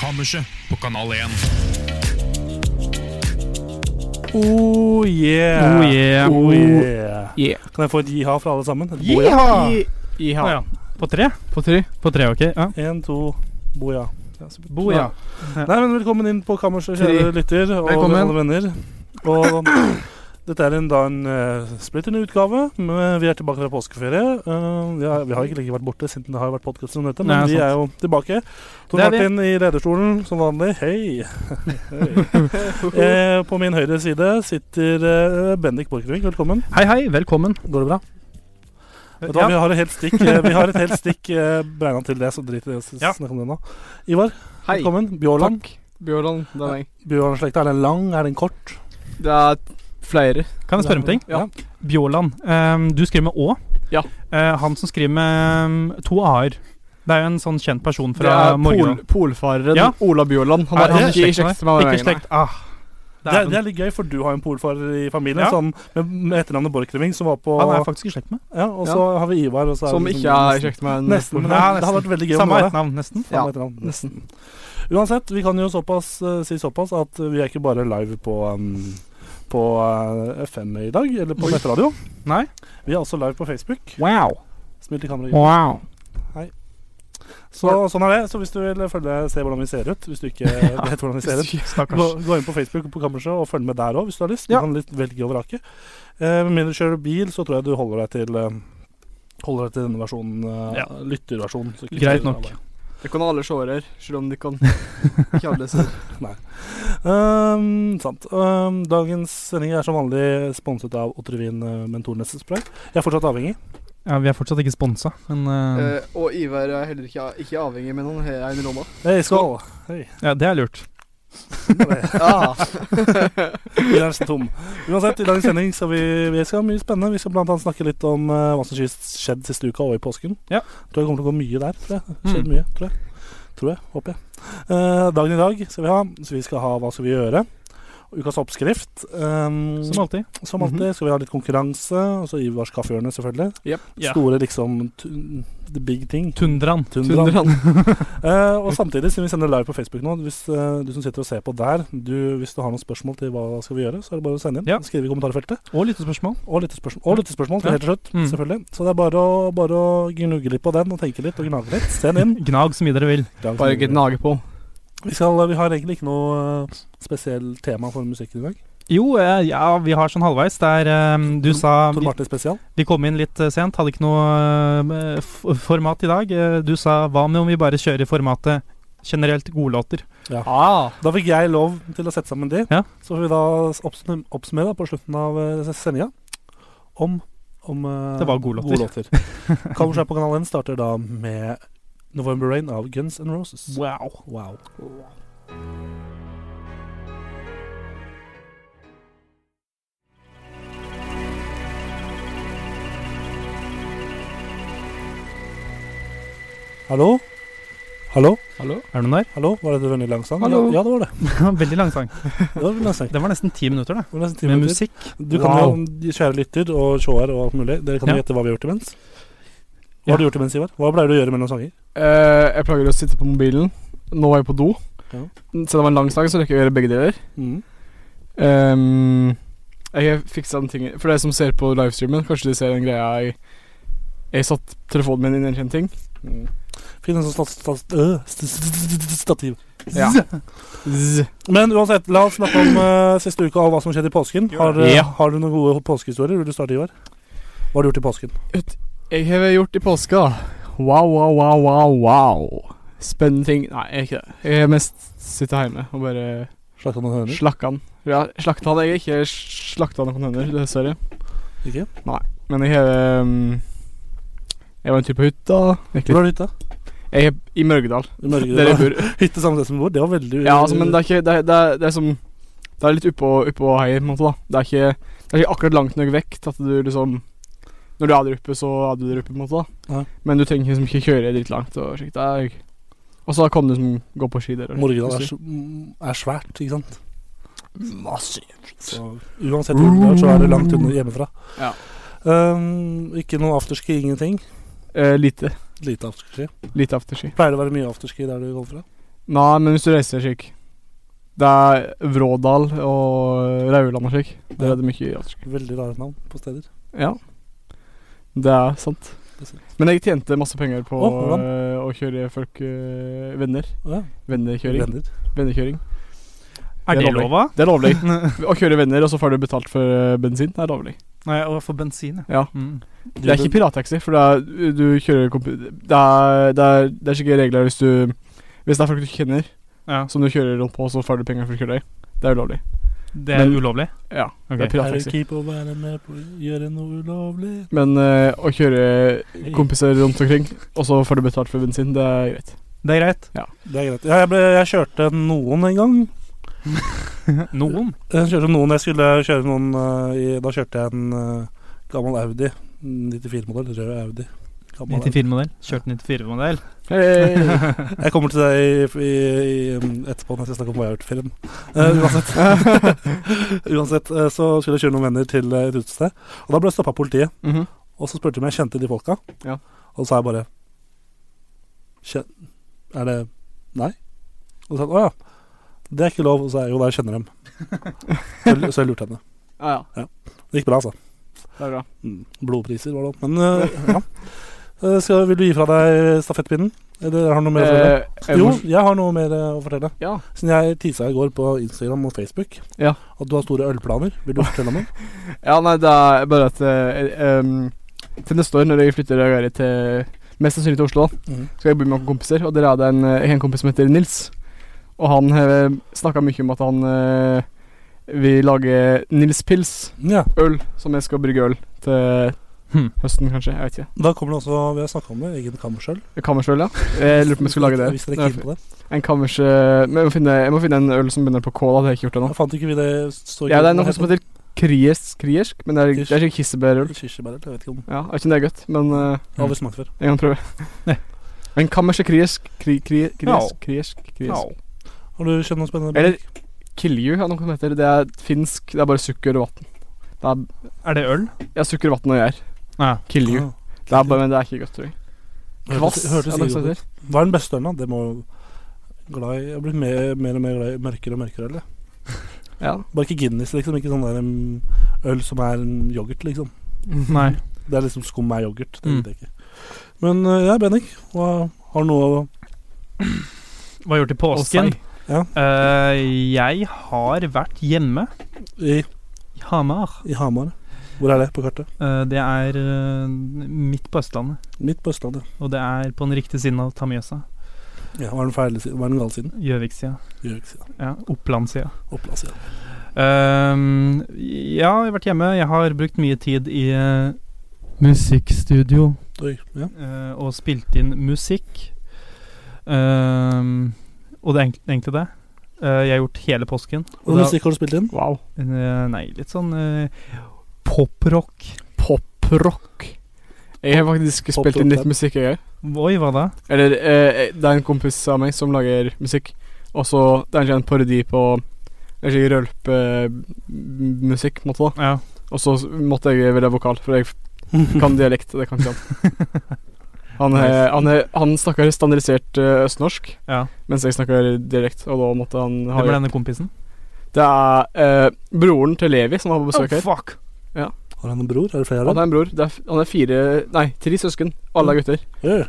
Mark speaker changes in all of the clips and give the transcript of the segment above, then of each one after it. Speaker 1: Kammerset på Kanal 1.
Speaker 2: Oh yeah.
Speaker 3: Oh yeah.
Speaker 2: Oh yeah.
Speaker 3: Yeah.
Speaker 2: Kan jeg få et jiha fra alle sammen? Et boja?
Speaker 3: Jiha!
Speaker 2: Ah,
Speaker 3: Jiha.
Speaker 2: ja. På tre?
Speaker 3: På tre? På tre, ok. Ja.
Speaker 2: En, to, boja. Ja, supert.
Speaker 3: Boja.
Speaker 2: Nei, men velkommen inn på kammerset,
Speaker 3: Tre.
Speaker 2: kjære lytter og
Speaker 3: Velkommen.
Speaker 2: alle venner. Og dette er en, da en eh, splitter ny utgave. Men vi er tilbake fra påskeferie. Eh, ja, vi har ikke lenge vært borte siden det har vært podkast om dette, men
Speaker 3: Nei,
Speaker 2: vi
Speaker 3: sant.
Speaker 2: er jo tilbake. Tor
Speaker 3: Det er vi.
Speaker 2: Martin i lederstolen som vanlig. Hei! Eh, på min høyre side sitter eh, Bendik Borchgrevink. Velkommen.
Speaker 3: Hei, hei. Velkommen.
Speaker 2: Går det bra? Vet du hva,
Speaker 3: Ja.
Speaker 2: vi, har et helt stikk, eh, vi har et helt stikk eh, beregna til det, så drit i det. å s-
Speaker 3: Ja.
Speaker 2: snakke om det nå. Ivar,
Speaker 4: Hei.
Speaker 2: velkommen. Bjørland.
Speaker 4: Takk. Bjørland, det er meg.
Speaker 2: Bjørland-slekta, er den lang? Er den kort?
Speaker 4: Det er flere.
Speaker 3: Kan jeg spørre om ting?
Speaker 4: Ja.
Speaker 3: Bjåland, ehm, du skriver med Å.
Speaker 4: Ja.
Speaker 3: Eh, han som skriver med ehm, to A-er. Det er jo en sånn kjent person
Speaker 4: det
Speaker 3: fra
Speaker 4: er pol
Speaker 3: Morgenå.
Speaker 4: polfareren
Speaker 3: Ja.
Speaker 4: Ola Bjørland. Han
Speaker 3: Er
Speaker 4: er,
Speaker 3: han
Speaker 4: ikke i
Speaker 3: slekt med
Speaker 4: slekt med meg.
Speaker 3: Ikke slekt. Ah.
Speaker 2: Det er,
Speaker 3: Dæven.
Speaker 2: det er litt gøy, for du har en polfarer i familien
Speaker 3: Ja.
Speaker 2: sånn, med, med etternavnet Borchgrevink, som var på
Speaker 3: Han er faktisk i slekt med.
Speaker 2: ja, Og så har vi Ivar. Og så er
Speaker 4: Som
Speaker 2: det
Speaker 4: ikke
Speaker 2: liksom
Speaker 4: er i
Speaker 2: nesten-
Speaker 4: slekt med en
Speaker 2: Nesten, men det,
Speaker 3: Ja,
Speaker 2: det hadde vært veldig gøy om
Speaker 3: Samme
Speaker 2: det var det.
Speaker 3: etternavn, nesten.
Speaker 2: Samme
Speaker 4: Ja.
Speaker 2: etternavn.
Speaker 4: Nesten.
Speaker 2: Uansett, vi kan jo såpass, eh, si såpass at vi er ikke bare live på, um, på eh, FM i dag, eller på nettradio.
Speaker 3: Nei.
Speaker 2: Vi er også live på Facebook.
Speaker 3: Wow.
Speaker 2: Smil til kameraet.
Speaker 3: wow.
Speaker 2: Så, sånn er det. Så hvis du vil følge, se hvordan vi ser ut Hvis du ikke vet hvordan vi ser ut, gå,
Speaker 3: Stakkars.
Speaker 2: gå inn på Facebook på Kammerset og følg med der òg, hvis du har lyst.
Speaker 3: Ja.
Speaker 2: Du kan litt velge og vrake. Eh, Med mindre du kjører bil, så tror jeg du holder deg til eh, Holder deg til denne versjonen, eh,
Speaker 3: Ja.
Speaker 2: lytterversjonen. så ikke-
Speaker 3: Greit nok.
Speaker 4: Det kan alle seere, selv om de kan ikke alle se.
Speaker 2: Ehm, sant. Ehm, dagens sending er som vanlig sponset av Otrevin eh, Mentornes spray. Jeg er fortsatt avhengig.
Speaker 3: Ja, vi er fortsatt ikke sponsa, men ehm,
Speaker 4: Eh, og Ivar er heller ikke, ikke avhengig, men han har en rolle.
Speaker 2: Hei, skål! Hei.
Speaker 3: ja, det er lurt.
Speaker 4: Ah.
Speaker 2: Vi er nesten tom. Uansett, i dagens sending skal vi, vi skal ha mye spennende. Vi skal bl.a. snakke litt om eh, hva som skis- skjedd siste uka og i påsken.
Speaker 3: Ja.
Speaker 2: Tror jeg det kommer til å gå mye der. tror jeg.
Speaker 3: Mm.
Speaker 2: Skjedd mye, tror jeg. Tror jeg, Håper jeg. Eh, dagen i dag skal vi ha. Så vi skal ha Hva skal vi gjøre? Ukas oppskrift. ehm,
Speaker 3: Som Mhm. alltid.
Speaker 2: som alltid skal vi ha litt konkurranse. Og så Ivars Kaffehjørne, selvfølgelig.
Speaker 4: Jep.
Speaker 3: Ja.
Speaker 2: Store liksom tu- the big thing.
Speaker 3: Tundraen.
Speaker 2: Tundraen.
Speaker 4: Tunder han.
Speaker 2: Eh, og samtidig, siden vi sender live på Facebook nå, hvis eh, du som sitter og ser på der, du, hvis du har noen spørsmål til hva skal vi gjøre, så er det bare å sende inn.
Speaker 3: Ja.
Speaker 2: Skrive i kommentarfeltet.
Speaker 3: Og lyttespørsmål.
Speaker 2: Og lyttespørsmål, og lyttespørsmål til
Speaker 3: Ja.
Speaker 2: helt til slutt,
Speaker 3: Mm.
Speaker 2: selvfølgelig. Så det er bare å, bare å gnugge litt på den, og tenke litt og gnage litt. Send inn.
Speaker 3: Gnag så mye dere vil.
Speaker 4: Bare ikke gnage på.
Speaker 2: Vi, skal, vi har egentlig ikke noe eh, spesielt tema for musikken i dag.
Speaker 3: Jo, eh, ja, vi har sånn halvveis. Det er ehm, Du sa
Speaker 2: Tor Martin spesial.
Speaker 3: Vi kom inn litt eh, sent, hadde ikke noe eh, f- format i dag. Eh, Du sa hva med om vi bare kjører formatet generelt godlåter?
Speaker 4: Ah.
Speaker 2: Da fikk jeg lov til å sette sammen de.
Speaker 3: Ja.
Speaker 2: Så får vi da oppsum- oppsummere på slutten av eh, sendinga om, om eh,
Speaker 3: Det var gode låter.
Speaker 2: låter. Kammerset på kanal 1 starter da med November Rain av Guns N' Roses.
Speaker 3: Wow.
Speaker 2: Wow. Hallo? Hallo?
Speaker 4: Hallo?
Speaker 3: Er du der?
Speaker 2: Hallo? Var det veldig lang sang?
Speaker 4: Hallo?
Speaker 2: Ja, ja, det var det.
Speaker 3: Veldig lang sang.
Speaker 2: det, var veldig lang sang.
Speaker 3: Den var nesten ti minutter, det.
Speaker 2: Det var nesten ti
Speaker 3: Med
Speaker 2: minutter.
Speaker 3: musikk.
Speaker 2: Du kan jo, kjære lytter og sjåer og alt mulig, dere kan jo
Speaker 3: Ja.
Speaker 2: gjette hva vi har gjort imens. Hva
Speaker 3: Ja.
Speaker 2: har du gjort imens, Ivar? Hva pleier du å gjøre mellom sanger?
Speaker 4: Eh, jeg plager å sitte på mobilen. Nå var jeg på do.
Speaker 2: Ja.
Speaker 4: Selv om det var en lang sak, så rekker jeg å gjøre begge deler.
Speaker 2: Mm.
Speaker 4: Ehm, jeg har fiksa den tingen For dere som ser på livestreamen, kanskje de ser den greia jeg Jeg satt telefonen min inn i en kjent ting.
Speaker 2: Mm. Finn en sånn stat, stat, øh, st- st- st- st- stativ.
Speaker 4: Ja. Zzz.
Speaker 2: Men uansett, la oss snakke om eh, siste uka og hva som skjedde i påsken. Har, eh,
Speaker 3: Ja.
Speaker 2: har du noen gode påskehistorier? Vil du starte, Ivar? Hva har du gjort i påsken?
Speaker 4: Jeg har gjort i påska Wow, wow, wow, wow, wow. Spennende ting Nei, jeg er ikke det. Jeg har mest sittet hjemme og bare
Speaker 2: Slakta noen høner?
Speaker 4: slakka den. Ja, slakta hadde jeg ikke slakta noen høner, dessverre.
Speaker 2: Ikke?
Speaker 4: Men jeg har ehm, Jeg var en tur på hytta.
Speaker 2: Hvor
Speaker 4: Egentlig.
Speaker 2: er det hytta?
Speaker 4: Jeg er i Mørgedal.
Speaker 2: I Mørgedal.
Speaker 4: Der jeg bor.
Speaker 2: Hytte samme sted som vår? Det var veldig
Speaker 4: Ja, altså, men det er ikke Det er, det er, det er som Det er litt oppå, oppå heier, på en måte, da. Det er ikke, det er ikke akkurat langt nok vekk til at du liksom Når du er der oppe, så er du der oppe, på en måte, da.
Speaker 2: Ja.
Speaker 4: Men du trenger liksom ikke kjøre dritt langt og slikt. Det er Og så kan du liksom gå på ski der. og-
Speaker 2: Morgedal er,
Speaker 4: hvis du-
Speaker 2: s- mm, er svært, ikke sant?
Speaker 4: Massivt.
Speaker 2: Så uansett hvor det er, så er det langt unna hjemmefra.
Speaker 4: Ja.
Speaker 2: Um, ikke noe afterski, ingenting.
Speaker 4: Eh, lite.
Speaker 2: Lite afterski.
Speaker 4: Lite afterski.
Speaker 2: Pleier det å være mye afterski der du kommer fra?
Speaker 4: Nei, men hvis du reiser slik Det er Vrådal og Rauland og slik. Der er det mye afterski.
Speaker 2: Veldig rare navn på steder.
Speaker 4: Ja. Det er sant.
Speaker 2: Det er sant.
Speaker 4: Men jeg tjente masse penger på
Speaker 2: Å, hvordan?
Speaker 4: eh, å kjøre folk eh, venner.
Speaker 2: Ja.
Speaker 4: Vennekjøring.
Speaker 2: Venner.
Speaker 4: Vennekjøring.
Speaker 3: Er det
Speaker 4: lovlig.
Speaker 3: lov, da?
Speaker 4: Det er lovlig. å kjøre venner, og så får du betalt for eh, bensin. Det er lovlig.
Speaker 3: Nei, å få bensin,
Speaker 4: Ja.
Speaker 3: Mm.
Speaker 4: Det er ikke pirattaxi, for det er, du kjører komp- Det er, det er, det er slike regler hvis du Hvis det er folk du ikke kjenner,
Speaker 3: Ja,
Speaker 4: som du kjører rundt på, så får du penger for å kjøre deg. Det er ulovlig.
Speaker 3: Det er
Speaker 4: Men-
Speaker 3: ulovlig?
Speaker 4: Ja. Det
Speaker 3: Ok.
Speaker 4: er
Speaker 2: Er du
Speaker 4: pirattaxi.
Speaker 2: keen på å være med på å gjøre noe ulovlig?
Speaker 4: Men eh, å kjøre
Speaker 2: Hey.
Speaker 4: kompiser rundt omkring, og så får du betalt for bensin, det er greit.
Speaker 3: Det er greit.
Speaker 2: Det er greit. Ja, jeg, ble, jeg kjørte noen en gang.
Speaker 3: Noen?
Speaker 2: Jeg kjørte noen, jeg skulle kjøre noen eh, i, Da kjørte jeg en eh, gammel Audi. 94-modell, rød Audi. Gammel Audi.
Speaker 3: 94-modell. Kjørt 94-modell.
Speaker 4: Hey.
Speaker 2: Jeg kommer til deg i, i, i, mm, etterpå når jeg skal snakke om hva jeg har gjort i ferien. Eh, uansett, uansett eh, så skulle jeg kjøre noen venner til eh, et utested. Og da ble jeg stoppa av politiet.
Speaker 4: Mhm.
Speaker 2: Og så spurte de om jeg kjente de folka.
Speaker 4: Ja.
Speaker 2: Og så sa jeg bare «Kjen- Er det Nei? Og så sa hun å ja, det er ikke lov. Og så sa jeg jo da, jeg kjenner dem. så, så jeg lurte henne.
Speaker 4: Ja, ja.
Speaker 2: Det gikk bra, altså.
Speaker 4: Det er bra.
Speaker 2: Mm, Blodpriser var det opp. Men eh, ja. Eh, Skal, vil du gi fra deg stafettpinnen? Eller har du noe mer å fortelle?
Speaker 4: Eh,
Speaker 2: jo,
Speaker 4: jeg må-
Speaker 2: jeg har noe mer eh, å fortelle.
Speaker 4: Ja.
Speaker 2: Siden jeg tisa i går på Instagram og Facebook
Speaker 4: Ja.
Speaker 2: at du har store ølplaner. Vil du fortelle om det?
Speaker 4: ja, nei, det er bare at eh, em, Til neste år, når jeg flytter av gårde til Mest sannsynlig til Oslo,
Speaker 2: Mhm.
Speaker 4: skal jeg bo med noen kompiser. Og der er det en, eh, en kompis som heter Nils. Og han uh, snakka mye om at han eh, vil lage Nils-pils,
Speaker 2: Ja.
Speaker 4: øl, som jeg skal brygge øl til
Speaker 3: Hmm.
Speaker 4: høsten, kanskje. Jeg vet ikke.
Speaker 2: Da kommer det også Vi har snakka om det. Egen kammersøl.
Speaker 4: Kammersøl, ja. Jeg lurer på om jeg skulle lage det.
Speaker 2: Hvis dere er keen på det.
Speaker 4: En kammers... eh, men jeg må, finne, jeg må finne en øl som begynner på K, da. Det har jeg ikke gjort ennå.
Speaker 2: Jeg fant ikke vi det står
Speaker 4: Ja, det er noe som heter kriersk, kriersk, men det er, det er ikke kissebærøl.
Speaker 2: Kirsebær, jeg vet ikke om
Speaker 4: Ja, jeg vet ikke om det er godt, men eh,
Speaker 2: Jeg har aldri smakt før.
Speaker 4: jeg kan prøve.
Speaker 3: Mm. Nei.
Speaker 4: Men kammerset kriersk, kri, kri,
Speaker 3: Ja.
Speaker 4: kriersk, kriersk, kriersk.
Speaker 3: Ja.
Speaker 2: Har du kjent noe spennende?
Speaker 4: Eller Kilju er noe som heter. Det er finsk. Det er bare sukker og vann. Det er
Speaker 3: Er det øl?
Speaker 4: ja, sukker, vann og gjær.
Speaker 3: Ja.
Speaker 4: Kilju. Det er bare, men det er ikke godt, tror jeg. Kvass.
Speaker 2: Ah, Hørtes
Speaker 4: er det noe
Speaker 2: sikkert
Speaker 4: som
Speaker 2: ut.
Speaker 4: heter.
Speaker 2: Hva er den beste ølen, da? Det må glad i Jeg har blitt mer, mer og mer glad i mørkere og mørkere øl. jeg.
Speaker 4: Ja.
Speaker 2: Bare ikke Guinness, liksom. Ikke sånn der mm, øl som er en yoghurt, liksom.
Speaker 3: Nei.
Speaker 2: Det er liksom skum er yoghurt. Det
Speaker 3: Mm.
Speaker 2: vet jeg ikke. Men eh, ja, Bennik, hva har du noe å
Speaker 3: Hva har jeg gjort i påsken?
Speaker 4: Og sei.
Speaker 2: Ja.
Speaker 3: Eh, jeg har vært hjemme
Speaker 2: i,
Speaker 3: i Hamar.
Speaker 2: i Hamar? Hvor er det på kartet?
Speaker 3: Eh, det er eh, midt på Østlandet.
Speaker 2: Midt på Østlandet.
Speaker 3: Og det er på den riktige siden av Tamjøsa.
Speaker 2: Ja, hva er den feile siden? Hva er den gale siden?
Speaker 3: Gjøviksida.
Speaker 2: Gjøvik-sida.
Speaker 3: Ja, Opplandssida.
Speaker 2: Oppland-sida.
Speaker 3: Ehm, ja, jeg har vært hjemme. Jeg har brukt mye tid i eh, musikkstudio
Speaker 2: Oi. Ja.
Speaker 3: eh, og spilt inn musikk. Ehm, og det er egentlig- egentlig det. Eh, jeg har gjort hele påsken.
Speaker 2: Hva
Speaker 3: da-
Speaker 2: musikk har du spilt inn?
Speaker 4: Wow.
Speaker 3: Eh, nei, litt sånn eh, poprock.
Speaker 4: Poprock. Jeg har faktisk spilt inn litt musikk, jeg òg.
Speaker 3: Oi, hva da?
Speaker 4: Eller eh, det er en kompis av meg som lager musikk. Og så det er egentlig en parodi på rølpemusikk, på en måte. da.
Speaker 3: Ja.
Speaker 4: Og så måtte jeg velge vokal, for jeg kan dialekt. og Det kan ikke han. Han, eh, han, eh, han snakker standardisert eh, østnorsk,
Speaker 3: ja.
Speaker 4: mens jeg snakker dialekt. Og da måtte han ha
Speaker 3: Hvem er denne kompisen?
Speaker 4: Det er eh, broren til Levi som var på besøk her.
Speaker 3: fuck!
Speaker 2: Har han en bror? Er det flere av
Speaker 4: Han
Speaker 2: dem?
Speaker 4: er en bror. Det er, f- han er fire Nei, tre søsken. Alle er gutter.
Speaker 2: Ja.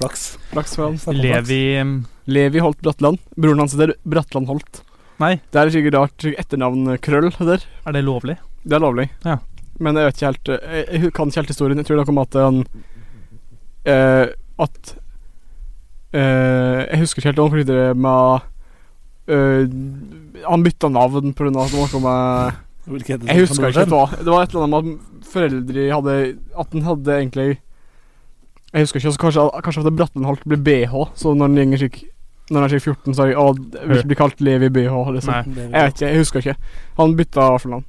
Speaker 2: Flaks.
Speaker 4: Flaks for han.
Speaker 2: Snakk om flaks.
Speaker 3: Levi mm,
Speaker 4: Levi Holt Bratland. Broren hans heter Bratland Holt.
Speaker 3: Nei,
Speaker 4: Det er sikkert rart etternavn eh, Krøll der.
Speaker 3: er det lovlig?
Speaker 4: Det er lovlig.
Speaker 3: Ja.
Speaker 4: Men jeg vet ikke helt eh, Jeg jeg kan ikke helt historien. Jeg tror det kom at han eh, At eh, Jeg husker ikke helt hva han flyttet det med eh, Han bytta navn pga. at han var så med
Speaker 2: Hvilke heter det?
Speaker 4: Jeg husker ikke
Speaker 2: Kan du
Speaker 4: helt hva. Det var et eller annet med at foreldre hadde At han hadde egentlig Jeg husker ikke, altså Kanskje, kanskje at Bratland Holt blir BH, så når den gjenger slik Når han er slik 14, så er jeg, å, jeg vil ikke bli kalt Levi BH. Liksom.
Speaker 3: Nei.
Speaker 2: Det
Speaker 4: Jeg
Speaker 2: vet
Speaker 4: vet ikke, jeg husker ikke. Han bytta vaffelnavn.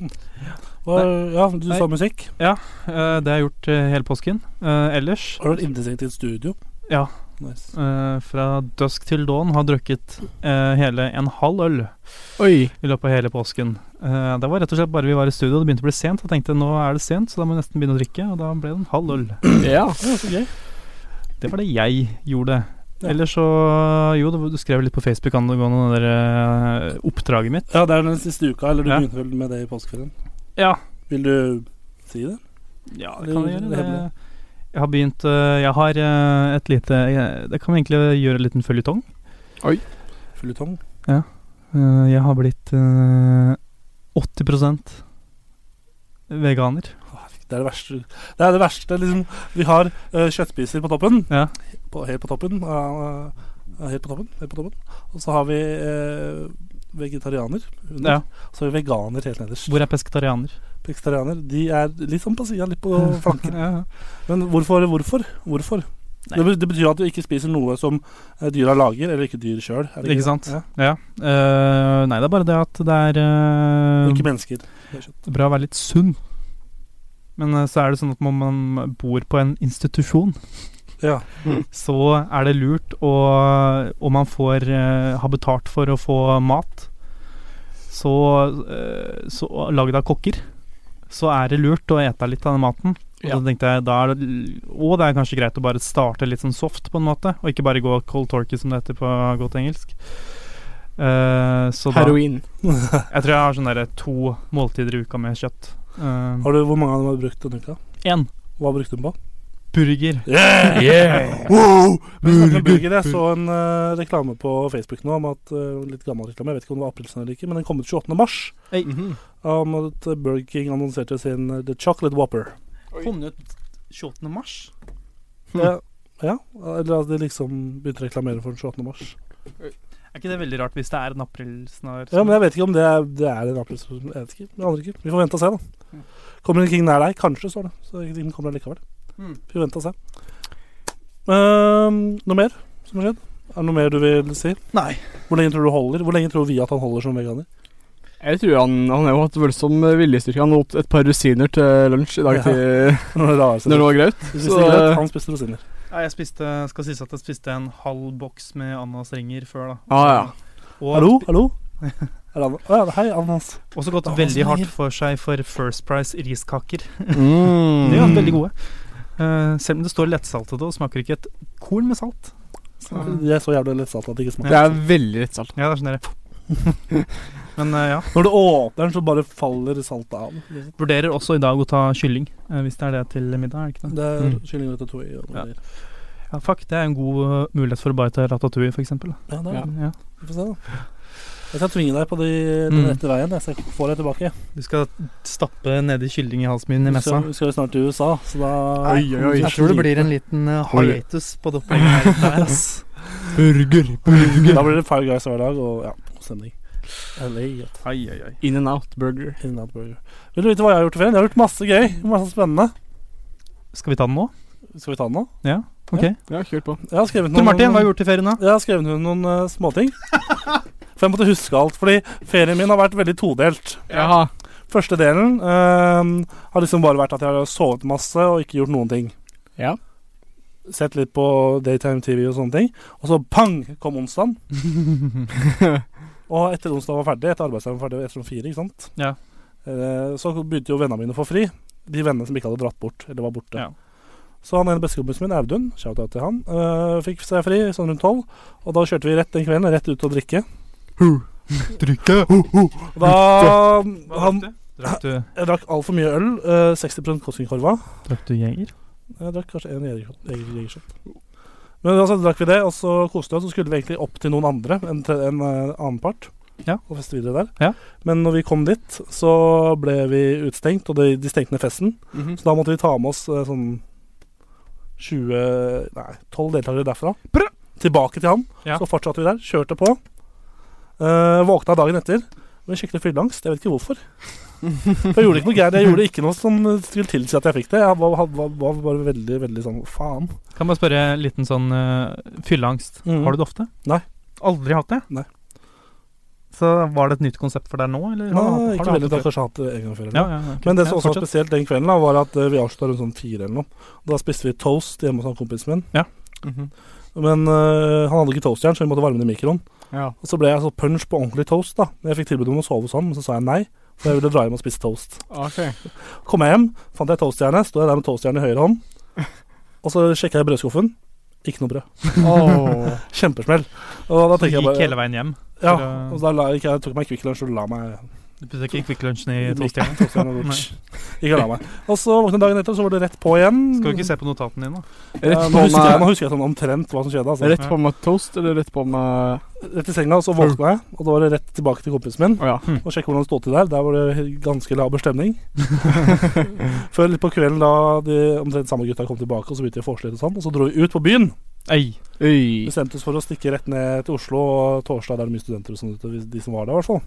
Speaker 2: jeg. Hva- Ja, du sa
Speaker 3: Nei.
Speaker 2: musikk.
Speaker 3: Eh, det har jeg gjort eh, hele påsken. Eh, ellers
Speaker 2: Har du vært innestengt i et studio?
Speaker 3: Ja.
Speaker 2: Nice.
Speaker 3: eh, fra dusk til dawn har drukket eh, hele en halv øl
Speaker 4: Oi.
Speaker 3: i løpet av hele påsken. Eh, det var rett og slett bare vi var i studio, det begynte å bli sent. Jeg tenkte nå er det sent, så da må jeg nesten begynne å drikke. Og da ble det en halv øl.
Speaker 4: Ja.
Speaker 2: Ja, så gøy.
Speaker 3: Det var det jeg gjorde.
Speaker 2: Ja.
Speaker 3: Ellers så Jo, det var- du skrev litt på Facebook angående det der, eh, oppdraget mitt.
Speaker 2: Ja, det er den siste uka, eller du
Speaker 3: Ja.
Speaker 2: begynte vel med det i påskeferien.
Speaker 3: Ja,
Speaker 2: Vil du si det?
Speaker 3: Ja,
Speaker 2: Det
Speaker 3: det kan
Speaker 2: er
Speaker 3: vi gjøre.
Speaker 2: det hemmelige.
Speaker 3: Det. Jeg har begynt øh, Jeg har øh, et lite jeg- Det kan vi egentlig gjøre en liten føljetong.
Speaker 2: Føljetong?
Speaker 3: Øh, Jeg har blitt øh, 80 veganer.
Speaker 2: Det er det verste. Det er det verste liksom. Vi har eh, kjøttspiser på toppen.
Speaker 3: Ja.
Speaker 2: På, helt på toppen. eh, eh, helt på toppen. Helt på toppen. Og så har vi eh, vegetarianer under.
Speaker 3: Ja.
Speaker 2: Og så har vi veganer helt nederst.
Speaker 3: Hvor er pesketarianer?
Speaker 2: Pekstarianer. De er litt sånn på sida, litt på flanken.
Speaker 3: Ja.
Speaker 2: Men hvorfor? Hvorfor? hvorfor?
Speaker 3: Nei.
Speaker 2: Det, be- det betyr at du ikke spiser noe som eh, dyra lager, eller ikke dyr sjøl.
Speaker 3: Ikke sant?
Speaker 2: Ja.
Speaker 3: ja. Øh, nei, det er bare det at det er øh,
Speaker 2: Ikke mennesker. Det er kjøtt.
Speaker 3: bra å være litt sunn. Men øh, så er det sånn at når man bor på en institusjon
Speaker 2: Ja.
Speaker 3: så er det lurt å Om man får eh, har betalt for å få mat, så, eh, så lagd av kokker, så er det lurt å ete litt av den maten. Og
Speaker 4: Ja.
Speaker 3: så tenkte jeg da er det, Og det er kanskje greit å bare starte litt sånn soft, på en måte, og ikke bare gå cold torkey, som det heter på godt engelsk. Eh, så da,
Speaker 4: Heroin.
Speaker 3: jeg tror jeg har sånn derre to måltider i uka med kjøtt. Uh,
Speaker 2: Har du, hvor mange av dem har du brukt denne uka?
Speaker 3: en
Speaker 2: Hva brukte du den på?
Speaker 3: burger.
Speaker 2: Yeah! Wow! Vi snakker om burger. Jeg så en eh, reklame på Facebook nå om at eh, Litt gammel reklame, jeg vet ikke om det var aprilsen eller ikke, men den kom ut 28. mars.
Speaker 3: Hey.
Speaker 4: Mhm.
Speaker 2: Om at Burger King annonserte sin eh, The Chocolate Whopper.
Speaker 3: Kom den ut 28. mars? Hm.
Speaker 2: Ja, ja, eller at de liksom begynte å reklamere for den 28. mars.
Speaker 3: Er ikke det veldig rart hvis det er en aprilsnarr?
Speaker 2: Ja, men jeg vet ikke om det er, det er en aprilsen. Jeg vet ikke. Jeg aner ikke. Vi får vente og se, da. Kommer en King nær deg? Kanskje, står det. Så den kommer likevel.
Speaker 3: Mm.
Speaker 2: Vi får vente og se. Ehm, noe mer som har skjedd? Er det noe mer du vil si?
Speaker 3: Nei.
Speaker 2: Hvor lenge tror du holder? Hvor lenge tror vi at han holder som veganer?
Speaker 4: Jeg tror han, han har jo hatt voldsom eh, viljestyrke. Han åt et par rosiner til lunsj i dag
Speaker 2: Ja.
Speaker 4: til,
Speaker 2: Når det rarer seg
Speaker 4: når det
Speaker 2: litt.
Speaker 4: var graut.
Speaker 2: Hvis
Speaker 4: så- eh,
Speaker 2: ikke greit, han spiste rosiner.
Speaker 3: Ja, jeg spiste, skal sies at jeg spiste en halv boks med Annas ringer før, da.
Speaker 4: Ah, ja.
Speaker 3: Og,
Speaker 2: Hallo, hallo? Er det Anna? Å ja, hei, Annas.
Speaker 3: Og så gått
Speaker 2: Annas
Speaker 3: veldig hardt
Speaker 2: ringer.
Speaker 3: for seg for First Price riskaker.
Speaker 4: Mm.
Speaker 3: De er veldig gode. Eh, selv om det står lettsaltede og smaker ikke et korn med salt. Så,
Speaker 2: Jeg er så jævlig lettsatt at det ikke smaker.
Speaker 4: Det er veldig lett salt.
Speaker 3: ja, det er sånn dere. Men eh, ja.
Speaker 2: Når du åpner den, så bare faller saltet av.
Speaker 3: Vurderer også i dag å ta kylling, eh, hvis det er det til middag. er det ikke det?
Speaker 2: Det er
Speaker 4: Mm.
Speaker 2: kylling ratatouille. og noe
Speaker 3: Ja.
Speaker 2: greier.
Speaker 3: Ja, fuck, det er en god eh, mulighet for å bare ta ratatouille, f.eks.
Speaker 2: Ja, det er
Speaker 4: Ja.
Speaker 2: det.
Speaker 3: Ja.
Speaker 2: Vi får se, da. Jeg skal tvinge deg på de, den
Speaker 3: Mm.
Speaker 2: rette veien, jeg, så jeg får deg tilbake.
Speaker 3: Du skal stappe nedi kylling i halsen min i
Speaker 2: Vi
Speaker 3: messa.
Speaker 2: skal, vi skal jo snart til USA, så da
Speaker 4: Oi, oi, oi.
Speaker 3: Jeg tror det blir en liten eh,
Speaker 4: Oi.
Speaker 3: hiatus på det opplegget her, der, ass.
Speaker 4: Burger.
Speaker 2: Da blir det Five Guys hver dag, og ja, god stemning. LA, vet du.
Speaker 3: Ai, ai, ai.
Speaker 4: In and out burger.
Speaker 2: In-N-Out Burger. Vil du vite hva jeg har gjort i ferien? Jeg har gjort masse gøy. Masse spennende.
Speaker 3: Skal vi ta den nå?
Speaker 2: Skal vi ta den nå?
Speaker 3: Ok.
Speaker 4: Ja, kjør på.
Speaker 2: Jeg har skrevet
Speaker 3: Du Martin, hva har du gjort i ferien da?
Speaker 2: Jeg har skrevet ned noen eh, småting. For jeg måtte huske alt. Fordi ferien min har vært veldig todelt.
Speaker 4: Jaha.
Speaker 2: Første delen eh, har liksom bare vært at jeg har sovet masse og ikke gjort noen ting.
Speaker 4: Ja.
Speaker 2: Sett litt på daytime TV og sånne ting. Og så pang kom onsdagen. og etter onsdag var ferdig, etter arbeidsdagen var ferdig, etter sånn fire, ikke sant.
Speaker 3: Ja.
Speaker 2: Eh, så begynte jo vennene mine å få fri. De vennene som ikke hadde dratt bort, eller var borte.
Speaker 3: Ja.
Speaker 2: Så han ene bestekompisen min, Audun, shout-out til han, eh, fikk seg fri sånn rundt tolv. Og da kjørte vi rett den kvelden, rett ut og drikke.
Speaker 3: Drikke!
Speaker 2: Oh. Og Da han,
Speaker 3: Drakk du,
Speaker 2: Jeg drakk altfor mye øl. eh, 60 Koskenkorva.
Speaker 3: drakk du jeger?
Speaker 2: Jeg drakk kanskje én Jegershot. Men altså, drakk vi det, og så koste vi oss. Så skulle vi egentlig opp til noen andre, en, tre, en eh, annen part,
Speaker 3: Ja.
Speaker 2: og feste videre der.
Speaker 3: Ja.
Speaker 2: Men når vi kom dit, så ble vi utstengt, og de, de stengte ned festen.
Speaker 3: Mhm.
Speaker 2: Så da måtte vi ta med oss eh, sånn 20 Nei, 12 deltakere derfra.
Speaker 3: Bra!
Speaker 2: Tilbake til han.
Speaker 3: Ja.
Speaker 2: Så fortsatte vi der. Kjørte på. Eh, våkna dagen etter. Men skikkelig fylleangst. Jeg vet ikke hvorfor. For jeg gjorde ikke noe gærent. Jeg gjorde ikke noe som skulle tilsi at jeg fikk det. Jeg var, var, var, var bare veldig, veldig sånn faen.
Speaker 3: Kan bare spørre en liten sånn eh, fylleangst.
Speaker 2: Mhm.
Speaker 3: Har du det ofte?
Speaker 2: Nei.
Speaker 3: Aldri hatt det?
Speaker 2: Nei.
Speaker 3: Så var det et nytt konsept for deg nå,
Speaker 2: Nei,
Speaker 3: eller? har du- har
Speaker 2: ikke
Speaker 3: du hatt
Speaker 2: veldig. Jeg
Speaker 3: det
Speaker 2: har kanskje hatt det en gang før. eller
Speaker 3: Ja,
Speaker 2: noe.
Speaker 3: ja, ok.
Speaker 2: Men det som
Speaker 3: Ja,
Speaker 2: også var
Speaker 3: fortsett.
Speaker 2: spesielt den kvelden, da, var at eh, vi avslutta rundt sånn fire eller noe. Da spiste vi toast hjemme hos han kompisen min.
Speaker 3: Mhm.
Speaker 2: Men eh, han hadde ikke toastjern, så vi måtte varme den i mikroen.
Speaker 4: Ja.
Speaker 2: Og så ble jeg så punch på ordentlig toast, da. Men Jeg fikk tilbud om å sove hos ham, men så sa jeg nei. For jeg ville dra hjem og spise toast.
Speaker 4: Ok.
Speaker 2: Kom jeg hjem, fant jeg toastjernet. Sto jeg der med toastjernet i høyre hånd. Og så sjekka jeg brødskuffen. Ikke noe brød.
Speaker 4: Åh.
Speaker 2: Kjempesmell. Og da
Speaker 3: Så
Speaker 2: tenker jeg
Speaker 3: gikk
Speaker 2: bare
Speaker 3: hele veien hjem.
Speaker 2: Ja.
Speaker 3: for å-
Speaker 2: Og så da la, ikke, jeg tok meg Kvikk Lunsj og la meg
Speaker 3: Du pusset ikke Kvikk Lunsjen i toastjernet?
Speaker 2: toastjernet og-
Speaker 3: Nei.
Speaker 2: Ikke la meg. Og så våkna jeg dagen etter, og så var det rett på igjen.
Speaker 3: Skal vi ikke se på notatene dine, da?
Speaker 4: Rett
Speaker 2: Ja,
Speaker 4: på
Speaker 2: nå, husker jeg, nå
Speaker 4: med
Speaker 2: husker jeg sånn omtrent hva som skjedde. Altså.
Speaker 4: Rett på med toast, eller rett Mm. på med
Speaker 2: Rett i senga, og så våkna jeg, og da var det rett tilbake til kompisen min.
Speaker 4: Å ja.
Speaker 2: Og sjekke hvordan det stod til der. Der var det ganske laber stemning. Før litt på kvelden da de omtrent samme gutta kom tilbake, og så begynte de å forslite og sånn. Og så dro vi ut på byen.
Speaker 3: Ei.
Speaker 4: Øy.
Speaker 2: Bestemte oss for å stikke rett ned til Oslo, og torsdag der er det mye studenter og sånn ute, hvis- de som var der, i hvert fall.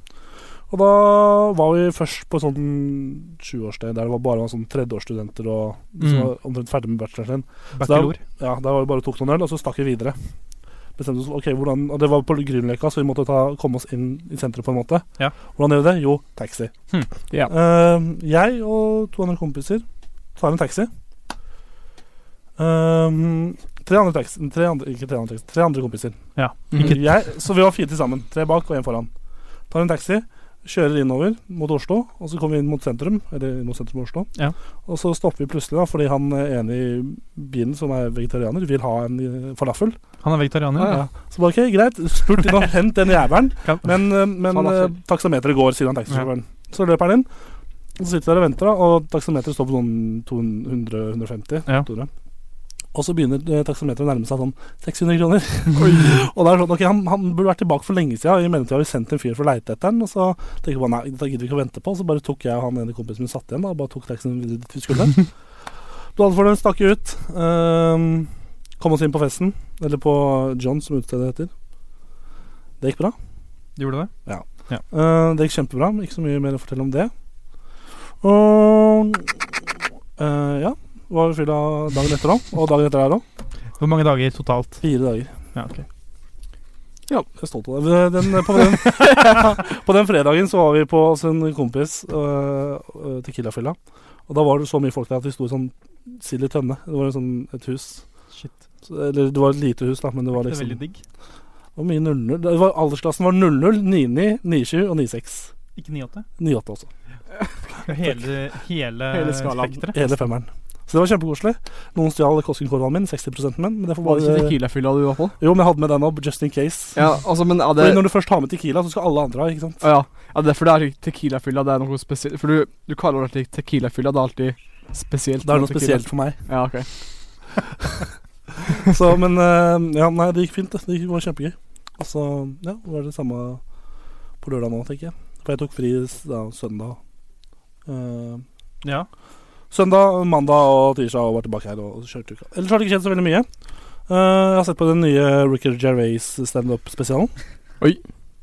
Speaker 2: Og da var vi først på sånn sjuårssted der det var bare var sånn tredjeårsstudenter og de som
Speaker 3: Mm.
Speaker 2: var omtrent ferdig med bacheloren sin.
Speaker 3: Bachelor.
Speaker 2: Ja, der var vi bare tok noen øl, og så stakk vi videre. Bestemte oss, ok, hvordan, og Det var på Grünerløkka, så vi måtte ta, komme oss inn i sentrum. på en måte
Speaker 3: Ja.
Speaker 2: Hvordan gjør vi det? Jo, taxi.
Speaker 3: Hm,
Speaker 4: ja.
Speaker 2: Eh, jeg og to andre kompiser tar en taxi. Eh, tre andre taxi tre andre, Ikke tre andre taxi, tre andre kompiser.
Speaker 3: Ja.
Speaker 2: Mm. Jeg, så vi var fire til sammen. Tre bak og én foran. Tar en taxi, kjører innover mot Oslo, og så kommer vi inn mot sentrum. Eller inn mot sentrum av Oslo.
Speaker 3: Ja.
Speaker 2: Og så stopper vi plutselig, da, fordi han eh, ene i bilen som er vegetarianer, vil ha en eh, falafel.
Speaker 3: Han er vegetarianer.
Speaker 2: Ja. Så bare ok, greit, spurt inn og hent den jævelen.
Speaker 3: Kan-
Speaker 2: Men, eh, men eh,
Speaker 4: Falafel.
Speaker 2: taksameteret går, sier han taxisjåføren. Så løper han inn. Så sitter der og venter, da, og taksameteret står på sånn 200-150.
Speaker 3: Ja.
Speaker 2: Og så begynner eh, taksameteret å nærme seg sånn 600 kroner. og det er sånn, ok, han, han burde vært tilbake for lenge siden. og I mellomtida har vi sendt en fyr for å leite etter han. Og så tenker jeg bare nei, dette gidder vi ikke å vente på. Så bare tok jeg og han ene kompisen min satt igjen, da, og bare tok taxien videre dit vi skulle. Bladet for den stakk ut. Ehm, kom oss inn på festen. Eller på John, som utestedet heter. Det gikk bra.
Speaker 3: Du gjorde det?
Speaker 2: Eh, det gikk kjempebra. Ikke så mye mer å fortelle om det. Og eh, ja. Var vi fylla dagen etter òg. Og dagen etter der òg.
Speaker 3: Hvor mange dager totalt?
Speaker 2: Fire dager.
Speaker 3: Ja, ok.
Speaker 2: Ja, jeg er stolt av det. Den, på, den, på den fredagen så var vi på hos en kompis uh, Tequila-fylla. Og da var det så mye folk der at vi sto i sånn sild i tønne. Det var en sånn, et hus.
Speaker 3: Shit.
Speaker 2: Så- Eller det var et lite hus, da, men det var
Speaker 3: Det er
Speaker 2: liksom
Speaker 3: veldig digg.
Speaker 2: Det var mye 00. Det var, aldersklassen var 00, 99, 97 og 96.
Speaker 3: Ikke 9-8.
Speaker 2: 98 også.
Speaker 3: Hele, hele,
Speaker 4: Hele skalaen.
Speaker 3: spekteret.
Speaker 2: Hele femmeren. Så det var kjempekoselig. Noen stjal Koskenkorvaen min, 60 min. Men det får
Speaker 4: Var det
Speaker 2: bare
Speaker 4: ikke Tequila-fylla du var på?
Speaker 2: Jo, men jeg hadde med den opp, just in case.
Speaker 4: Ja, altså, men ja, det
Speaker 2: Fordi når du først har med Tequila, så skal alle andre ha, ikke sant?
Speaker 4: Å ja. ja, derfor det er Tequila-fylla det er noe spesielt. For du, du kaller det alltid Tequila-fylla. Det er alltid spesielt.
Speaker 2: Det er
Speaker 4: med
Speaker 2: noe
Speaker 4: tequila.
Speaker 2: spesielt for meg.
Speaker 4: Ja, ok.
Speaker 2: Så, men eh, ja, nei, det gikk fint. det. Det gikk- var kjempegøy. Og så ja, var det samme på lørdag nå, tenker jeg. For jeg tok fri s- da, søndag. Eh,
Speaker 3: Ja.
Speaker 2: søndag, mandag og tirsdag og var tilbake her og kjørte uka. Ellers har det ikke skjedd så veldig mye. Eh, jeg har sett på den nye Ricky Gervais standup-spesialen.
Speaker 4: Oi.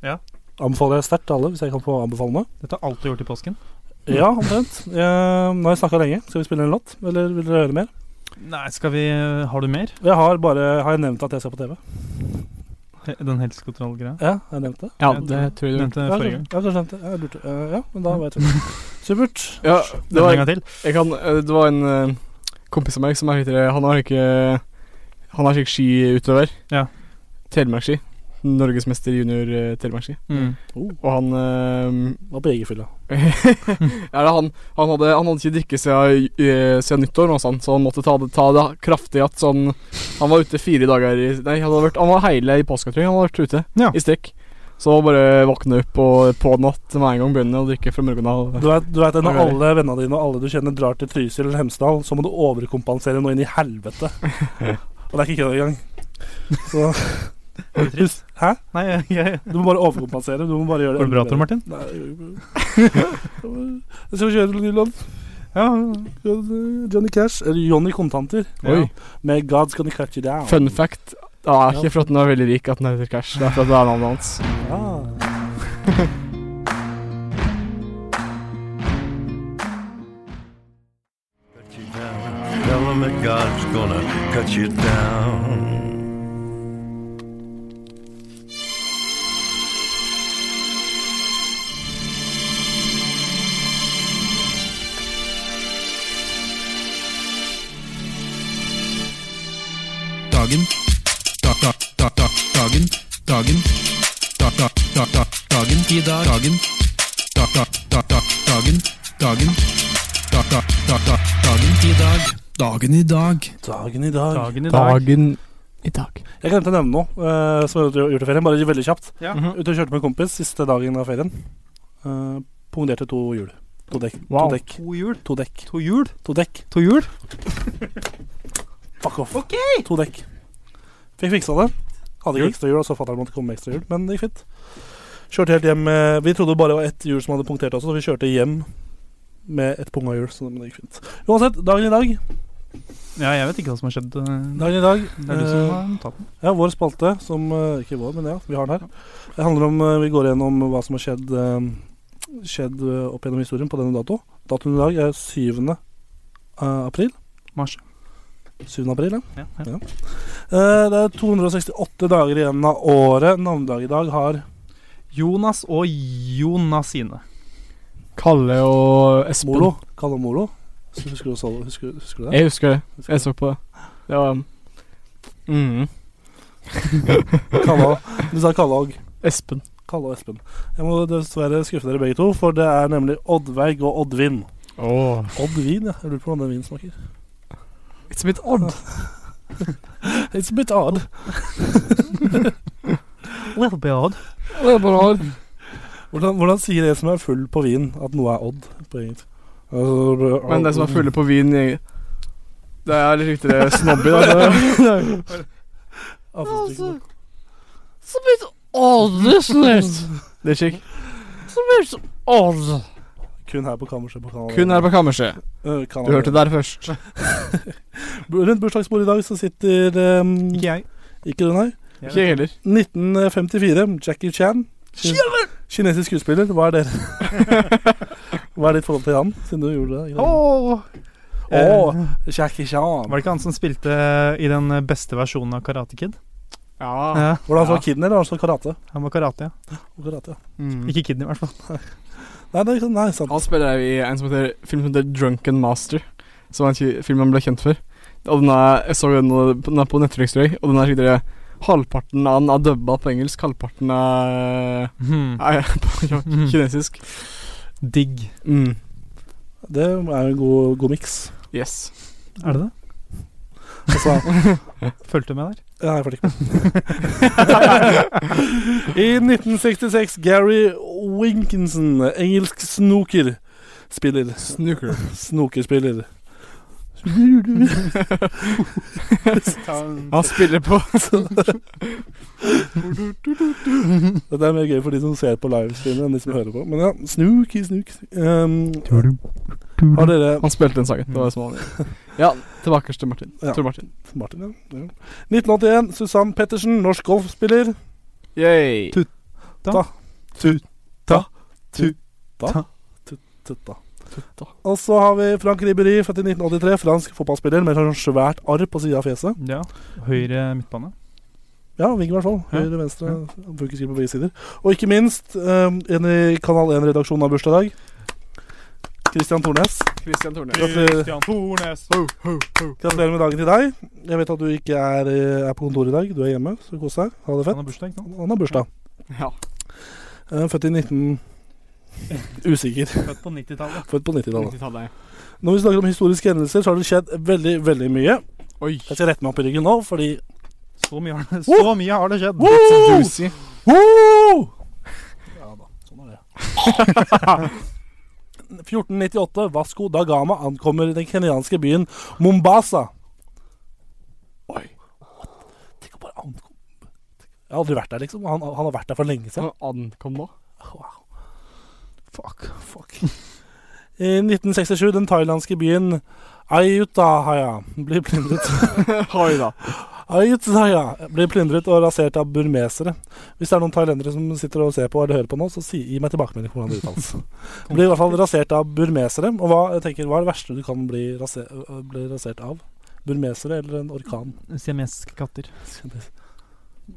Speaker 3: Ja.
Speaker 2: Anbefaler jeg sterkt til alle, hvis jeg kan få anbefale noe.
Speaker 3: Dette har alt du gjort i påsken?
Speaker 4: Mm.
Speaker 2: Ja, omtrent. Eh, nå har jeg snakka lenge. Skal vi spille en låt, eller vil dere høre mer?
Speaker 3: Nei, skal vi eh, Har du mer?
Speaker 2: Jeg har bare har jeg nevnt at jeg ser på TV.
Speaker 3: He- Den helsekontrollgreia?
Speaker 2: Ja, har jeg nevnt det?
Speaker 4: Mm. Ja,
Speaker 3: Jeg
Speaker 4: det
Speaker 3: tror-
Speaker 4: tror jeg du
Speaker 3: Nevnte
Speaker 2: Ja, kanskje,
Speaker 3: forrige gang.
Speaker 2: ja, kanskje nevnt det. Jeg lurte. Eh, ja, men da vet jeg det. Supert.
Speaker 4: Ja, det
Speaker 3: Den en
Speaker 4: var,
Speaker 3: gang til.
Speaker 4: jeg kan, eh, det var en eh, kompis av meg som er litt eh, Han har ikke Han er slik skiutøver.
Speaker 3: Ja.
Speaker 4: Telemarkski. Norgesmester junior eh, telemarkski.
Speaker 3: Mm.
Speaker 4: Og han eh,
Speaker 2: Var på Egerfylla.
Speaker 4: ja, det er han, han, hadde, han hadde ikke drikket siden, eh, siden nyttår, nå, sa han, så han måtte ta det, ta det kraftig at sånn Han var ute fire dager i Nei, han, hadde vært, han var hele i påska, tror jeg. Han hadde vært ute
Speaker 3: Ja.
Speaker 4: i strekk. Så bare våkne opp og på natt med en gang begynne å drikke fra morgenen av.
Speaker 2: Du vet, du vet det, Når
Speaker 4: Ok.
Speaker 2: alle vennene dine og alle du kjenner drar til Trysil eller Hemsedal, så må du overkompensere noe inn i helvete. Og det er ikke kødd engang. Så
Speaker 3: Er du trist?
Speaker 2: Hæ?
Speaker 3: Nei, jeg,
Speaker 2: du må bare overkompensere. Du må bare gjøre det
Speaker 3: Går det bra, Tor Martin?
Speaker 2: Nei, jeg skal vi kjøre en ny låt?
Speaker 3: Ja.
Speaker 2: Johnny Cash. Eller Johnny Kontanter.
Speaker 4: Oi.
Speaker 2: Med 'God's Gonna Cut You Down'.
Speaker 4: Fun fact. Det er ikke
Speaker 2: Ah.
Speaker 4: for at han er veldig rik at han heter Cash, det er for at det er navnet hans.
Speaker 2: Ja.
Speaker 5: Tell him that God's gonna cut you down.
Speaker 6: dagen da, da, da, da, dagen dagen da, da, da, da, dagen i dag dagen da, da, da, da, dagen dagen da, da, da, da, dagen i dag dagen i dag
Speaker 2: Dagen i dag.
Speaker 3: Dagen i dag.
Speaker 4: Dagen i dag.
Speaker 2: Jeg glemte å nevne noe eh, som jeg har gjort i ferien, bare veldig kjapt.
Speaker 3: Ja.
Speaker 2: Mm, Ute og kjørte med en kompis siste dagen av ferien. Eh, pungerte to hjul. To dekk.
Speaker 4: Wow.
Speaker 2: To dekk.
Speaker 3: To hjul.
Speaker 2: To dekk.
Speaker 3: Mhm. To hjul.
Speaker 2: To dekk.
Speaker 3: To hjul.
Speaker 2: Fuck off. To dekk. Fikk fiksa det. Hadde ikke ekstra hjul, og så fatter'n måtte komme med ekstra hjul, men det gikk fint. Kjørte helt hjem eh, Vi trodde det bare var ett hjul som hadde punktert også, så vi kjørte hjem med ett punga hjul, så men det gikk fint. Uansett, dagen i dag.
Speaker 3: Ja, jeg vet ikke hva som har skjedd. eh,
Speaker 2: Dagen i dag.
Speaker 3: Det er du som
Speaker 2: eh,
Speaker 3: har tatt den.
Speaker 2: Ja, vår spalte, som eh, Ikke vår, men ja, vi har den her. Det handler om eh, Vi går gjennom hva som har skjedd, eh, skjedd eh, opp gjennom historien på denne dato. Datoen i dag er 7. eh, april.
Speaker 3: Mars.
Speaker 2: 7. april, ja.
Speaker 3: Ja, ja.
Speaker 2: Eh, Det er 268 dager igjen av året. Navnedag i dag har
Speaker 3: Jonas og Jonasine.
Speaker 4: Kalle og Espen.
Speaker 2: Molo. Kalle Molo. Husker du, så- husker, husker du det?
Speaker 4: Jeg husker det. Jeg så på det. Det var mm. Eh.
Speaker 2: Kalle, du sa Kalle og
Speaker 4: Espen.
Speaker 2: Kalle og Espen. Jeg må dessverre skuffe dere begge to, for det er nemlig Oddveig og Oddvin.
Speaker 4: Oh.
Speaker 2: Oddvin, ja. Jeg lurer på hvordan den vinen smaker.
Speaker 4: It's a bit odd.
Speaker 2: It's a bit odd.
Speaker 3: Little bit odd.
Speaker 4: Det er bare odd.
Speaker 2: Hvordan, hvordan sier en som er full på vin, at noe er odd Altså, på engelsk?
Speaker 4: Men de som er fulle på vin i- Det er litt riktigere snobby, da.
Speaker 2: Avfallsdrikken.
Speaker 4: Som et oddesnørt. Det er kjekk. Som et odd.
Speaker 2: Kun her på kammerset på kanalen.
Speaker 4: Kun her på kammerset.
Speaker 2: Eh,
Speaker 4: Du
Speaker 2: kanalen.
Speaker 4: hørte det der først.
Speaker 2: Rundt bursdagsbordet i dag så sitter um,
Speaker 3: Ikke jeg.
Speaker 2: Ikke du, nei.
Speaker 4: Ikke jeg heller.
Speaker 2: 1954. Jackie Chan. Kin- Kinesisk skuespiller. Hva er dere? Hva er ditt forhold til han, siden du gjorde det?
Speaker 3: Åh!
Speaker 2: Åh,
Speaker 3: Eh,
Speaker 2: Jackie Chan.
Speaker 3: var det ikke han som spilte i den beste versjonen av Karate Kid?
Speaker 4: Ja.
Speaker 3: Ja,
Speaker 2: Var det han som var kiden, eller var han som var karate?
Speaker 3: han var karate, ja.
Speaker 2: karate ja.
Speaker 3: Ikke Kid i hvert fall.
Speaker 2: Nei, det er ikke sant. Nei, sant.
Speaker 4: Han spiller i en som heter, film som heter Drunken Master, som er en ki- film han ble kjent for. Og den er, jeg så den, og den er på Netflix, tror jeg, og den er skikkelig Halvparten av den er dubba på engelsk, halvparten er,
Speaker 3: Hmm.
Speaker 4: er på kinesisk.
Speaker 3: Digg.
Speaker 4: Mm.
Speaker 2: Det er jo en god, god miks.
Speaker 4: Yes.
Speaker 3: Er det det?
Speaker 2: Altså,
Speaker 3: Fulgte du med der?
Speaker 2: Nei, jeg følte ikke med. I 1966, Gary Winkinson, engelsk snoker Spiller.
Speaker 4: Snooker.
Speaker 2: Snokerspiller.
Speaker 4: Han spiller på
Speaker 2: Dette er mer gøy for de som ser på livestreamen enn de som hører på. Men ja, snooki, snook. Um, har dere
Speaker 4: Han spilte den sangen. Det var det som var Ja, tilbake til Martin.
Speaker 2: Ja.
Speaker 4: Tor Martin.
Speaker 2: Martin, ja. ja. 1981, Susann Pettersen, norsk golfspiller.
Speaker 4: Yay.
Speaker 3: Tu-
Speaker 2: Ta. Tutta. Tutta.
Speaker 3: Ta.
Speaker 2: Tutta. Og så har vi Frank Ribéry, født i 1983. Fransk fotballspiller med sånn svært arr på sida av fjeset.
Speaker 3: Ja. Høyre midtbane.
Speaker 2: Ja, vink i hvert fall.
Speaker 3: Ja.
Speaker 2: Høyre, venstre. han Bruker sikkert på begge sider. Og ikke minst, um, en i Kanal 1-redaksjonen har bursdag i dag. Christian Tornes.
Speaker 4: Christian Torne.
Speaker 2: Gratulerer,
Speaker 3: Tornes.
Speaker 4: Ho, ho, ho.
Speaker 2: gratulerer med dagen til deg. Jeg vet at du ikke er, eh, er på kontoret i dag. Du er hjemme, så kos deg. Ha det
Speaker 3: Han
Speaker 2: fett.
Speaker 3: har bursdag, ikke sant?
Speaker 2: Han har bursdag.
Speaker 4: Ja.
Speaker 2: Eh, Født i 19... Usikker.
Speaker 3: Født på 90-tallet.
Speaker 2: Født på 90-tallet.
Speaker 4: 90-tallet.
Speaker 2: Når vi snakker om historiske hendelser, så har det skjedd veldig, veldig mye.
Speaker 4: Oi.
Speaker 2: Jeg skal rette meg opp i ryggen nå, fordi
Speaker 3: Så mye har det, så mye har det skjedd.
Speaker 2: Woo!
Speaker 4: Juicy.
Speaker 2: Woo! Ja da, sånn er det. 1498. Vasco da Gama ankommer den kenyanske byen Mombasa. Oi. Tenk å bare ankomme Jeg har aldri vært der, liksom. Han, han har vært der for lenge siden.
Speaker 4: Han ankom nå.
Speaker 2: Wow. Fuck. Fuck. I 1967, den thailandske byen Ayutthaya blir plyndret
Speaker 4: Oi da.
Speaker 2: Ayutthaya blir plyndret og rasert av burmesere. Hvis det er noen thailendere som sitter og ser på eller hører på nå, så si, gi meg tilbakemelding på hvordan det uttales. Blir i hvert fall rasert av burmesere. Og hva, jeg tenker, hva er det verste du kan bli, rase, øh, bli rasert av? Burmesere eller en orkan?
Speaker 3: Siamesiske katter.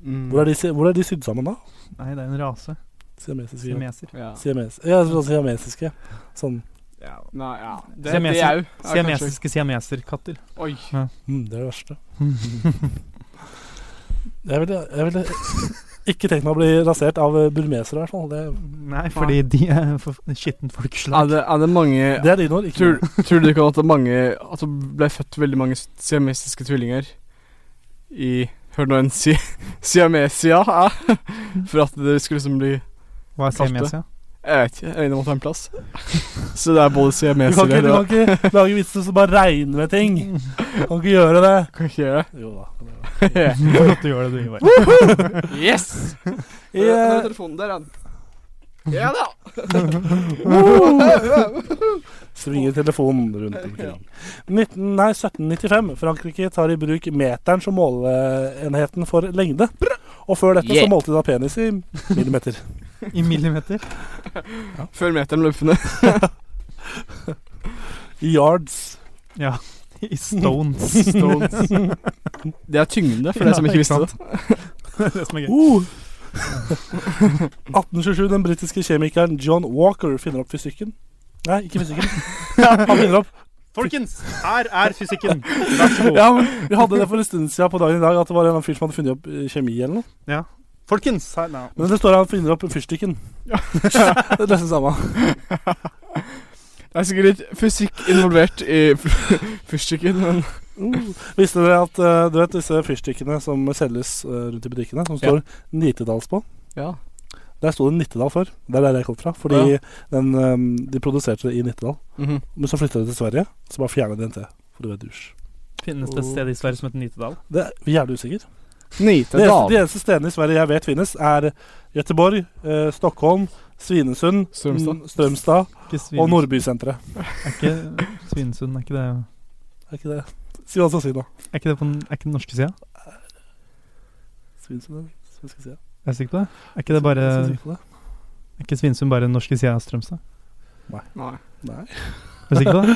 Speaker 4: Mm.
Speaker 2: Hvor er de, si- hvor er de sydd sammen da?
Speaker 3: Nei, det er en rase.
Speaker 2: Siamesiske.
Speaker 3: Siameser.
Speaker 4: Ja.
Speaker 2: Siames, ja, sånn siamesiske. Sånn
Speaker 4: Nei, ja. Det,
Speaker 3: Siameser.
Speaker 4: det er jo ja, kanskje-
Speaker 3: Siamesiske siameserkatter.
Speaker 4: Oi.
Speaker 2: mm, Det er det verste. Jeg ville, jeg ville ikke tenkt meg å bli rasert av eh, burmesere, i hvert fall. Det,
Speaker 3: Nei, fordi de er for skittent
Speaker 4: Er
Speaker 3: folkeslag.
Speaker 4: det, er det mange
Speaker 2: det er dine ord, ikke
Speaker 4: Tror, tror du ikke at det, er mange, at det ble født veldig mange siamesiske tvillinger i Hør nå en si, siamesia eh, For at det skulle liksom bli
Speaker 3: Hva er siamesia?
Speaker 4: Jeg vet ikke, øynene måtte ha en plass. Så det er både
Speaker 2: Du kan ikke,
Speaker 4: siamesere
Speaker 2: du
Speaker 4: og
Speaker 2: kan ikke lage vitser som bare regner med ting. Du kan ikke gjøre det.
Speaker 4: Kan ikke gjøre
Speaker 2: Jo da.
Speaker 4: det.
Speaker 3: Godt du gjør det, du, Ivar.
Speaker 4: Yes!
Speaker 2: I, eh,
Speaker 4: telefonen der, Ja da!
Speaker 2: svinger telefonen rundt omkring. 19, nei, 1795. Frankrike tar i bruk meteren som måleenheten for lengde. Og før dette så målte de da penis i millimeter.
Speaker 3: I millimeter.
Speaker 4: Før meteren ble funnet.
Speaker 2: I yards.
Speaker 3: I stones.
Speaker 4: Det er tyngde, for deg som ikke visste det.
Speaker 3: det som er gøy.
Speaker 2: Uh. 1827. Den britiske kjemikeren John Walker finner opp fysikken. Nei, ikke fysikken. Han finner opp
Speaker 3: Folkens, her er fysikken. Vær så god.
Speaker 2: Ja, men Vi hadde det for en stund siden på dagen i dag at det var en eller annen fyr som hadde funnet opp eh, kjemi eller noe.
Speaker 3: Folkens, her nei.
Speaker 2: Men det står her han finner opp fyrstikken. det er nesten samme.
Speaker 4: Det er sikkert litt fysikk involvert i fyr- fyrstikken, men
Speaker 2: Uh. Visste dere at eh, du vet disse fyrstikkene som selges eh, rundt i butikkene, som står Nitedals på?
Speaker 4: Ja.
Speaker 2: Der sto det Nittedal før. Det er der jeg kom fra. Fordi den, eh, de produserte det i Nittedal.
Speaker 4: Mhm.
Speaker 2: Men så flytta de til Sverige, så bare fjerna de NT. For det var dusj.
Speaker 3: Finnes det et sted i Sverige som heter Nitedal?
Speaker 2: Det er vi er jævlig usikker.
Speaker 4: Nite
Speaker 2: De eneste,
Speaker 4: dal.
Speaker 2: de eneste stedene i Sverige jeg vet finnes, er Göteborg, eh, Stockholm, Svinesund,
Speaker 4: Strømstad.
Speaker 2: mm, Strømstad
Speaker 3: Ikke
Speaker 2: og
Speaker 3: Svinesund.
Speaker 2: Nordbysenteret.
Speaker 3: Er ikke Svinesund, er ikke det
Speaker 2: Er ikke det Si hva du skal si nå.
Speaker 3: Er ikke det på den, er ikke den norske sida?
Speaker 2: Svinesund, eller? Svenske sida.
Speaker 3: Er jeg sikker på det? Er ikke, det bare,
Speaker 2: Svenske sida på det?
Speaker 3: er ikke Svinesund bare den norske sida av Strømstad?
Speaker 4: Nei.
Speaker 2: Nei.
Speaker 3: Er du sikker på det?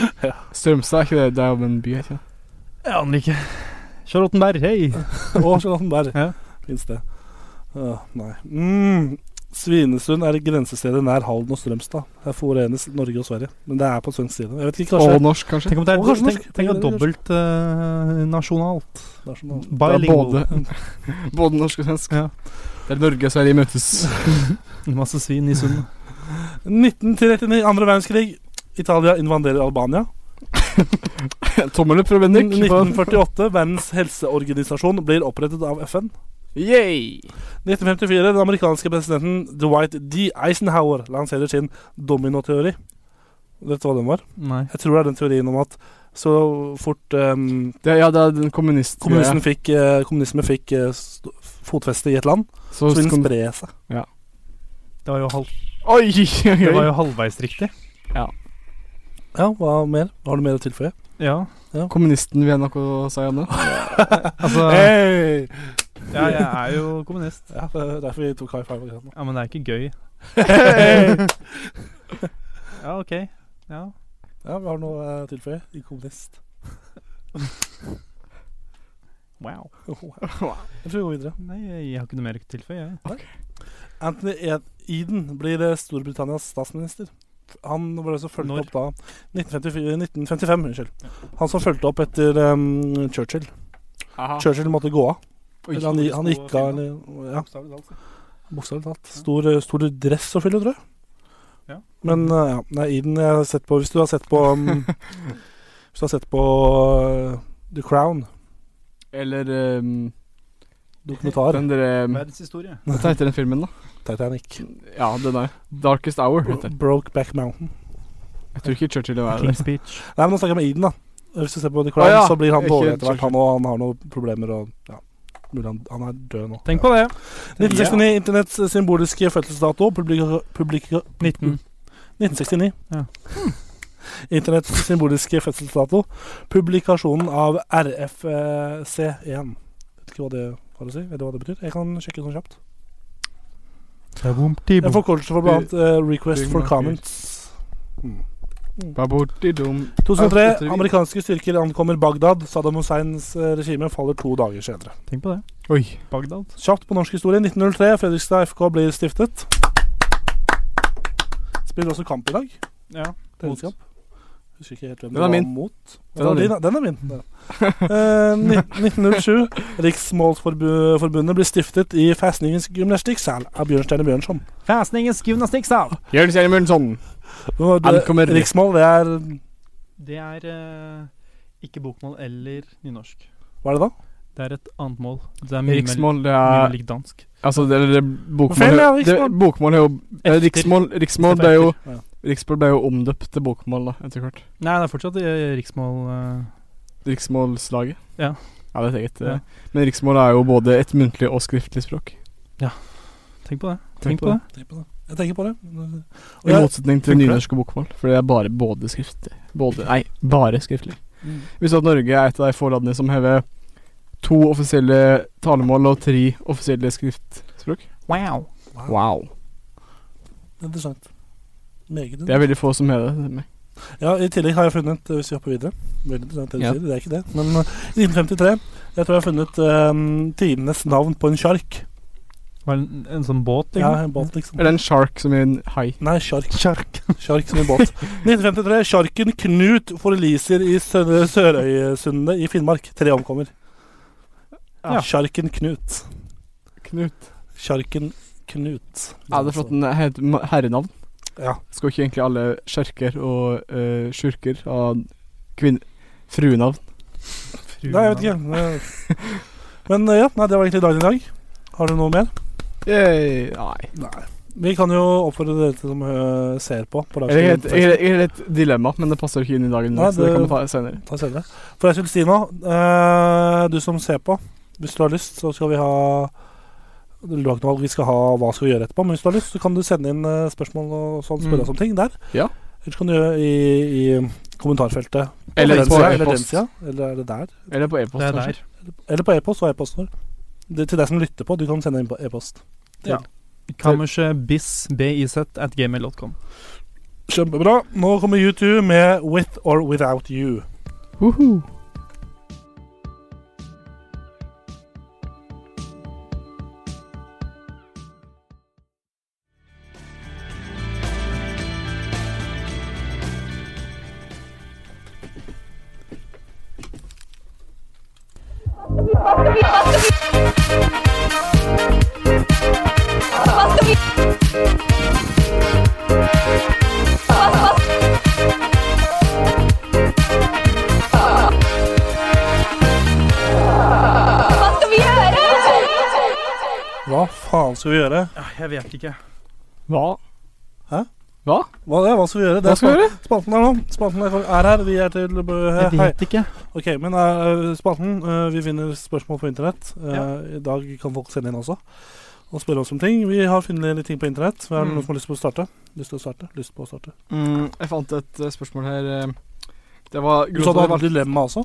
Speaker 4: Strømstad er ikke det, det er jo en by, er ikke det?
Speaker 3: Jeg aner ikke. Charlottenberg, hei!
Speaker 2: Og Charlottenberg
Speaker 3: Ja.
Speaker 2: finnes det. Åh, nei. Mm. Svinesund er grensestedet nær Halden og Strømstad. Her forenes Norge og Sverige. Men det er på svensk side. Jeg vet ikke,
Speaker 4: Og
Speaker 2: kanskje
Speaker 4: norsk, kanskje?
Speaker 3: Tenk om det
Speaker 2: Å,
Speaker 3: er,
Speaker 2: kanskje
Speaker 3: tenk,
Speaker 2: norsk.
Speaker 3: tenk om det er dobbelt eh, nasjonalt.
Speaker 2: det er
Speaker 4: Det
Speaker 2: sånn-
Speaker 4: er
Speaker 3: Bilingual.
Speaker 4: både, både norsk og svensk.
Speaker 3: Ja.
Speaker 4: Der Norge og Sverige møtes.
Speaker 3: Masse svin i sundet.
Speaker 2: 1939, andre verdenskrig. Italia invaderer Albania.
Speaker 4: Tommel opp fra Bendik.
Speaker 2: 1948, Verdens helseorganisasjon blir opprettet av FN.
Speaker 4: Yay!
Speaker 2: 1954, den amerikanske presidenten Dwight D. Eisenhower lanserer sin dominoteori. Vet du hva den var?
Speaker 3: Nei.
Speaker 2: Jeg tror det er den teorien om at så fort ehm,
Speaker 4: Det, ja, det er den kommunist...
Speaker 2: Kommunismen fikk, eh, kommunisme fikk eh, st- fotfeste i et land,
Speaker 4: Så
Speaker 2: så vil den
Speaker 4: kom-
Speaker 2: spre seg.
Speaker 3: Det var jo, halv,
Speaker 4: Oi! oi,
Speaker 3: det var
Speaker 4: oi.
Speaker 3: jo halvveis riktig.
Speaker 2: Ja, hva mer? Har du mer å tilføye?
Speaker 3: Ja.
Speaker 4: Kommunisten vil jeg nok å si, Janne.
Speaker 3: Altså
Speaker 2: Hey!
Speaker 3: Ja, jeg er jo kommunist.
Speaker 2: Ja, det er derfor vi tok high five. akkurat nå.
Speaker 3: Ja, men det er ikke gøy. Ja, OK. Ja.
Speaker 2: Ja, vi har noe eh, å tilføye. I kommunist.
Speaker 3: Wow.
Speaker 2: Jeg tror vi går videre.
Speaker 3: Nei, jeg har ikke noe mer å tilføye, jeg.
Speaker 2: Anthony Ed- Eden blir eh, Storbritannias statsminister. Han var det som fulgte
Speaker 3: Når?
Speaker 2: opp da 1954, 1955, unnskyld. Han som fulgte opp etter em, Churchill. Churchill måtte gå av. Eller han, han gikk av, eller Ja.
Speaker 3: altså.
Speaker 2: Bokstavelig talt. Stor, eh, stor dress å fylle, tror jeg.
Speaker 3: Ja.
Speaker 2: Men eh, ja, nei, Eden, jeg har sett på Hvis du har sett på um, Hvis du har sett på eh, The Crown
Speaker 4: Eller um,
Speaker 2: dokumentar
Speaker 4: den derre
Speaker 3: Verdenshistorie.
Speaker 4: Hva heter den filmen, da?
Speaker 2: Titanic.
Speaker 4: Ja, den der. 'Darkest Hour'. Heter. den.
Speaker 2: Brokeback Mountain.
Speaker 4: Jeg tror ikke Churchill var der.
Speaker 3: King's Speech.
Speaker 2: Nei, men nå snakker jeg med Eden, da. Hvis du ser på The Crown,
Speaker 4: Å, ja.
Speaker 2: så blir han
Speaker 4: Ikke
Speaker 2: dårlig etter hvert.
Speaker 4: Churchill.
Speaker 2: Han, og han har noen problemer og ja. Mulig han, han er død nå.
Speaker 3: Tenk på det.
Speaker 2: 1969, internetts symboliske fødselsdato. Publika, publika,
Speaker 3: 19.
Speaker 2: 1969. Hmm.
Speaker 3: Ja.
Speaker 2: Internetts symboliske fødselsdato. Publikasjonen av RFC1. vet ikke hva det var å si. Vet du hva det betyr? Jeg kan sjekke sånn kjapt. Jeg
Speaker 3: Tibo.
Speaker 2: får kortelse for blant annet Request
Speaker 4: Big
Speaker 2: for
Speaker 4: Mac
Speaker 2: Comments.
Speaker 4: Babordidom.
Speaker 2: 2003.
Speaker 4: Etter-
Speaker 2: Amerikanske styrker ankommer Bagdad. Saddam Husseins eh, regime faller to dager senere.
Speaker 3: Tenk på det.
Speaker 4: Oi.
Speaker 3: Bagdad.
Speaker 2: Kjapt på norsk historie. 1903. Fredrikstad FK blir stiftet. Spiller også kamp i dag.
Speaker 3: Ja.
Speaker 2: Treningskamp. Husker ikke helt hvem
Speaker 4: Den er
Speaker 2: det var
Speaker 4: min.
Speaker 2: mot.
Speaker 4: Den er
Speaker 2: Den er din. Den er min. Den. Eh, ni- 1907. Riksmålsforbundet blir stiftet i Festningens gymnastikksal av Bjørnstjerne Bjørnson.
Speaker 3: Fæsningens gymnastikksal.
Speaker 4: Jørn Stjerne Mørensson.
Speaker 2: Hva var det-
Speaker 4: Ankommer.
Speaker 2: Riksmål, det er
Speaker 3: Det er eh, ikke bokmål eller nynorsk.
Speaker 2: Hva er det da?
Speaker 3: Det er et annet mål. Det er mye mer-
Speaker 4: Riksmål, det
Speaker 3: mye mer
Speaker 4: er
Speaker 3: lik dansk.
Speaker 4: Altså, det, det, bokmål,
Speaker 2: Feil, ja,
Speaker 4: det-
Speaker 2: riksmål.
Speaker 4: bokmål er jo eh,
Speaker 3: Efter-
Speaker 4: Riksmål, riksmål
Speaker 3: Hvis det
Speaker 4: ble
Speaker 3: er
Speaker 4: jo
Speaker 2: etter, ja.
Speaker 4: Riksmål ble jo omdøpt til bokmål da, etter hvert.
Speaker 3: Nei, det er fortsatt eh, riksmål. eh,
Speaker 4: Riksmålslaget.
Speaker 3: Ja.
Speaker 4: Ja, det er et eget. eh,
Speaker 3: Ja.
Speaker 4: Men riksmål er jo både et muntlig og skriftlig språk.
Speaker 3: tenk på det. Tenk på det.
Speaker 2: Tenk på det. Jeg tenker på det. Og
Speaker 4: I
Speaker 2: jeg,
Speaker 4: motsetning til
Speaker 2: tenker du
Speaker 4: nynorsk og bokmål, for det er bare både skriftlig. Både, nei, bare skriftlig.
Speaker 2: Mm.
Speaker 4: Hvis at Norge er et av de få landene som hever to offisielle talemål og tre offisielle skriftspråk.
Speaker 3: Wow.
Speaker 4: Wow.
Speaker 2: interessant. Meget
Speaker 4: Det er veldig få som hever det. med.
Speaker 2: Ja, I tillegg har jeg funnet eh, Hvis vi hopper videre Veldig interessant det du
Speaker 4: Ja.
Speaker 2: sier, det er ikke det. Men eh, 1953 Jeg tror jeg har funnet eh, tidenes navn på en sjark.
Speaker 3: Var det en, en sånn båt?
Speaker 2: Ja,
Speaker 3: egentlig?
Speaker 2: en båt, liksom.
Speaker 4: Er det en shark som er en hai?
Speaker 2: Nei, sjark. Sjark som en båt. 1953. Sjarken Knut forliser i Sø- Sørøysundet i Finnmark. Tre omkommer.
Speaker 3: Ja.
Speaker 2: Sjarken Knut.
Speaker 4: Knut.
Speaker 2: Sjarken Knut.
Speaker 4: Ja, det er flott. Den er et ma- herrenavn.
Speaker 2: Ja.
Speaker 4: Skal ikke egentlig alle sjarker og eh, sjurker ha kvinn... fruenavn?
Speaker 2: Nei, jeg vet ikke. Men eh, ja, nei, det var egentlig dagen i dag. Har du noe mer?
Speaker 4: Yay, nei.
Speaker 2: Nei. Vi kan jo oppfordre dere til som eh, ser på. på
Speaker 4: Jeg har et, jeg har- jeg har et dilemma, men det passer ikke inn i dagen.
Speaker 2: Nei,
Speaker 4: så det
Speaker 2: det-
Speaker 4: kan vi ta senere.
Speaker 2: Ta senere. For jeg skulle si noe. eh, du som ser på, hvis du har lyst, så skal vi ha du har ikke noe valg, vi skal ha hva skal vi gjøre etterpå, men hvis du har lyst, så kan du sende inn eh, spørsmål og sånn, spørre oss om ting der.
Speaker 4: Ja.
Speaker 2: Eller så kan du gjøre i, i kommentarfeltet.
Speaker 4: Eller
Speaker 2: den
Speaker 4: på
Speaker 2: sida, Eller, den
Speaker 4: e-post.
Speaker 2: sida, eller er det der?
Speaker 4: Eller på e-post,
Speaker 3: Det er
Speaker 4: kanskje.
Speaker 3: der.
Speaker 2: Eller på e-post og e-post vår. Det, til deg som lytter på, du kan sende inn på e-post.
Speaker 3: Kammerset bis, biz, at gmail.com.
Speaker 2: Kjempebra. Nå kommer U2 med 'With or Without You'.
Speaker 4: Woohoo.
Speaker 7: Hva skal vi gjøre?
Speaker 2: Hva faen skal vi gjøre?
Speaker 3: Jeg vet ikke.
Speaker 4: Hva?
Speaker 2: Hva, ja, hva skal vi gjøre? Det
Speaker 4: Hva
Speaker 2: er
Speaker 4: skal vi gjøre?
Speaker 2: spa- Spalten er nå. Spalten er, er her. Vi er til
Speaker 3: Jeg
Speaker 2: Hei.
Speaker 3: vet ikke.
Speaker 2: Ok, men eh, spalten eh, Vi finner spørsmål på internett. Eh, I dag kan folk sende inn også og spørre oss om ting. Vi har funnet litt ting på internett. Vi har
Speaker 4: Mm.
Speaker 2: noen som har lyst på å starte. Lyst til å starte? Lyst på å starte.
Speaker 4: Mm, jeg fant et eh, spørsmål her. eh, Det var
Speaker 2: Du sa du hadde dilemma også.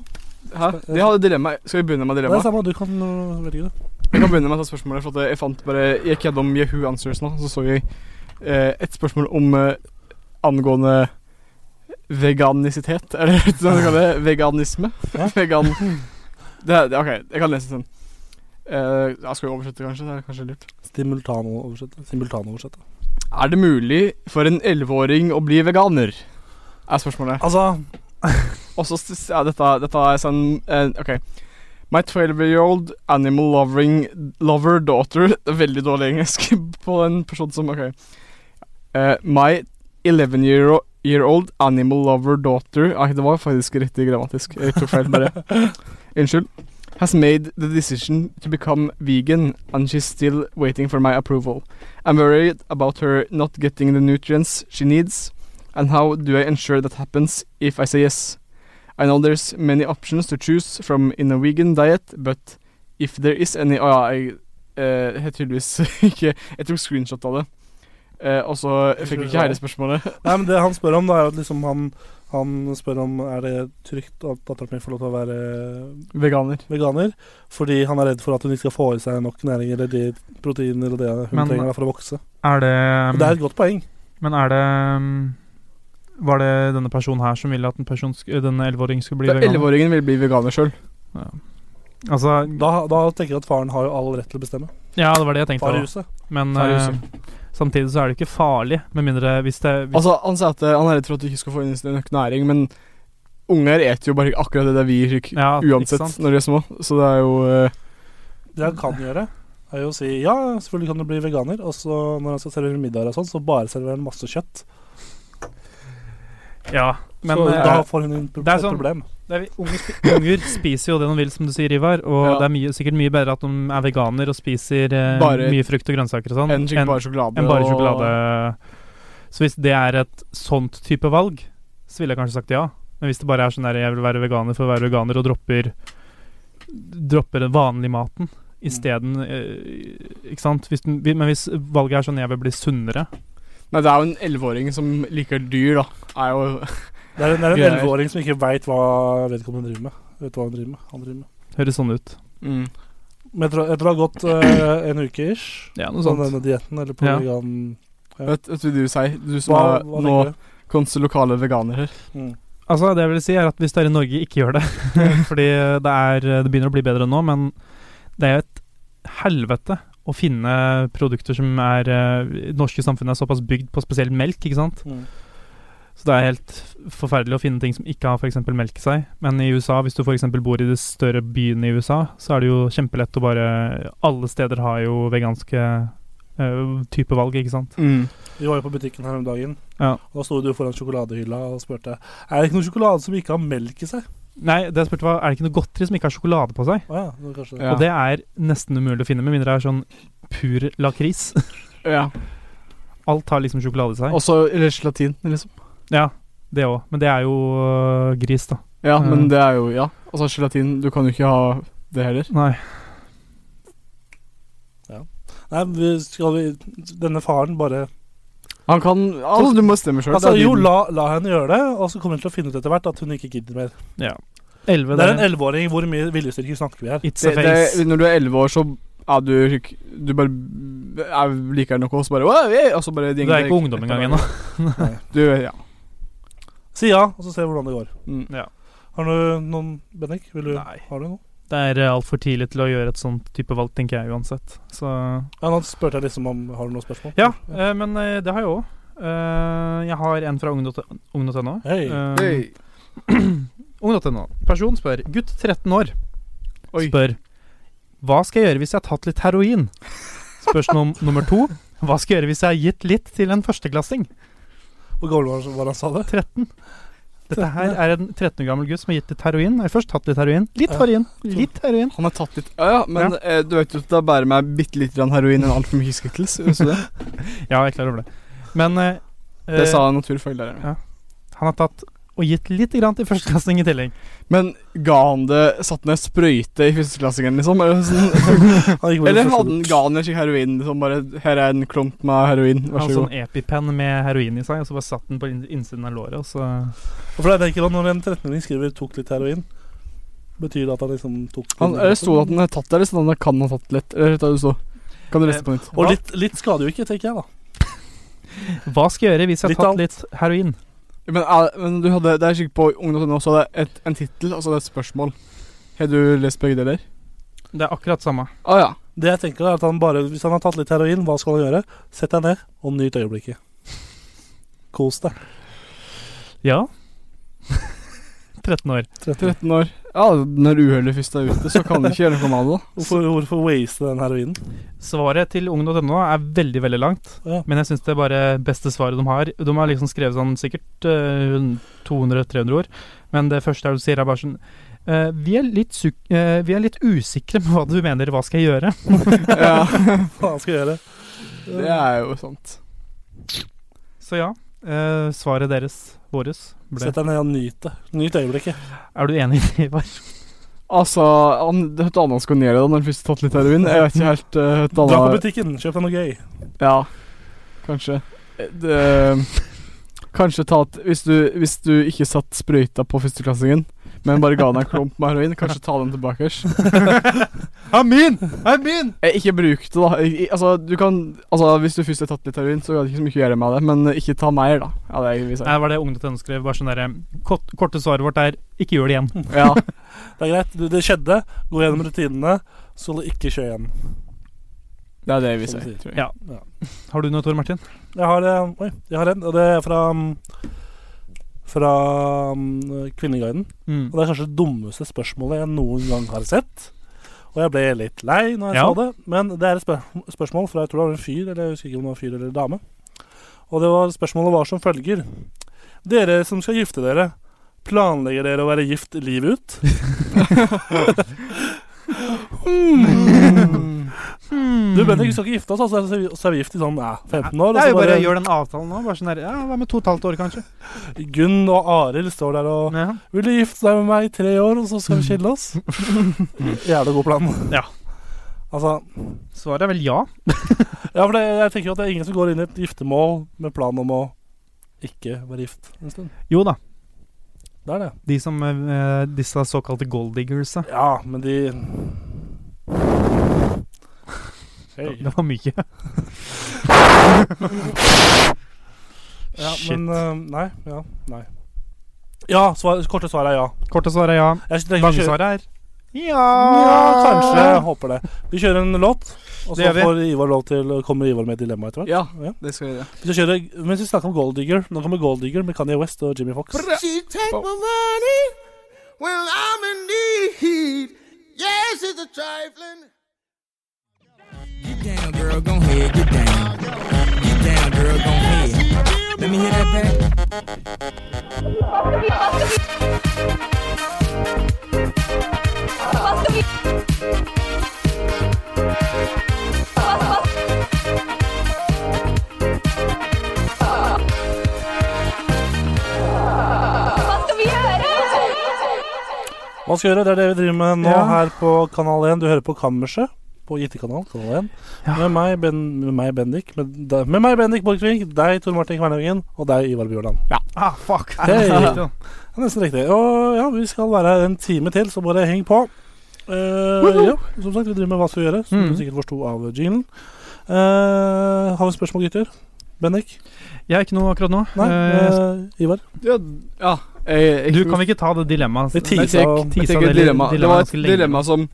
Speaker 4: Hæ? De hadde dilemma. Skal vi begynne med
Speaker 2: Det er
Speaker 4: dilemma?
Speaker 2: samme, du kan øh, velge det.
Speaker 4: Jeg kan begynne med dette spørsmålet. For at jeg fant bare Jeg gikk gjennom Yahoo Answers nå, så så jeg eh, et spørsmål om eh, angående veganisitet. Eller hva skal man kalle det? Veganisme.
Speaker 2: Ja.
Speaker 4: Vegan det, er- det, er OK, jeg kan lese den. Eh, jeg skal jo oversette, kanskje. Det er kanskje lurt.
Speaker 2: Simultanoversette. Simultanoversette.
Speaker 4: Er det mulig for en elleveåring å bli veganer? Er spørsmålet.
Speaker 2: Altså
Speaker 4: Og så s- ja, dette, dette er sånn eh, OK. My 12-year-old animal loving lover daughter Det er Veldig dårlig engelsk på en person som OK. Eh, my 11-year-old animal lover daughter Nei, det var faktisk riktig grammatisk. Jeg tok feil, bare. Unnskyld. Has made the decision to become vegan, and she's still waiting for my approval. I'm worried about her not getting the nutrients she needs, and how do I ensure that happens if I say yes? I know there's many options to choose from in a vegan diet, but if there is any Å ja, jeg eh, har tydeligvis ikke Jeg tok screenshot av det. Eh, og så jeg fikk jeg ikke hele spørsmålet.
Speaker 2: Nei, men det han spør om, da, er jo at liksom han, Han spør om er det trygt at datteren min får lov til å være
Speaker 4: Veganer.
Speaker 2: veganer, fordi han er redd for at hun ikke skal få i seg nok næring eller de proteiner og det hun
Speaker 3: Men-
Speaker 2: trenger da for å vokse.
Speaker 3: Er det,
Speaker 2: Og det er et godt poeng.
Speaker 3: Men er det um, Var det denne personen her som ville at en person sk- denne 11-åringen skulle bli veganer?
Speaker 4: Elleveåringen vil bli veganer sjøl.
Speaker 3: Altså,
Speaker 2: Da, da tenker jeg at faren har jo all rett til å bestemme.
Speaker 3: ja, det var det jeg tenkte.
Speaker 2: Far i
Speaker 3: da.
Speaker 2: huset.
Speaker 3: Men
Speaker 4: Far i
Speaker 3: eh, samtidig så er det ikke farlig, med mindre hvis det hvis,
Speaker 4: Altså, han sa at eh, han er redd for at du ikke skal få inn nok næring, men unger eter jo bare akkurat det der vi gir
Speaker 3: Ja, ikke sant?
Speaker 4: uansett når de er små, så det er jo eh,
Speaker 2: Det han kan gjøre, er jo å si ja, selvfølgelig kan du bli veganer, og så når han skal servere middager og sånn, så bare serverer han masse kjøtt.
Speaker 3: Ja, men
Speaker 2: så
Speaker 3: eh,
Speaker 2: da får hun en pro
Speaker 3: det er
Speaker 2: et
Speaker 3: sånn-
Speaker 2: problem.
Speaker 3: det er, unger, spi- unger spiser jo det de vil, som du sier, Ivar. Og
Speaker 4: Ja.
Speaker 3: det er mye, sikkert mye bedre at de er veganer og spiser eh,
Speaker 4: Bare-
Speaker 3: mye frukt og grønnsaker og sånn,
Speaker 4: en skikkelig bare sjokolade.
Speaker 3: enn bare
Speaker 4: og-
Speaker 3: sjokolade. Så hvis det er et sånt type valg, så ville jeg kanskje sagt ja. Men hvis det bare er sånn der jeg vil være veganer for å være veganer, og dropper Dropper den vanlige maten isteden eh, Ikke sant? Hvis den, men hvis valget er sånn jeg vil bli sunnere
Speaker 4: Nei, det er jo en elleveåring som liker dyr, da. Er jo
Speaker 2: Det er, det er en
Speaker 4: Greier.
Speaker 2: elleveåring som ikke veit hva vedkommende driver med. Vet hva han driver med. Han driver med.
Speaker 3: Høres sånn ut.
Speaker 4: mm.
Speaker 2: Men etter, etter å ha gått eh, en uke ish
Speaker 3: Ja, noe
Speaker 2: på
Speaker 3: sånt.
Speaker 2: denne dietten, eller på
Speaker 3: Ja.
Speaker 2: vegan...
Speaker 4: Vet vet du hva du sier? Du som
Speaker 2: Hva,
Speaker 4: er
Speaker 2: hva
Speaker 4: nå
Speaker 2: tenker du?
Speaker 4: konsul lokale veganer her.
Speaker 2: Mm.
Speaker 3: Altså, det jeg vil si er at hvis det er i Norge, ikke gjør det. Fordi det, er, det begynner å bli bedre nå, men det er et helvete å finne produkter som er eh, Det norske samfunnet er såpass bygd på spesielt melk, ikke sant.
Speaker 2: Mm.
Speaker 3: Så det er helt forferdelig å finne ting som ikke har f.eks. melk i seg. Men i USA, hvis du f.eks. bor i de større byene i USA, så er det jo kjempelett å bare Alle steder har jo veganske eh, type valg, ikke sant.
Speaker 4: Mm.
Speaker 2: Vi var jo på butikken her om dagen,
Speaker 3: Ja.
Speaker 2: og da sto du foran sjokoladehylla og spurte Er det ikke noe sjokolade som ikke har melk i seg.
Speaker 3: Nei, det jeg spurte var, er det ikke noe godteri som ikke har sjokolade på seg?
Speaker 2: Å ja, det var kanskje det.
Speaker 4: Ja.
Speaker 3: Og det er nesten umulig å finne, med mindre det er sånn pur lakris.
Speaker 4: Ja.
Speaker 3: Alt har liksom sjokolade i seg.
Speaker 4: Også eller gelatin, liksom.
Speaker 3: Ja, det òg. Men det er jo øh, gris, da.
Speaker 4: Ja,
Speaker 3: Mm.
Speaker 4: men det er jo Ja. Altså, gelatin Du kan jo ikke ha det heller.
Speaker 3: Nei.
Speaker 2: Nei, vi, skal vi Denne faren bare
Speaker 4: Han kan Altså, du må stemme sjøl.
Speaker 2: Altså, jo, la, la henne gjøre det, og så kommer hun til å finne ut etter hvert at hun ikke gidder mer.
Speaker 3: Elleve,
Speaker 2: Det er en
Speaker 3: det.
Speaker 2: elleveåring. Hvor mye viljestyrke snakker vi her?
Speaker 3: It's a
Speaker 4: det, det,
Speaker 3: face.
Speaker 4: når du er elleve år, så er du ikke- Du bare er, liker noe, og så bare, «Wow, yeah», og så bare
Speaker 3: Du er ikke ungdom engang ennå.
Speaker 4: Du, ja.
Speaker 2: Si ja, og så ser vi hvordan det går.
Speaker 4: Mm.
Speaker 3: Ja.
Speaker 2: Har du noen, Bennik? Vil du,
Speaker 3: Nei.
Speaker 2: Har du noe?
Speaker 3: Det er altfor tidlig til å gjøre et sånt type valg, tenker jeg uansett. Så
Speaker 2: Ja, nå spurte jeg liksom om Har du noen spørsmål?
Speaker 3: Ja, øh, men øh, det har jeg òg. Øh, jeg har en fra ung.no. Ung.no.
Speaker 2: Hei.
Speaker 3: Øh, Ung.no. Person spør Gutt 13 år
Speaker 4: Oi.
Speaker 3: spør Hva skal jeg gjøre hvis jeg har tatt litt heroin? Spørsmål nummer to Hva skal jeg gjøre hvis jeg har gitt litt til en førsteklassing?
Speaker 2: Hvor gammel var han- var han sa det?
Speaker 3: 13 Dette her er en 13 år gammel gutt som har gitt litt heroin Nei, først tatt litt heroin Litt heroin Litt heroin
Speaker 4: Han har tatt litt Ja, ja, men Eh, du vet jo at det er bare med bitte lite grann heroin enn altfor mye skittles. Visste du det?
Speaker 3: Ja, jeg er klar over det Men eh,
Speaker 4: Det
Speaker 3: eh,
Speaker 4: sa naturfaglæreren.
Speaker 3: Ja. han har tatt og gitt litt grann til førsteklassing i tillegg
Speaker 4: Men ga han det Satt ned sprøyte i førsteklassingen, liksom? Eller, sånn,
Speaker 2: Han gikk bare
Speaker 4: eller
Speaker 2: først-
Speaker 4: hadde han ga han en slik heroin? Liksom bare Her er en klump med heroin, vær
Speaker 3: Han
Speaker 4: så god.
Speaker 3: sånn epipenn med heroin i seg Og så bare satt den på inn- innsiden av låret Og så
Speaker 2: For jeg tenker at Når en 13-åring skriver 'tok litt heroin', betyr det at han liksom tok
Speaker 4: Han, eller sto det at han har tatt det, eller sånn at han kan ha tatt litt? Eller hva det sto? Kan
Speaker 3: Eh,
Speaker 4: du lese på nytt?
Speaker 2: Og litt, litt skader jo ikke, tenker jeg, da.
Speaker 3: Hva skal jeg gjøre hvis jeg
Speaker 2: Litt
Speaker 3: har
Speaker 2: alt.
Speaker 3: tatt litt heroin?
Speaker 4: Men, er- men du hadde Det er sikkert på ung.no også det er et, en tittel, og så er det et spørsmål. Har du lest begge deler?
Speaker 3: Det er akkurat samme
Speaker 4: Å ah, ja.
Speaker 2: Det jeg tenker er at han bare Hvis han har tatt litt heroin, hva skal han gjøre? Sett deg ned og nyt øyeblikket. Kos deg.
Speaker 3: Ja 13 år
Speaker 2: 13.
Speaker 4: 13 år. Ja, når uhellet først er ute, så kan du ikke gjøre noe med det. da.
Speaker 2: Hvorfor, hvorfor waste den heroinen?
Speaker 3: Svaret til ung.no er veldig, veldig langt.
Speaker 2: Ja.
Speaker 3: Men jeg syns det er bare beste svaret de har. De har liksom skrevet sånn sikkert eh, 200-300 ord, men det første du sier, er bare sånn eh, vi, er litt suk eh, vi er litt usikre på hva du mener, hva skal jeg gjøre?
Speaker 4: Ja,
Speaker 2: Hva skal jeg gjøre?
Speaker 4: det er jo sant.
Speaker 3: Så ja, eh, svaret deres, våres, ble
Speaker 2: Sett deg ned og nyt det. Nyt øyeblikket.
Speaker 3: Er du enig i det, Ivar?
Speaker 4: Altså, han, det er noe annet han skal gjøre da, når han først har tatt litt heroin. Jeg vet ikke helt eh, hva
Speaker 2: Dra på
Speaker 4: annet
Speaker 2: butikken, kjøp deg noe gøy.
Speaker 4: Ja, kanskje. Eh, Det Kanskje ta at hvis du, hvis du ikke satt sprøyta på førsteklassingen, men bare ga han en klump med heroin, kanskje ta den tilbake.
Speaker 3: Er min! Er min!
Speaker 4: Eh, Ikke bruk det, da. I- Altså, du kan, altså, hvis du først har tatt litt heroin, så er det ikke så mye å gjøre med det, men eh, ikke ta mer, da. Ja, det er jeg vil si.
Speaker 3: Det var det Ungdom.no skrev. Bare sånn derre kort, Korte svaret vårt er ikke gjør det igjen.
Speaker 4: Ja.
Speaker 2: Det er greit, det, det skjedde. Gå gjennom rutinene. Så ikke kjør igjen.
Speaker 4: Det er det jeg vil
Speaker 2: Som du
Speaker 4: si.
Speaker 2: sier.
Speaker 4: Tror jeg.
Speaker 3: Ja. Har du noe, Tor Martin?
Speaker 2: Jeg har, eh, oi, jeg har en, og det er fra mm, Fra mm, Kvinneguiden.
Speaker 3: Mm.
Speaker 2: Og det er kanskje det dummeste spørsmålet jeg noen gang har sett. Og jeg ble litt lei når jeg
Speaker 3: Ja.
Speaker 2: sa det, men det er et spør spørsmål fra jeg tror det var en fyr, eller jeg husker ikke om det var en fyr eller en dame. Og det var, spørsmålet var som følger. Dere som skal gifte dere, planlegger dere å være gift livet ut? Hmm. Du Bendik, vi skal ikke gifte oss, altså, så er vi- så er vi gift i sånn ja, 15 år. og
Speaker 3: Mm. Jeg
Speaker 2: så
Speaker 3: vil altså, bare
Speaker 2: bare,
Speaker 3: gjør den avtalen nå. Bare sånn der, ja, Hva med to og et halvt år, kanskje?
Speaker 2: Gunn og Arild står der og
Speaker 3: Ja.
Speaker 2: Vil du gifte deg med meg i tre år, og så skal vi skille oss? Jævlig god plan.
Speaker 3: Ja.
Speaker 2: Altså,
Speaker 3: Svaret er vel ja.
Speaker 2: ja, for det, jeg tenker jo at det er ingen som går inn i et giftermål med plan om å ikke være gift en stund.
Speaker 3: Jo da.
Speaker 2: Det er det.
Speaker 3: De som, eh, disse såkalte golddiggersa.
Speaker 2: Ja, men de Hei.
Speaker 3: Det var mye.
Speaker 2: Ja,
Speaker 3: Shit.
Speaker 2: men eh, Nei. Ja. Nei. Ja, svar, korte svar er ja.
Speaker 3: Korte svaret er ja.
Speaker 2: Jeg synes- tenker vi
Speaker 3: Lange
Speaker 2: kjører-
Speaker 3: svaret er ja.
Speaker 2: Ja, kanskje. Jeg håper det. Vi kjører en låt, og så
Speaker 3: Det gjør vi.
Speaker 2: får Ivar lov til, kommer Ivar med et dilemma etter hvert.
Speaker 4: ja,
Speaker 2: Ja.
Speaker 4: det skal jeg gjøre.
Speaker 2: Vi skal kjøre, mens vi snakker om Gold Digger, nå kommer Gold Digger med Kanye West og Jimmy Fox.
Speaker 8: She take my money when I'm in need. Yes, it's a trifling.
Speaker 9: Get down, girl, go ahead, get down. Get down, girl, go ahead. Let me hear that back.
Speaker 7: Hva skal vi gjøre?
Speaker 2: Hva skal vi gjøre? Det er det vi driver med nå
Speaker 3: Ja.
Speaker 2: her på Kanal 1. Du hører på Kammerset på IT-kanal, Kanal 1. Med, meg, ben, med meg, Bendik. Med, deg- med meg, Bendik Borchgrevink. Deg, Tor Martin Kvernhaugen. Og deg, Ivar Bjørland.
Speaker 3: Ah, fuck.
Speaker 2: Hei. Det er nesten riktig. Og ja, vi skal være her en time til, så bare heng på. Eh, ja, som sagt, vi driver med hva skal vi gjøre, som
Speaker 3: Mhm.
Speaker 2: du sikkert forsto av jinglen. Eh, har vi spørsmål, gutter? Bendik?
Speaker 3: Jeg har ikke noe akkurat nå.
Speaker 2: Nei?
Speaker 3: Eh,
Speaker 2: Eh, Ivar?
Speaker 4: Ja, ja. Jeg, Eh, jeg,
Speaker 3: du, kan vi ikke ta det dilemmaet?
Speaker 2: Vi
Speaker 4: Nei,
Speaker 2: teaser
Speaker 4: jeg tek-
Speaker 2: og-
Speaker 4: jeg
Speaker 3: Tisa
Speaker 4: tek et
Speaker 3: dere-
Speaker 4: dilemma. Det var
Speaker 3: dilemmaet
Speaker 4: et
Speaker 3: ganske lenge.
Speaker 4: dilemma som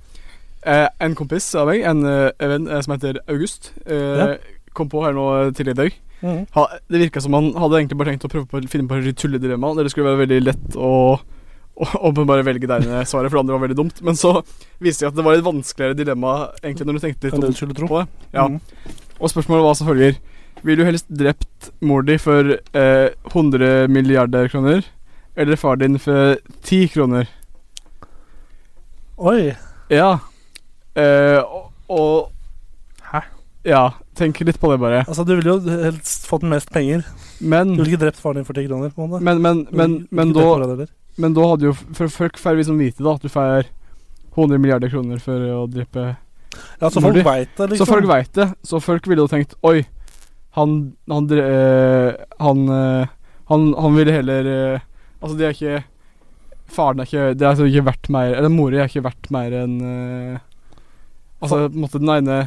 Speaker 4: eh, en kompis av meg, en eh, venn eh, som heter August, eh, kom på her nå eh, tidligere i dag.
Speaker 2: Mhm.
Speaker 4: Ha, det virka som han hadde egentlig bare tenkt å prøve på å finne på et tulledilemma der det skulle være veldig lett å å- å bare velge det ene svaret, for det andre var veldig dumt. Men så viste det seg at det var et vanskeligere dilemma egentlig når du tenkte litt
Speaker 2: Enn det
Speaker 4: om
Speaker 2: du skulle tro.
Speaker 4: på det. Ja.
Speaker 2: Mhm.
Speaker 4: Og spørsmålet var som følger Vil du helst drept mor di for eh, 100 milliarder kroner Eller far din for 10 kroner
Speaker 2: Oi.
Speaker 4: Ja eh, og, og
Speaker 3: Hæ?
Speaker 4: Ja, tenk litt på det bare
Speaker 2: Altså, du ville jo helst fått mest penger.
Speaker 4: Men,
Speaker 2: Du ville ikke drept faren din for 10 kroner. på en måte.
Speaker 4: men, men,
Speaker 2: Du ville
Speaker 4: men,
Speaker 2: ikke
Speaker 4: men,
Speaker 2: drept
Speaker 4: da,
Speaker 2: faren din heller.
Speaker 4: men da hadde jo For folk får liksom vite da At du får 100 milliarder kroner for å drepe
Speaker 2: Ja, så
Speaker 4: Når
Speaker 2: folk
Speaker 4: du-
Speaker 2: veit det, liksom.
Speaker 4: Så folk vet det Så folk ville jo tenkt Oi, han Han dre- eh, han, eh, han, han ville heller eh, Altså de er ikke Faren er ikke Det er altså ikke verdt mer Eller mora er ikke verdt mer enn eh, Altså på en måte den ene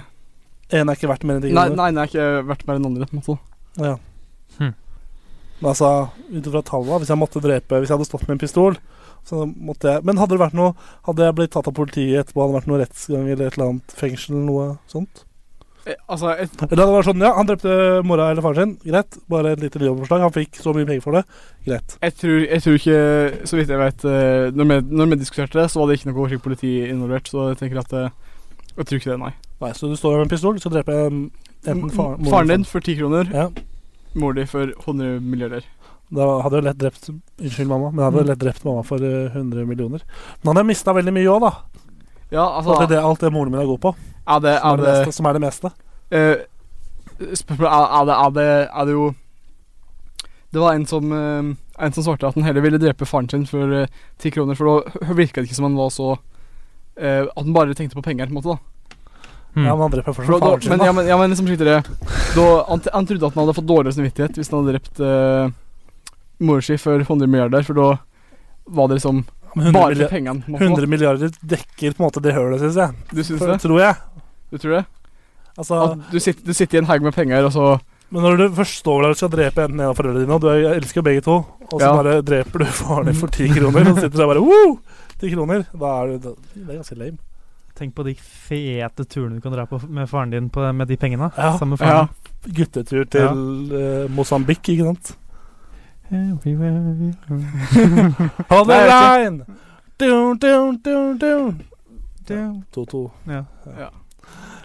Speaker 2: En er ikke verdt mer enn 10
Speaker 4: Nei, den
Speaker 2: kroner.
Speaker 4: ene er ikke verdt mer enn den andre på en måte
Speaker 2: Ja.
Speaker 3: Hm.
Speaker 2: Men altså, ut ifra tallene Hvis jeg måtte drepe Hvis jeg hadde stått med en pistol så måtte jeg, Men hadde det vært noe Hadde jeg blitt tatt av politiet etterpå, hadde det vært noe rettsgang eller et eller annet fengsel eller noe sånt?
Speaker 4: Eh, Altså et,
Speaker 2: Eller hadde det vært sånn Ja, han drepte mora eller faren sin. Greit. Bare et lite lydoverslag. Han fikk så mye penger for det. Greit.
Speaker 4: jeg, tror, jeg tror ikke Så vidt jeg vet eh, Når vi, når vi diskuterte det Så var det ikke noe slik politi involvert Så jeg tenker at eh, Jeg tror ikke det, nei
Speaker 2: Nei, så du står der med en pistol, du skal drepe um, enten far, moren
Speaker 4: Faren din for 10 kroner
Speaker 2: Ja.
Speaker 4: Mor di for 100 milliarder
Speaker 2: Da hadde jeg lett drept Unnskyld, mamma. Men jeg
Speaker 4: Mm.
Speaker 2: hadde lett drept mamma for eh, 100 millioner. Men han har mista veldig mye òg, da.
Speaker 4: Ja,
Speaker 2: Så det
Speaker 4: altså
Speaker 2: er det, alt det moren min er god på.
Speaker 4: Er det,
Speaker 2: Som
Speaker 4: er
Speaker 2: er det,
Speaker 4: det,
Speaker 2: meste, som er det meste.
Speaker 4: eh, Spørsmålet er, er, det, er, det, er det jo Det var en som eh, En som svarte at han heller ville drepe faren sin for eh, ti kroner, for da hø- virket det ikke som han var så eh, At han bare tenkte på penger, på en måte. da
Speaker 3: Mm.
Speaker 2: Ja, men han dreper
Speaker 4: For
Speaker 2: fortsatt
Speaker 4: da,
Speaker 2: faren
Speaker 4: da
Speaker 2: sin.
Speaker 4: men,
Speaker 2: da.
Speaker 4: ja, men, ja, men liksom slik til det da, han, t- han trodde at han hadde fått dårligere samvittighet hvis han hadde drept eh, mora si for 100 milliarder, for da var det liksom
Speaker 2: Men 100
Speaker 4: bare
Speaker 2: milliard-
Speaker 4: for pengene. man får.
Speaker 2: 100 milliarder dekker på en måte det hølet, syns jeg.
Speaker 4: Du syns
Speaker 2: For-
Speaker 4: det?
Speaker 2: Tror jeg.
Speaker 4: Du tror det?
Speaker 2: Altså,
Speaker 4: At du sitter, du sitter i en haug med penger, og så
Speaker 2: men når du først står der og skal drepe enten en av foreldrene dine, og du er- jeg elsker jo begge to, og så
Speaker 4: Ja.
Speaker 2: bare dreper du faren din for ti kroner, og sitter der bare Woo! Ti kroner. Da er du da, Det er ganske lame.
Speaker 3: Tenk på de fete turene du kan dra på med faren din på, med de pengene.
Speaker 2: Ja.
Speaker 3: Sammen med
Speaker 4: Ja.
Speaker 3: faren.
Speaker 2: Guttetur til eh, Mosambik, ikke sant? Hold the
Speaker 4: Nei, jeg
Speaker 2: line! Dun, dun, dun, dun. 2-2.
Speaker 3: Ja.
Speaker 4: Ja.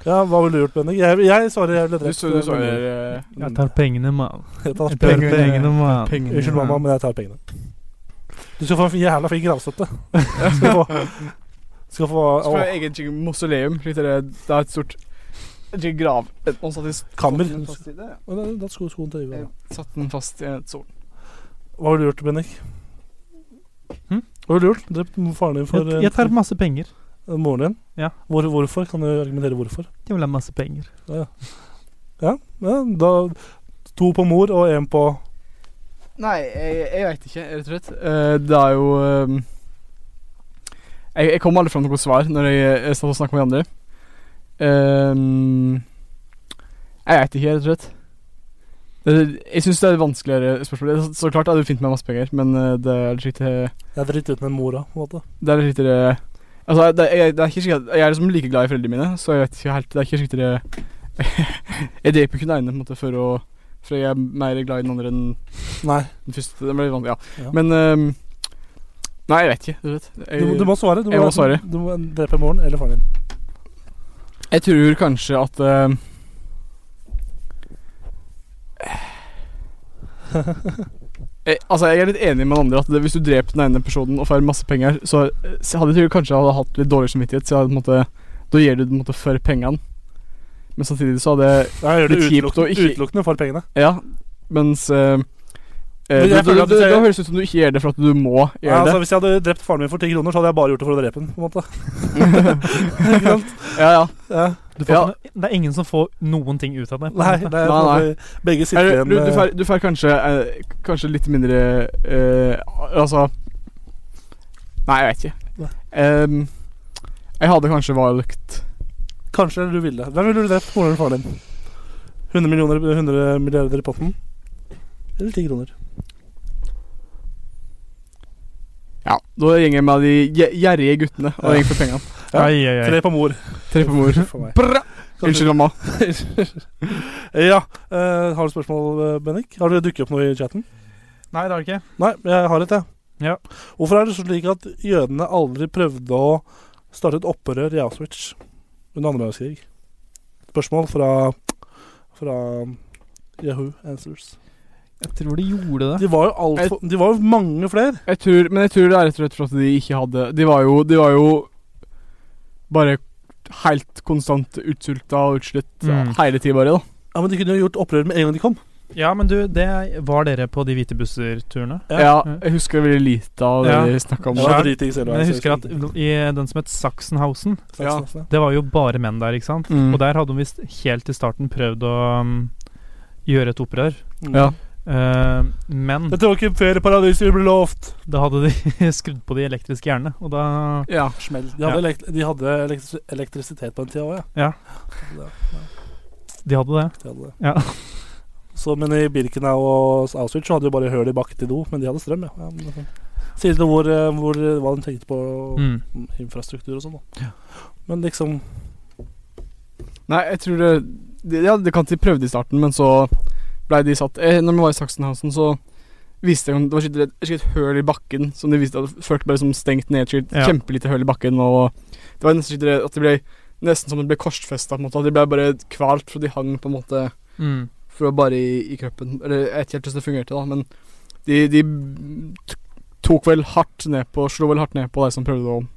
Speaker 2: Ja, hva ville du gjort, Bendik? Jeg, jeg svarer jeg ble
Speaker 4: Du
Speaker 2: drept.
Speaker 4: så- du så
Speaker 2: men-
Speaker 4: der, eh,
Speaker 3: Jeg tar pengene, mann.
Speaker 2: Jeg tar
Speaker 3: Jeg tar
Speaker 2: pengene.
Speaker 3: pengene, mann.
Speaker 4: pengene.
Speaker 2: Unnskyld, mamma, men jeg tar pengene. Du skal få en jævla fin gravstøtte. Skal få, skal få
Speaker 4: Så får
Speaker 2: å,
Speaker 4: jeg egen skikkelig mausoleum. slik Det er det er et stort en skikkelig grav. Et- Man satt i s-
Speaker 2: Kammer.
Speaker 4: satt den fast i det, ja.
Speaker 2: Å, da- da sko skoen til øyet.
Speaker 4: Satt den fast i et sol.
Speaker 2: Hva ville du gjort, Bennik?
Speaker 3: Hm?
Speaker 2: Hva ville du gjort? Drept faren din for
Speaker 3: Jeg, jeg tar masse penger.
Speaker 2: eh, moren din?
Speaker 3: Ja.
Speaker 2: Hvor, hvorfor? Kan du argumentere hvorfor?
Speaker 3: Jeg vil ha masse penger.
Speaker 2: Ja, da To på mor og én på
Speaker 4: Nei, jeg, jeg veit ikke, rett og slett. Eh, det er jo ehm, jeg, jeg kom aldri fram til noe svar når jeg, jeg satt og snakka med de andre. Ehm, jeg veit ikke, rett og slett. Det, jeg syns det er et vanskeligere spørsmål. Det er Så, så klart er det fint med masse penger, men eh, det er litt riktig
Speaker 2: Jeg driter ut med mora, på en måte.
Speaker 4: Det er litt riktigere Altså, det, jeg, det er ikke sikkert Jeg er liksom like glad i foreldrene mine, så jeg vet ikke helt Det er ikke riktigere Jeg dreper kun den ene, på en måte, for å For jeg er mer glad i den andre enn
Speaker 2: Nei.
Speaker 4: den første. Det blir vanskelig, ja.
Speaker 2: Ja.
Speaker 4: Men ehm, Nei, jeg vet ikke, rett og slett.
Speaker 2: Du,
Speaker 4: Jeg,
Speaker 2: du må svare. Du
Speaker 4: Eh, jeg må svare.
Speaker 2: Du må drepe moren eller faren din.
Speaker 4: jeg tror kanskje at ehm, jeg, altså Jeg er litt enig med den andre at det, hvis du dreper den ene personen og får masse penger, så, eh, så hadde jeg tror kanskje jeg hadde hatt litt dårlig samvittighet, så jeg hadde, på en måte, da gir du det på en måte for pengene. Men samtidig så hadde jeg
Speaker 2: Ja, jeg gjør det
Speaker 4: Litt kjipt å
Speaker 2: utelukkende,
Speaker 4: ikke-
Speaker 2: utelukkende for pengene.
Speaker 4: Ja, mens eh, eh,
Speaker 2: jeg
Speaker 4: da-
Speaker 2: føler
Speaker 4: da-
Speaker 2: at du
Speaker 4: da-
Speaker 2: ser-
Speaker 4: Da høres det ut som du ikke gjør det for at du må gjøre
Speaker 2: Ja, altså,
Speaker 4: det.
Speaker 2: hvis jeg hadde drept faren min for ti kroner, så hadde jeg bare gjort det for å drepe den. på en måte altså-
Speaker 4: Ja, ja.
Speaker 2: ja.
Speaker 3: Du får
Speaker 4: Ja.
Speaker 3: ikke noe- det er ingen som får noen ting ut av det.
Speaker 2: Nei, det er på en
Speaker 4: Nei,
Speaker 2: måte begge sitter
Speaker 4: Eller,
Speaker 2: igjen
Speaker 4: du, du,
Speaker 2: eh,
Speaker 4: får, du får kanskje eh, Kanskje litt mindre eh, Altså Nei, jeg vet ikke. Em, jeg hadde kanskje valgt
Speaker 2: eh, Kanskje du ville. Hvem ville du drept? Moren eller faren din? 100, millioner, 100 milliarder i potten? Eller 10 kroner?
Speaker 4: Ja, da går jeg med de gje- gjerrige guttene og går for pengene.
Speaker 2: Ja.
Speaker 3: Ai, ai, ai.
Speaker 2: Tre på mor.
Speaker 4: Tre på mor.
Speaker 2: For meg.
Speaker 4: Bra! Unnskyld, mamma.
Speaker 2: Ja. eh, har du spørsmål, eh, Bennik? Har det dukket opp noe i chatten?
Speaker 3: Nei, det er det ikke.
Speaker 2: Nei, jeg har et, jeg.
Speaker 3: Ja.
Speaker 2: Hvorfor er det slik at jødene aldri prøvde å starte et opprør i Auschwitz under andre verdenskrig? Spørsmål fra, fra Yahoo Answers.
Speaker 3: Jeg tror de gjorde det.
Speaker 2: De var jo, alt for, de var jo mange flere.
Speaker 4: Jeg tror, men jeg tror det er rett og slett for at de ikke hadde De var jo, de var jo bare helt konstant utsulta og utslitt
Speaker 3: Mm.
Speaker 4: hele tida, bare. da
Speaker 2: Ja, Men de kunne jo gjort opprør med en gang de kom.
Speaker 3: Ja, men du, det var dere på de hvite busser-turene.
Speaker 2: Ja.
Speaker 4: ja. Jeg husker veldig lite av det
Speaker 3: Ja.
Speaker 4: vi snakka om.
Speaker 2: Det
Speaker 4: Ja.
Speaker 2: var dritings hele
Speaker 3: Men jeg husker at
Speaker 2: verdenskrig.
Speaker 3: i den som het Sachsenhausen,
Speaker 4: ja.
Speaker 2: Saksen,
Speaker 3: det var jo bare menn der, ikke sant?
Speaker 4: Mm.
Speaker 3: Og der hadde de visst helt i starten prøvd å um, gjøre et opprør.
Speaker 2: Mm.
Speaker 4: Ja.
Speaker 3: Eh, men
Speaker 2: Dette var ikke ferieparadiset vi ble lovt.
Speaker 3: da hadde de skrudd på de elektriske hjernene, og da
Speaker 4: ja.
Speaker 2: De hadde, elekt de hadde elektris elektrisitet på en tid òg,
Speaker 3: Ja.
Speaker 2: Det-
Speaker 3: De hadde det.
Speaker 2: De hadde det.
Speaker 3: Ja.
Speaker 2: Så, men i Birkenau og Auschwitz så hadde de bare høl i bakken til do, men de hadde strøm, ja. ja men det er sånn. Sier det hvor, eh, hvor, hva de tenkte på
Speaker 3: Mm.
Speaker 2: infrastruktur og sånn, da. Men liksom
Speaker 4: Nei, jeg tror det de, Ja, det kan de prøvde i starten, men så blei de satt eh, Når vi var i Sachsenhausen, så viste jeg, det var skikkelig et skikkelig et høl i bakken som de viste at folk bare som stengt ned. Skikkelig,
Speaker 3: Ja.
Speaker 4: Kjempelite høl i bakken. Og det var nesten skikkelig at det ble Nesten som det ble korsfesta, på en måte. At de ble bare kvalt, for de hang på en måte
Speaker 3: Mm.
Speaker 4: for å bare i, i kroppen. Eller jeg vet ikke helt hvordan det fungerte, da, men de, de t- tok vel hardt ned på Slo vel hardt ned på de som prøvde å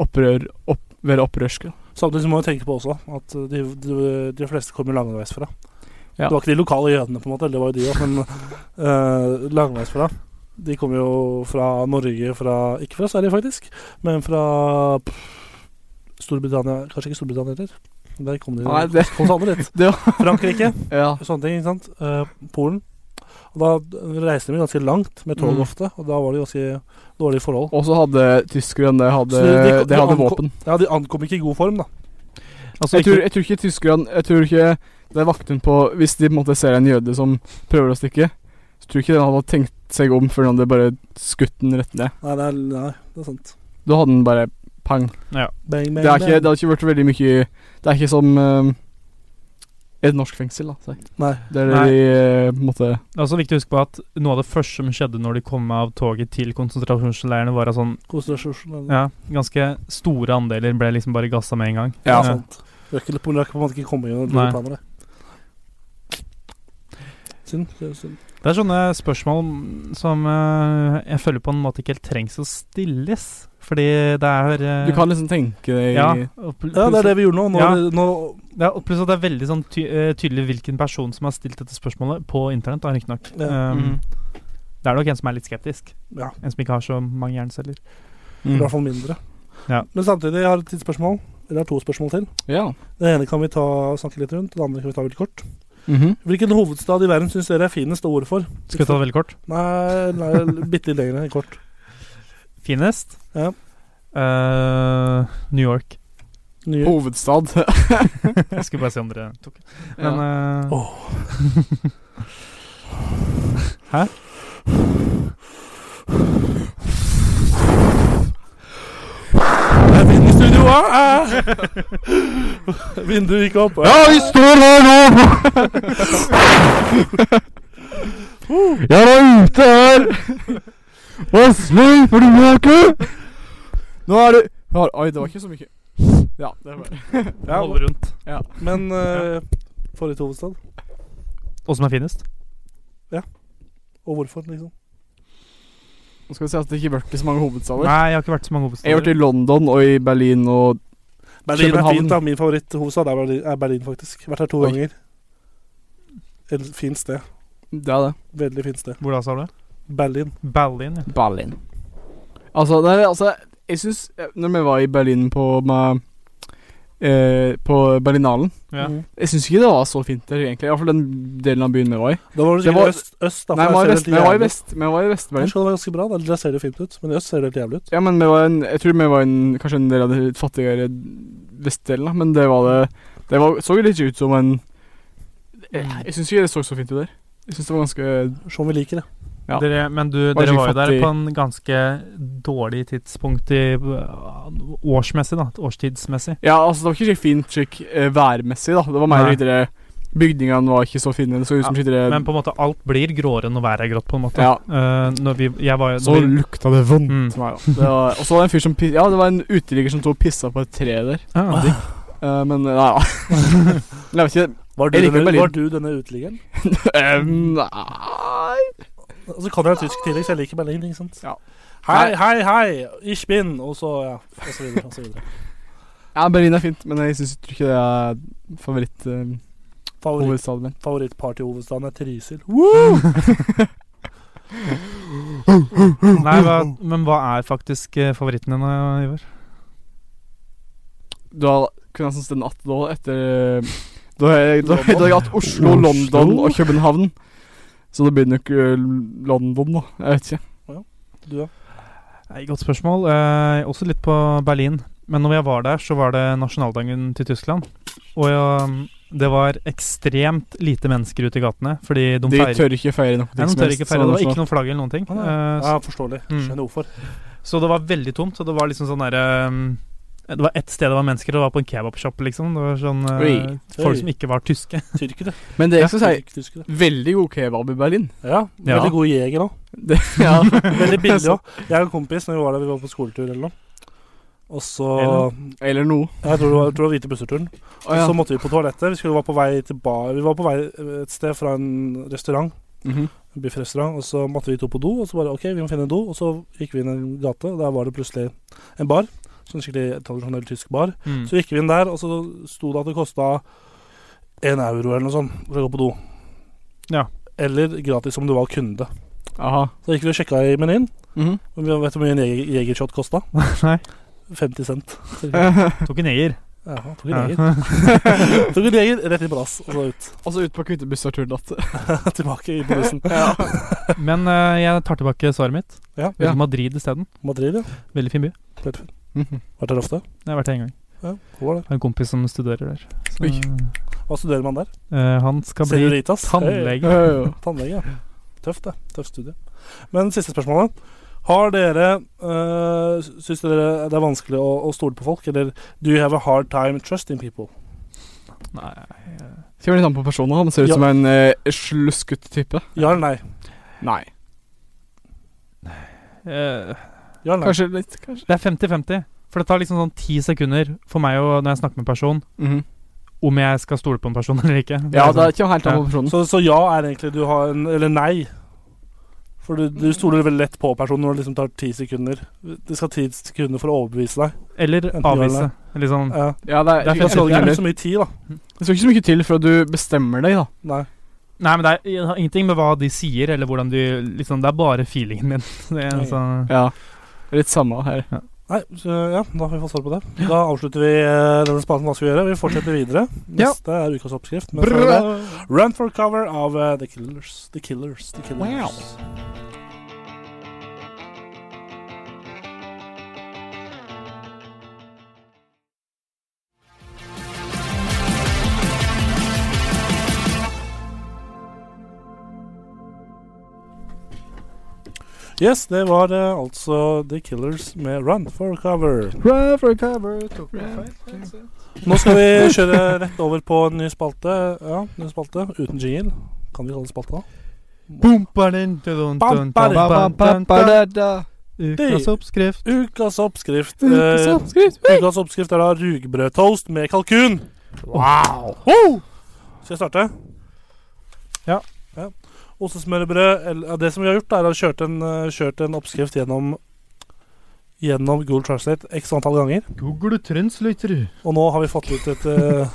Speaker 4: opprør, opp, være opprørske.
Speaker 2: Samtidig så må vi tenke på også at eh, de, de, de fleste kom jo langveisfra.
Speaker 4: Ja.
Speaker 2: Det var ikke de lokale jødene, på en måte, det var jo de òg, men eh, langveisfra. De kom jo fra Norge, fra Ikke fra Sverige, faktisk, men fra pff, Storbritannia Kanskje ikke Storbritannia heller. Der kom de
Speaker 4: Nei, det
Speaker 2: kom seg aldri dit.
Speaker 4: det
Speaker 2: Frankrike,
Speaker 4: Ja.
Speaker 2: sånne ting. ikke sant? Eh, Polen. Og da reiste vi ganske langt med tog
Speaker 4: Mm.
Speaker 2: ofte, og da var det ganske dårlige forhold.
Speaker 4: Og så hadde tyskerne hadde,
Speaker 2: Så
Speaker 4: de,
Speaker 2: de- altså, de
Speaker 4: hadde
Speaker 2: ankom-
Speaker 4: våpen.
Speaker 2: Ja, de ankom ikke i god form, da.
Speaker 4: jeg, tror, jeg tror ikke tyskerne Jeg tror ikke det er vakten på Hvis de på en måte ser en jøde som prøver å stikke, så tror jeg ikke den hadde tenkt seg om før den hadde bare skutt den rett ned.
Speaker 2: Nei, det er, nei, det er sant.
Speaker 4: Da hadde den bare pang.
Speaker 3: Ja.
Speaker 2: Bang, bang,
Speaker 4: Det, er ikke,
Speaker 2: bang.
Speaker 4: det hadde ikke vært veldig mye Det er ikke som eh, et norsk fengsel, da. Si.
Speaker 2: Nei.
Speaker 4: Der
Speaker 3: Nei.
Speaker 4: de eh, på en måte
Speaker 3: Det er også viktig å huske på at noe av det første som skjedde når de kom av toget til konsentrasjonsleirene, var at sånn
Speaker 2: Konsentrasjon.
Speaker 3: ja, ganske store andeler ble liksom bare gassa med en gang.
Speaker 2: Ja.
Speaker 3: Eh,
Speaker 2: Sant. Du er ikke, på en måte ikke kommet gjennom
Speaker 3: Nei.
Speaker 2: dine planer, det. Synd. Det er synd.
Speaker 3: Det er sånne spørsmål som eh, jeg føler på en måte ikke helt trengs å stilles. Fordi det er eh,
Speaker 4: Du kan liksom tenke deg
Speaker 3: ja, og pl-
Speaker 2: Ja, Mm. det er det vi gjorde nå. Nå,
Speaker 3: Ja.
Speaker 2: nå
Speaker 3: Ja, og pluss at det er veldig sånn ty eh, tydelig hvilken person som har stilt dette spørsmålet på internett, da, riktignok.
Speaker 2: Ja.
Speaker 3: Um,
Speaker 4: Mm.
Speaker 3: Det er nok en som er litt skeptisk.
Speaker 2: Ja.
Speaker 3: En som ikke har så mange hjerneceller.
Speaker 2: I
Speaker 4: mm.
Speaker 2: hvert fall mindre.
Speaker 3: Ja.
Speaker 2: Men samtidig, jeg har et tidsspørsmål. Eller jeg har to spørsmål til.
Speaker 4: Ja.
Speaker 2: Det ene kan vi ta, snakke litt rundt, det andre kan vi ta veldig kort.
Speaker 4: Mhm.
Speaker 2: Hvilken hovedstad i verden syns dere er finest å ord for?
Speaker 3: Skal vi ta det veldig kort?
Speaker 2: Nei, nei bitte litt lenger enn kort.
Speaker 3: Finest?
Speaker 2: Ja.
Speaker 3: Eh, New York.
Speaker 2: Nye.
Speaker 4: Hovedstad.
Speaker 3: Jeg skulle bare se om dere tok det. Men
Speaker 4: Ja.
Speaker 3: eh,
Speaker 2: Nei, Vinduet i studio ah! Vinduet gikk opp. Ja, vi
Speaker 4: Nå er det har, Oi, det var ikke så mye. Ja, det var
Speaker 3: Holde rundt.
Speaker 2: Men eh, forrige hovedstad?
Speaker 3: Og som er finest?
Speaker 2: Og hvorfor, liksom?
Speaker 4: Nå skal vi se at det ikke ble så mange hovedstader.
Speaker 3: Nei, jeg har ikke vært så mange
Speaker 4: Jeg har vært
Speaker 3: hovedstader.
Speaker 4: i London og i Berlin og
Speaker 2: Berlin er
Speaker 4: København.
Speaker 2: fint, da. Min favoritthovedstad er Berlin, er Berlin, faktisk. Vært her to
Speaker 4: Oi.
Speaker 2: ganger. Et fint sted.
Speaker 4: Det er det.
Speaker 2: Veldig fint sted.
Speaker 3: Hvor da, sa du?
Speaker 2: Berlin.
Speaker 3: Berlin, ja.
Speaker 4: Berlin. Altså, nei, altså jeg syns Når vi var i Berlin på med, eh, På Berlinalen
Speaker 3: Ja.
Speaker 2: Mm.
Speaker 4: Jeg syns ikke det var så fint der, egentlig. Iallfall den delen av byen vi var i.
Speaker 2: Da var det
Speaker 4: Det
Speaker 2: sikkert
Speaker 4: var-
Speaker 2: øst, øst da.
Speaker 4: Nei, vi
Speaker 2: for
Speaker 4: var i
Speaker 2: der
Speaker 4: vest,
Speaker 2: ser det
Speaker 4: vi
Speaker 2: helt
Speaker 4: var i,
Speaker 2: jævlig ut.
Speaker 4: vest, vi var i
Speaker 2: Her
Speaker 4: Vest-Berlin.
Speaker 2: skal det være ganske bra, da. Der ser det fint ut. Men i øst ser det helt jævlig ut.
Speaker 4: Ja, men vi var en, jeg tror vi var en, kanskje en del av den litt fattigere vestdelen, da. Men det var det Det var, så jo litt ut som en Jeg, jeg syns ikke det så så fint ut der. Jeg syns det var ganske
Speaker 2: Som vi liker det.
Speaker 4: Ja.
Speaker 3: Dere, men du,
Speaker 4: Var
Speaker 3: dere
Speaker 4: skikkelig
Speaker 3: var jo der
Speaker 4: fattig.
Speaker 3: på en ganske dårlig tidspunkt i uh, årsmessig, da. Årstidsmessig.
Speaker 4: Ja, altså, det var ikke så fint slik eh, værmessig, da. Det var mer
Speaker 3: Nei.
Speaker 4: litt det- Bygningene var ikke så fine. Det så ut som
Speaker 3: Ja,
Speaker 4: skikkelig det-
Speaker 3: Men på en måte alt blir gråere når været er grått, på en måte.
Speaker 4: Eh, Ja.
Speaker 3: Eh, når vi, jeg var,
Speaker 4: Så
Speaker 3: når vi,
Speaker 4: lukta det vondt.
Speaker 3: Mm.
Speaker 4: Nei, da. Det var, og så var det en fyr som pi- Ja, det var en uteligger som sto og pissa på et tre der.
Speaker 3: Ah, digg.
Speaker 4: Eh, men nei da. Men jeg vet ikke
Speaker 2: Var du,
Speaker 4: Jeg liker
Speaker 2: denne,
Speaker 4: Berlin.
Speaker 2: var du denne uteliggeren?
Speaker 4: eh, Nei
Speaker 2: Og så Altså, kan jeg tysk tidlig, så jeg liker Berlin, ikke sant?
Speaker 4: Ja.
Speaker 2: Hei, hei, hei! Ich bin Og så, ja. Og så videre. Og så videre.
Speaker 4: Ja, Berlin er fint, men jeg syns ikke det er favoritthovedstaden
Speaker 2: Favoritt,
Speaker 4: min.
Speaker 2: Favorittpartyhovedstaden er Trysil. Uh,
Speaker 3: Nei, hva, men hva er faktisk eh, favoritten din, eh, Ivar?
Speaker 4: Da kunne jeg sånn den natt da etter eh, Da har jeg, da, da har jeg hatt Oslo, London og København. Så da blir det nok eh, London, da. Jeg vet ikke.
Speaker 2: Du, ja.
Speaker 3: Nei, Godt spørsmål. Eh, også litt på Berlin. Men når jeg var der, så var det nasjonaldagen til Tyskland. Og ja, det var ekstremt lite mennesker ute i gatene, fordi de,
Speaker 4: De
Speaker 3: feirer
Speaker 4: tør liksom sånn ikke feire noe.
Speaker 3: Nei, de tør ikke feire. Det var ikke noen flagg eller noen ting.
Speaker 2: Å, nei.
Speaker 3: Eh,
Speaker 2: ja forståelig.
Speaker 3: Mm.
Speaker 2: Skjønner hvorfor.
Speaker 3: Så det var veldig tomt, og det var liksom sånn derre um, Det var ett sted det var mennesker, og det var på en kebabshop, liksom. Det var sånn uh,
Speaker 4: Oi.
Speaker 3: folk
Speaker 2: Oi.
Speaker 3: som ikke var tyske.
Speaker 2: Tyrkere.
Speaker 4: Men det jeg skal si,
Speaker 2: Tyrk- Tyskere.
Speaker 4: veldig god kebab i Berlin.
Speaker 2: Ja.
Speaker 3: Ja.
Speaker 2: Veldig god jeger òg.
Speaker 4: Det, ja.
Speaker 2: Veldig billig òg. Jeg og en kompis, når vi var der, vi var på skoletur eller noe. Og så
Speaker 3: Eller?
Speaker 4: Eller noe.
Speaker 2: Jeg tror det var, jeg tror det var Hvite busserturen.
Speaker 4: Å, ja.
Speaker 2: Så måtte vi på toalettet. Vi skulle være på vei til bar Vi var på vei et sted fra en restaurant.
Speaker 4: Mhm.
Speaker 2: En biffrestaurant. Og så måtte vi to på do, og så bare OK, vi må finne en do. Og så gikk vi inn i en gate, og der var det plutselig en bar. Sånn skikkelig tradisjonell tysk bar.
Speaker 3: Mm.
Speaker 2: Så gikk vi inn der, og så sto det at det kosta én euro eller noe sånt for å gå på do.
Speaker 3: Ja.
Speaker 2: Eller gratis om du var kunde.
Speaker 4: Aha.
Speaker 2: Så gikk vi og sjekka i menyen.
Speaker 4: Mhm.
Speaker 2: Og vi vet du hvor mye en jeger- jegershot kosta?
Speaker 3: Nei,
Speaker 2: 50 cent.
Speaker 4: Altså,
Speaker 3: tok en eier.
Speaker 2: Jaha, tok en egen. tok en egen rett i brass, og så ut.
Speaker 4: Og så ut på knyttebusser turdatt.
Speaker 2: Tilbake i bussen.
Speaker 4: ja.
Speaker 3: Men eh, jeg tar tilbake svaret mitt.
Speaker 2: Ja.
Speaker 3: Velger
Speaker 4: Ja.
Speaker 3: Madrid isteden.
Speaker 2: Madrid, ja.
Speaker 3: Veldig fin by.
Speaker 4: Mhm.
Speaker 2: Vært der ofte?
Speaker 3: Jeg har vært der en gang.
Speaker 2: Ja, hvor var det?
Speaker 3: Har en kompis som studerer der. Så,
Speaker 4: Oi.
Speaker 2: Hva studerer man der?
Speaker 3: eh, han skal bli
Speaker 2: Cellulitas.
Speaker 3: tannlege.
Speaker 4: Ja, ja, ja.
Speaker 2: Tannlege, ja. Tøft, det. Tøft studie. Men siste spørsmålet. Har dere øh, Syns dere det er vanskelig å, å stole på folk? Eller do you have a hard time trusting people?
Speaker 3: Nei,
Speaker 4: Skal vi litt an på personen. Han ser ut
Speaker 2: Ja.
Speaker 4: som en eh, sluskete type.
Speaker 2: Ja eller nei?
Speaker 4: Nei.
Speaker 3: eh,
Speaker 2: Ja eller nei?
Speaker 4: Kanskje litt, kanskje.
Speaker 3: det er 50-50. For det tar liksom sånn ti sekunder for meg å, når jeg snakker med en person, om jeg skal stole på en person eller ikke.
Speaker 4: Mhm.
Speaker 3: Det
Speaker 4: Ja,
Speaker 3: er
Speaker 4: det
Speaker 3: sånn-
Speaker 4: er ikke helt an på personen.
Speaker 2: Så, så ja er egentlig du har en Eller nei. For du, du stoler veldig lett på personen når det liksom tar ti sekunder. Det skal ti sekunder for å overbevise deg.
Speaker 3: Eller
Speaker 2: Enten ja
Speaker 3: avvise.
Speaker 2: eller
Speaker 3: Eller sånn
Speaker 2: Ja.
Speaker 4: Ja, det er,
Speaker 3: Det
Speaker 4: det
Speaker 2: Det
Speaker 3: er fint.
Speaker 4: skal
Speaker 2: skal
Speaker 4: det
Speaker 2: ikke
Speaker 4: ikke
Speaker 2: så mye tid, da.
Speaker 4: det skal ikke så mye til før du bestemmer deg, da.
Speaker 2: Nei.
Speaker 3: Nei, men det er det har ingenting med hva de sier, eller hvordan de liksom, Det er bare feelingen min. Det er,
Speaker 2: Ja.
Speaker 3: altså,
Speaker 4: Ja. Litt samme her.
Speaker 2: Nei, så ja, da har vi fått svar på det. Da avslutter vi eh, denne spalten. Hva skal vi gjøre? Vi fortsetter videre.
Speaker 3: Ja.
Speaker 2: Neste er ukas oppskrift. Men før det, Run for cover av eh, The Killers. The Killers. The Killers. Yes, det var eh, altså The Killers med Run for cover. Nå skal vi kjøre rett over på en ny spalte. Ja, ny spalte uten jingle. Kan vi kalle det spalte, da?
Speaker 4: Eh,
Speaker 3: Ukas oppskrift.
Speaker 2: Ukas oppskrift. Ukas oppskrift, Ukas oppskrift er da rugbrødtoast med kalkun. Wow! Skal jeg starte?
Speaker 3: Ja.
Speaker 2: ja. Ostesmørbrød eller- ja, Det som vi har gjort, er å kjørt en, eh, kjørt en oppskrift gjennom Gjennom Google Translate x antall ganger.
Speaker 3: Google translator.
Speaker 2: Og nå har vi fått ut et eh,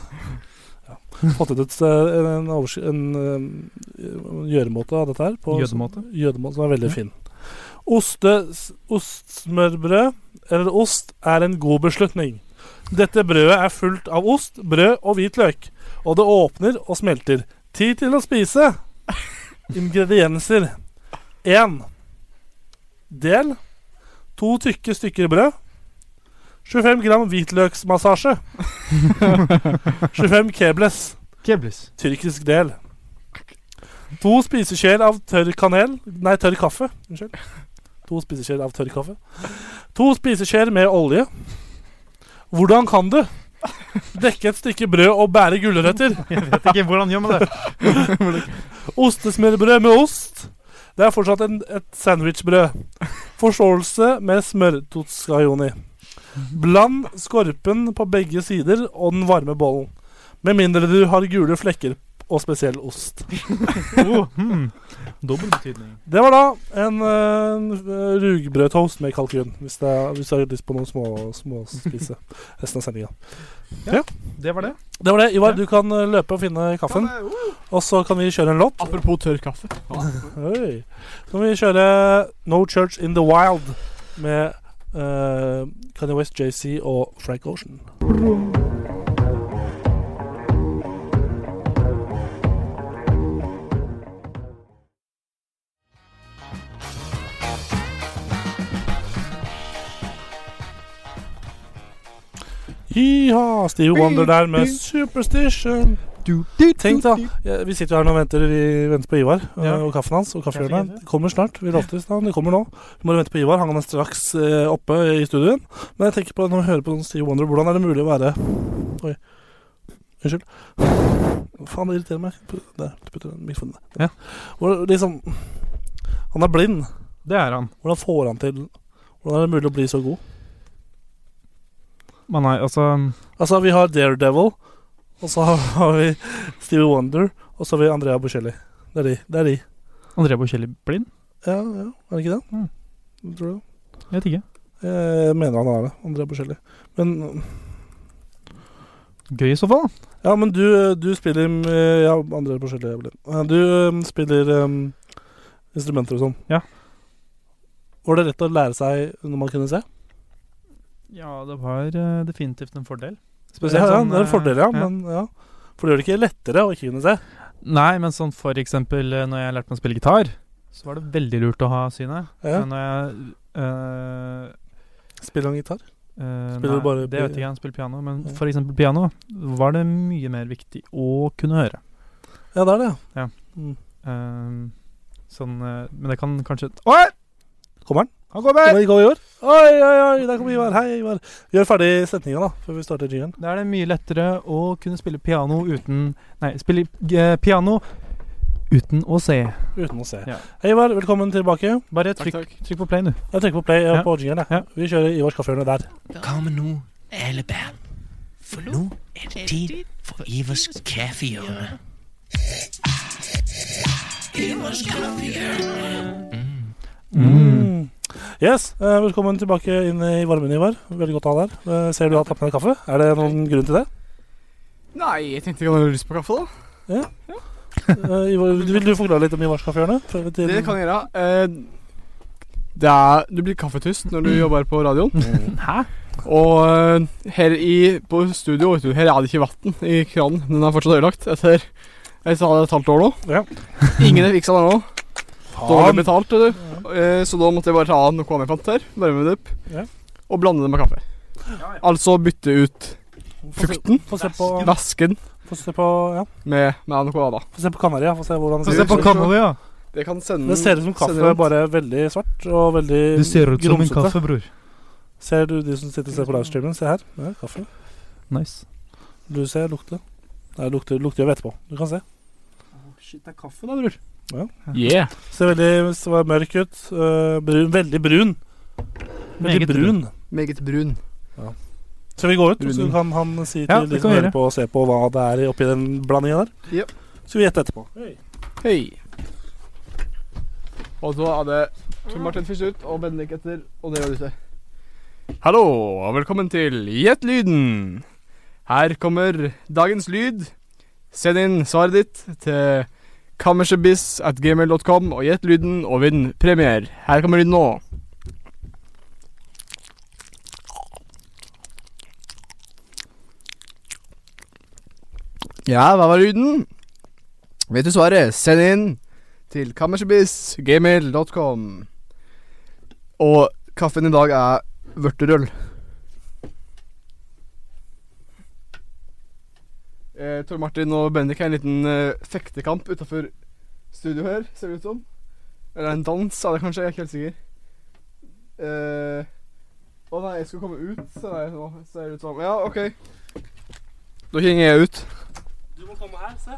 Speaker 2: ja, Fått ut et, eh, en, overs- en eh, gjøremåte av dette her. på-
Speaker 3: Jødemåte.
Speaker 2: Jødemåte som er veldig fin. Oste, s- ostsmørbrød, eller ost, er en god beslutning. Dette brødet er fullt av ost, brød og hvitløk, og det åpner og smelter. Tid til å spise. Ingredienser. 1. Del. To tykke stykker brød. 25 gram hvitløksmassasje. 25 kebles.
Speaker 3: Keblis.
Speaker 2: Tyrkisk del. To spiseskjeer av tørr kanel Nei, tørr kaffe. Unnskyld. To spiseskjeer av tørr kaffe. To spiseskjeer med olje. Hvordan kan du? Dekke et stykke brød og bære gulrøtter.
Speaker 3: Jeg vet ikke hvordan gjør man det.
Speaker 2: Ostesmørbrød med ost. Det er fortsatt en, et sandwichbrød. Forståelse med smørtotskajoni. Bland skorpen på begge sider og den varme bollen. Med mindre du har gule flekker og spesiell ost.
Speaker 3: Oh, hmm. Dobbel betydning.
Speaker 2: Det var da en uh, rugbrødtoast med kalkun. Hvis det er- hvis du har lyst på noen små, små spise resten av sendinga.
Speaker 3: Det var det.
Speaker 2: Det var det. Ivar,
Speaker 3: Ja.
Speaker 2: du kan eh, løpe og finne kaffen. Og så kan vi kjøre en låt.
Speaker 4: Apropos tørr kaffe.
Speaker 2: Oi. Så kan vi kjøre No Church In The Wild med eh, Kanye West, JC og Frank Ocean. Jiha! Steve Wonder der med Superstition. Tenk da, ja, vi sitter jo her nå og venter, vi venter på Ivar eh,
Speaker 3: Ja.
Speaker 2: og kaffen hans. Og
Speaker 3: Kanskje
Speaker 2: kaffehjørnet
Speaker 3: ikke.
Speaker 2: kommer snart. Vi lovte i stad, det kommer nå. Vi må vente på Ivar. Han er straks eh, oppe i studioen. Men jeg tenker på når vi hører på sånn Steve Wonder, hvordan er det mulig å være Oi. Unnskyld. Faen, det irriterer meg. Pu- Der, du putter den mikrofonen der.
Speaker 3: Ja.
Speaker 2: Hvor, liksom, han er blind.
Speaker 3: Det er han.
Speaker 2: Hvordan får han til Hvordan er det mulig å bli så god?
Speaker 3: Man er altså
Speaker 2: Altså, vi har Daredevil, og så har vi Stevie Wonder, og så har vi Andrea Bocelli. Det er de. Det er de.
Speaker 3: André Bocelli blind?
Speaker 2: Ja, ja, er det ikke det?
Speaker 3: Mm.
Speaker 2: Tror du?
Speaker 3: Jeg vet ikke.
Speaker 2: Jeg mener han er det. Andrea Bocelli. Men
Speaker 3: Gøy i så fall. da.
Speaker 2: Ja, men du, du spiller eh, Ja, Andrea Bocelli er blind. Eh, Du eh, spiller eh, instrumenter og sånn.
Speaker 3: Ja.
Speaker 2: Var det rett å lære seg når man kunne se?
Speaker 3: Ja, det var eh, definitivt en fordel.
Speaker 2: Ja,
Speaker 3: Spesielt
Speaker 2: ja,
Speaker 3: sånn,
Speaker 2: det er en
Speaker 3: eh,
Speaker 2: fordel, ja.
Speaker 3: ja.
Speaker 2: Men, ja. For det gjør det ikke lettere å ikke kunne se.
Speaker 3: Nei, men sånn for eksempel eh, når jeg lærte meg å spille gitar, så var det veldig lurt å ha synet.
Speaker 2: Ja.
Speaker 3: Men når jeg eh,
Speaker 2: Spiller han gitar?
Speaker 3: eh,
Speaker 2: Spiller du
Speaker 3: nei,
Speaker 2: bare
Speaker 3: Det
Speaker 2: pi-
Speaker 3: vet ikke jeg, jeg spiller piano. Men
Speaker 2: Ja.
Speaker 3: for eksempel piano var det mye mer viktig å kunne høre.
Speaker 2: Ja, det er det.
Speaker 3: Ja.
Speaker 2: Mm.
Speaker 3: Eh, sånn eh, Men det kan kanskje Oi!
Speaker 2: Kommer han?
Speaker 3: Han kommer!
Speaker 2: Kommer Ivar i år? Oi, oi, oi, der kommer Ivar. Hei, Ivar. Gjør ferdig setninga, da, før vi starter jingeren.
Speaker 3: Da er det mye lettere å kunne spille piano uten Nei, spille eh, piano uten å se.
Speaker 2: Uten å se.
Speaker 3: Ja.
Speaker 2: Hei, Ivar. Velkommen tilbake.
Speaker 3: Bare
Speaker 4: Takk,
Speaker 3: trykk,
Speaker 4: takk.
Speaker 3: trykk på play, du.
Speaker 2: Jeg trykker på play eh,
Speaker 3: Ja.
Speaker 2: på jingeren.
Speaker 3: Ja.
Speaker 2: jeg. Vi kjører Ivars kaffehjørne der.
Speaker 9: Kom nu, alle barn. For nu er det tid for Ivers kaffehjørne. Ivers kaffehjørne.
Speaker 2: Mm. Yes, eh, Velkommen tilbake inn i varmen, Ivar. Veldig godt å ha deg her. Eh, ser du har tatt med deg kaffe? Er det noen grunn til det?
Speaker 4: Nei, jeg tenkte ikke han hadde lyst på kaffe, da.
Speaker 2: Eh, Ivar, vil du forklare litt om Ivars kaffehjørne? før vi til-
Speaker 4: Det kan jeg gjøre. Eh, det er, du blir kaffetust når du jobber på radioen.
Speaker 3: Hæ?
Speaker 4: Og eh, her i, på studio vet du, Her er det ikke vann i kranen. Den er fortsatt ødelagt etter jeg sa det et halvt år nå.
Speaker 2: Ja.
Speaker 4: Ingen har fiksa den nå. Dårlig
Speaker 2: Faen.
Speaker 4: betalt, vet du. Eh, så da måtte jeg bare ta noe jeg fant her, varme det opp,
Speaker 2: Ja.
Speaker 4: og blande det med kaffe. Altså bytte ut
Speaker 2: Få se-
Speaker 4: fukten.
Speaker 2: Få se på,
Speaker 4: væsken
Speaker 2: få se på, ja.
Speaker 4: med, med noe annet.
Speaker 2: få se på Kanaria. Få se hvordan det
Speaker 4: Få
Speaker 2: ser
Speaker 4: se
Speaker 2: ut.
Speaker 4: på Kanaria.
Speaker 3: ja.
Speaker 4: Det kan sende
Speaker 2: Det ser ut som
Speaker 4: sende
Speaker 2: kaffe,
Speaker 4: rundt.
Speaker 2: bare veldig svart og veldig
Speaker 3: Du ser ut som en
Speaker 2: grumsete.
Speaker 3: kaffe, bror.
Speaker 2: Ser du de som sitter og ser på livestreamen? Se her. Det er kaffe.
Speaker 3: Nice.
Speaker 2: Du ser, lukter. Nei, lukter lukter jo etterpå. Du kan se.
Speaker 3: Shit, det er kaffe da, bror.
Speaker 4: Yeah.
Speaker 2: Ser veldig ser mørk ut. øh, brun, veldig brun. Veldig
Speaker 3: Meget
Speaker 2: brun.
Speaker 4: Meget brun.
Speaker 2: Skal vi gå ut, så
Speaker 4: Brun.
Speaker 2: kan han si til
Speaker 3: Ja, det
Speaker 2: de
Speaker 3: kan
Speaker 2: som
Speaker 3: vi
Speaker 2: hører
Speaker 3: gjøre.
Speaker 2: på, og se på hva det er oppi den blandinga der?
Speaker 4: Jep.
Speaker 2: Så skal vi gjette etterpå.
Speaker 4: Hei. Og så er det Tor Martin først ut, og Bendik etter, og dere ute. Hallo, og velkommen til Gjett lyden. Her kommer dagens lyd. Send inn svaret ditt til kammersjebiss.gmail.com og gjett lyden og vinn premier. Her kommer lyden nå. Ja, hva var lyden? Vet du svaret, send inn til kammersjebissgmail.com. Og kaffen i dag er vørterøl. Eh, Tor Martin og Bendik har en liten eh, fektekamp utafor studio her, ser det ut som. Eller en dans, er det kanskje. Jeg er ikke helt sikker. Eh, Å nei, jeg skulle komme ut, ser jeg nå. Ser det ut som. Ja, OK. Da henger jeg ut.
Speaker 2: Du må komme her, se.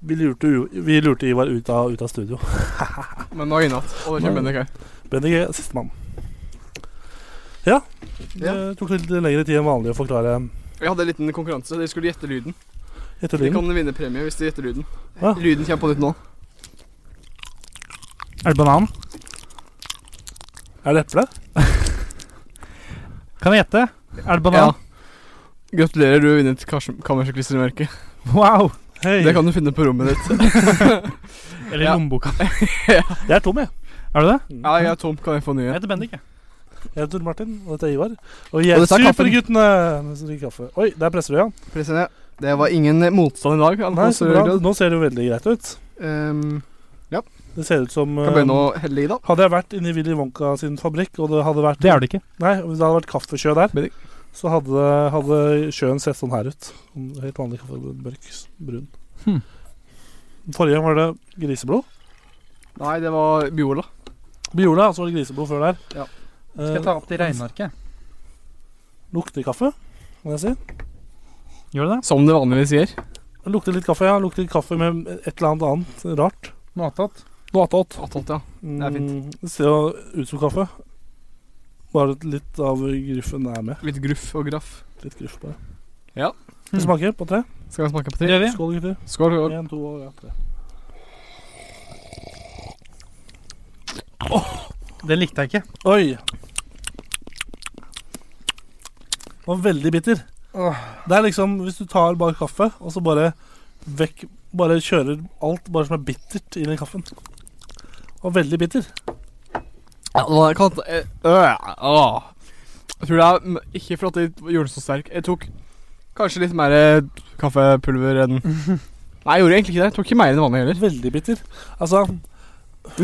Speaker 2: Vi lurte, jo- vi lurte Ivar ut av, ut av studio.
Speaker 4: Men nå er jeg inne igjen. Og da kommer Bendik her.
Speaker 2: Bendik er sistemann. Ja. Det
Speaker 4: Ja.
Speaker 2: tok litt lengre tid enn vanlig å forklare
Speaker 4: Jeg hadde en liten konkurranse. Dere skulle gjette lyden.
Speaker 2: etter
Speaker 4: Dere
Speaker 2: lyden.
Speaker 4: kan vinne premie hvis dere gjetter lyden.
Speaker 2: Ja.
Speaker 4: Lyden kommer på nytt nå.
Speaker 3: Er det banan?
Speaker 2: Er det eple?
Speaker 3: Kan jeg gjette? Er det banan?
Speaker 4: Gratulerer, du har vunnet kars- kammersklistremerke.
Speaker 3: Wow!
Speaker 2: Hei.
Speaker 4: Det kan du finne på rommet ditt.
Speaker 3: Eller
Speaker 4: Ja.
Speaker 3: lommeboka.
Speaker 2: Jeg er tom, jeg.
Speaker 3: Er du det?
Speaker 4: Mm. Ja, jeg er tom. Kan jeg få nye?
Speaker 3: Jeg heter Bendik, jeg.
Speaker 2: Jeg heter Martin, og dette er Ivar. Og jeg
Speaker 4: Og
Speaker 2: er
Speaker 4: dette er kaffen.
Speaker 2: superguttene! Mens de drikker kaffe. Oi, der presser du, ja.
Speaker 4: Presen, ja. Det var ingen motstand i dag. Alfonso
Speaker 2: Nei, så bra.
Speaker 4: Rødgrad.
Speaker 2: Nå ser det jo veldig greit ut.
Speaker 4: Ehm,
Speaker 2: Det ser ut som
Speaker 4: kan
Speaker 2: eh,
Speaker 4: begynne å helle i, da.
Speaker 2: Hadde jeg vært inni Willy Wonka sin fabrikk, og det hadde vært
Speaker 3: Det er du ikke.
Speaker 2: Nei, hvis det hadde vært kaffesjø der,
Speaker 4: Bendik.
Speaker 2: så hadde, hadde sjøen sett sånn her ut. Sånn Helt vanlig kaffe, mørk, brun.
Speaker 4: Hm.
Speaker 3: Hmm.
Speaker 2: Forrige gang var det griseblod.
Speaker 4: Nei, det var Biola.
Speaker 2: Biola, og så var det griseblod før der.
Speaker 4: Ja.
Speaker 2: Eh,
Speaker 3: opp til regnearket?
Speaker 2: Lukter kaffe, må jeg si.
Speaker 3: Gjør du det?
Speaker 4: Som det vanligvis gjør.
Speaker 2: Det Lukter litt kaffe, ja. Det Lukter kaffe med et eller annet annet rart.
Speaker 3: Matat.
Speaker 2: Noe attåt.
Speaker 4: Attåt, ja.
Speaker 2: Mm,
Speaker 4: er fint.
Speaker 2: Det ser jo ut som kaffe. Bare at litt av gruffen er med.
Speaker 4: Litt gruff og graff.
Speaker 2: Litt gruff, bare.
Speaker 4: Ja.
Speaker 2: Det smaker på tre.
Speaker 4: Skal vi smake på tre?
Speaker 3: Det gjør vi.
Speaker 2: Skål, gutter.
Speaker 4: Skål. skål.
Speaker 2: En, to og ja, tre.
Speaker 3: Den likte jeg ikke.
Speaker 2: Oi! Den var veldig bitter. Det er liksom hvis du tar bare kaffe, og så bare vekk Bare kjører alt bare som er bittert, inn i kaffen. Den var veldig bitter.
Speaker 4: Ja, nå har jeg kalt eh, øh, åh. Jeg tror det er m- ikke for at jeg gjorde det så sterk. Jeg tok kanskje litt mer eh, kaffepulver enn Nei, jeg gjorde egentlig ikke det. Jeg tok ikke mer enn vanlig heller.
Speaker 2: Veldig bitter. Altså,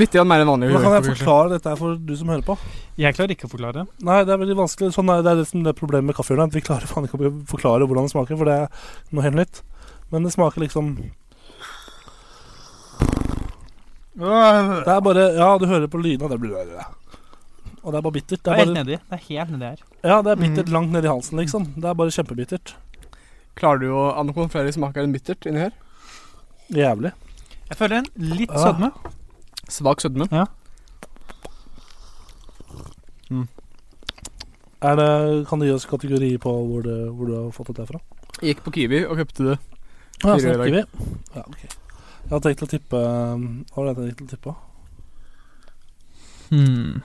Speaker 4: Litt grann mer enn vanlig.
Speaker 2: Hvordan kan jeg
Speaker 4: gjorde
Speaker 2: forklare dette her for du som hører på?
Speaker 3: Jeg klarer ikke å forklare det.
Speaker 2: Nei, det er veldig vanskelig. Sånn er, det er det som det er problemet med kaffehjørnet. at Vi klarer faen ikke å forklare hvordan det smaker, for det er noe helt nytt. Men det smaker liksom Det er bare Ja, du hører på lyden, og det blir Og det er bare bittert.
Speaker 3: Det
Speaker 2: Det er
Speaker 3: er helt Mm.
Speaker 2: bare,
Speaker 3: nedi. Det er helt nedi her.
Speaker 2: ja, det er bittert langt ned i halsen, liksom. Det er bare kjempebittert.
Speaker 4: Klarer du å ankomme flere smaker enn bittert inni her?
Speaker 2: Jævlig.
Speaker 3: Jeg føler en litt
Speaker 2: Ah.
Speaker 3: sødme.
Speaker 4: Svak sødme.
Speaker 3: Ja.
Speaker 2: Er det, kan du gi oss kategori på hvor, det, hvor du har fått dette fra?
Speaker 4: Jeg gikk på Kiwi og kjøpte det.
Speaker 2: Ja,
Speaker 4: Fire i
Speaker 2: så
Speaker 4: dag.
Speaker 2: rekker vi. Ja, ok. Jeg har tenkt å tippe um, Hva var det jeg tenkte å tippe?
Speaker 3: Hmm.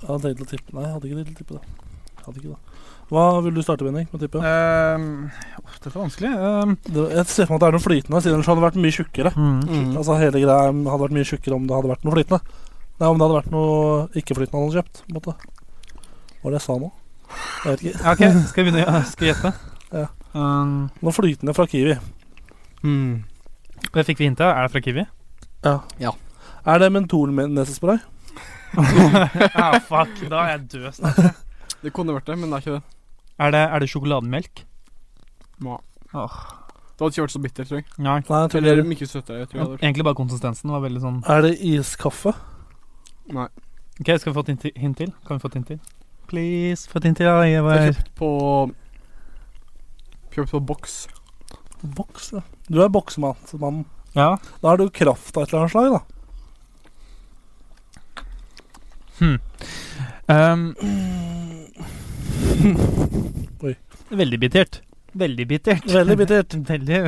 Speaker 2: Jeg hadde tenkt å tippe Nei, jeg hadde ikke tenkt å tippe det. Jeg hadde ikke det. Hva vil du starte, Benning, med å tippe?
Speaker 3: Ehm, åh, dette er vanskelig. Ehm,
Speaker 2: Det, jeg ser for meg at det er noe flytende, siden ellers hadde det vært mye tjukkere.
Speaker 3: mm.
Speaker 2: Altså Hele greia hadde vært mye tjukkere om det hadde vært noe flytende. Nei, om det hadde vært noe ikke-flytende han hadde kjøpt. på en måte. Hva var det jeg sa nå? Jeg vet ikke.
Speaker 3: Ja, Ok, skal vi begynne? Ja, Skal vi gjette?
Speaker 2: Ja.
Speaker 3: Ehm,
Speaker 2: Noe flytende fra Kiwi.
Speaker 4: Mm.
Speaker 3: det fikk vi hintet. Er det fra Kiwi?
Speaker 2: Er det mentolnesespray?
Speaker 3: ah, fuck, da er jeg død snart.
Speaker 4: Det kunne vært det, men det er ikke det.
Speaker 3: Er det, er det sjokolademelk?
Speaker 4: Det hadde ikke vært så bittert, tror jeg.
Speaker 3: Nei.
Speaker 2: Nei, jeg tror
Speaker 4: Eller
Speaker 2: ikke det.
Speaker 4: mye søtere. Jeg tror jeg hadde vært.
Speaker 3: Egentlig bare konsistensen var veldig sånn
Speaker 2: Er det iskaffe?
Speaker 3: Ok, skal vi få et hint til- hint til? Kan vi få et hint til? Please, få et hint til. Ja, jeg
Speaker 4: Jeg har
Speaker 3: var...
Speaker 4: kjøpt på Kjøpt på boks.
Speaker 2: Boks, ja. Du er boksemann.
Speaker 3: ja.
Speaker 2: Da er du kraft av et eller annet slag, da.
Speaker 3: Ehm,
Speaker 2: Oi.
Speaker 3: Veldig bittert. Veldig bittert.
Speaker 2: Veldig bittert.
Speaker 3: Veldig.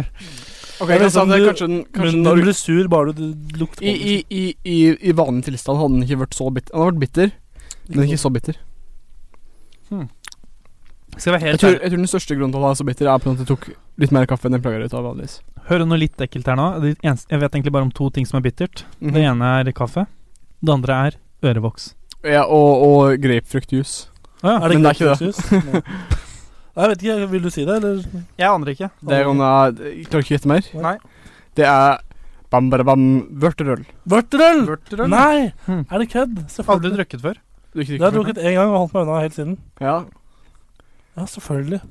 Speaker 4: Ok,
Speaker 2: Jeg
Speaker 4: jeg
Speaker 2: vet
Speaker 4: sa
Speaker 2: om
Speaker 4: det
Speaker 2: du-
Speaker 4: kanskje den, kanskje
Speaker 2: Men
Speaker 4: den
Speaker 2: du blir sur bare du lukter på
Speaker 4: I, i, i, i, I vanlig tilstand hadde den ikke vært så bitter. Den hadde vært bitter, men ikke så bitter.
Speaker 3: Skal jeg være
Speaker 4: Jeg
Speaker 3: helt
Speaker 4: tror,
Speaker 3: ærlig.
Speaker 4: jeg tror den største grunnen til at den er så bitter, er på grunn av at jeg tok litt mer kaffe enn jeg pleier å ta vanligvis.
Speaker 3: Hører noe litt ekkelt her nå. Det eneste, jeg vet egentlig bare om to ting som er bittert.
Speaker 4: Mhm.
Speaker 3: Det ene er kaffe. Det andre er ørevoks.
Speaker 4: Ja, og, og grapefruktjuice.
Speaker 3: Å ja.
Speaker 2: Er det
Speaker 4: Men det er
Speaker 2: ikke
Speaker 4: ikke
Speaker 2: det. Nei, jeg vet ikke. Vil du si det, eller?
Speaker 3: Jeg aner ikke.
Speaker 4: Det er en av Jeg klarer ikke å gjette mer.
Speaker 3: Nei.
Speaker 4: Det er bam, bare bam, vørterøl.
Speaker 2: Vørterøl!
Speaker 4: Vørterøl?
Speaker 2: Mm. Nei!
Speaker 3: Hmm.
Speaker 2: Er det kødd?
Speaker 3: Aldri
Speaker 2: Selvfølgelig.
Speaker 3: drukket før.
Speaker 4: Du ikke
Speaker 2: Det har jeg drukket én gang og holdt meg unna helt siden.
Speaker 4: Ja,
Speaker 2: Ja, selvfølgelig.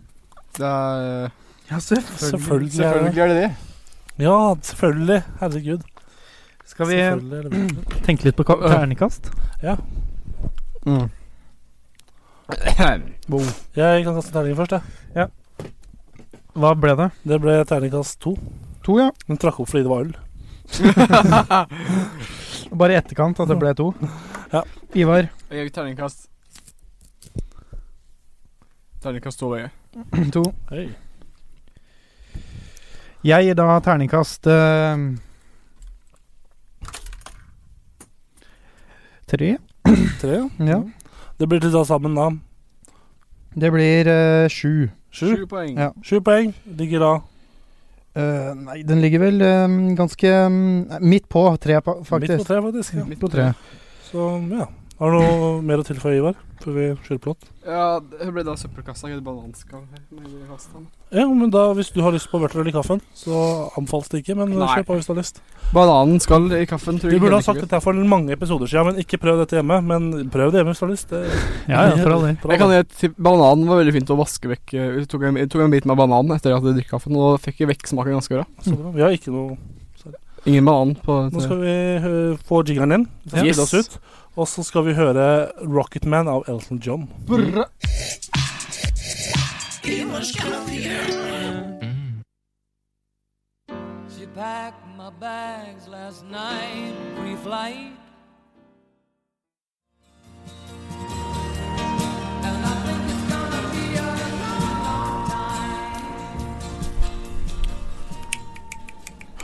Speaker 4: det er eh,
Speaker 3: Ja,
Speaker 2: Selvfølgelig. er det.
Speaker 4: Selvfølgelig er det det.
Speaker 2: Ja, selvfølgelig. Herregud.
Speaker 3: Skal vi
Speaker 2: Selvfølgelig er det vørterøl.
Speaker 3: tenke litt på ka- terningkast?
Speaker 4: Mm.
Speaker 2: Jeg kan kaste terningen først, jeg.
Speaker 3: Hva ble det?
Speaker 2: Det ble terningkast to.
Speaker 3: To, ja.
Speaker 2: Den trakk opp fordi det var øl.
Speaker 3: Bare i etterkant at det ble to.
Speaker 2: Ja.
Speaker 3: Ivar,
Speaker 4: Jeg gir terningkast Terningkast to, jeg.
Speaker 3: to.
Speaker 2: Hei.
Speaker 3: Jeg gir da terningkast eh, Tre.
Speaker 2: Tre, ja.
Speaker 3: Ja.
Speaker 2: Det blir til da sammen da
Speaker 3: Det blir eh, sju.
Speaker 2: sju.
Speaker 4: Sju poeng.
Speaker 3: Ja.
Speaker 2: Sju poeng. Ligger da
Speaker 3: Eh, nei, den ligger vel eh, ganske mm, nei, midt på tre, pa- faktisk.
Speaker 2: midt på tre, faktisk. Ja.
Speaker 3: Midt på tre.
Speaker 2: Så ja. Har du noe mer å tilføye, Ivar? Før vi kjører plott?
Speaker 4: Ja, det ble da søppelkassa. Ikke bananskall her. men kasta den.
Speaker 2: Ja, men da, hvis du har lyst på vørterøl i kaffen, så anbefales det ikke. Men
Speaker 4: Nei.
Speaker 2: kjøp på hvis du har lyst.
Speaker 4: Bananen skal i kaffen, tror
Speaker 2: Vi
Speaker 4: jeg.
Speaker 2: burde ha sagt dette her for mange episoder siden, men ikke prøv dette hjemme. Men prøv det hjemme hvis du har lyst. Det,
Speaker 3: Ja, ja, for all del.
Speaker 4: Jeg kan gi et tipp. Bananen var veldig fint å vaske vekk. eh, Jeg tok en, jeg tok en bit med bananen etter at jeg drikket kaffen, og da fikk jeg vekk smaken ganske bra.
Speaker 2: Så bra. Vi har ikke noe
Speaker 4: Ingen banan på
Speaker 2: Nå skal vi hø- få jingeren inn. Vi skal
Speaker 4: Yes.
Speaker 2: spille oss ut. Og så skal vi høre 'Rocketman' av Elton John.
Speaker 4: Brr.
Speaker 9: She packed my bags last night, pre flight.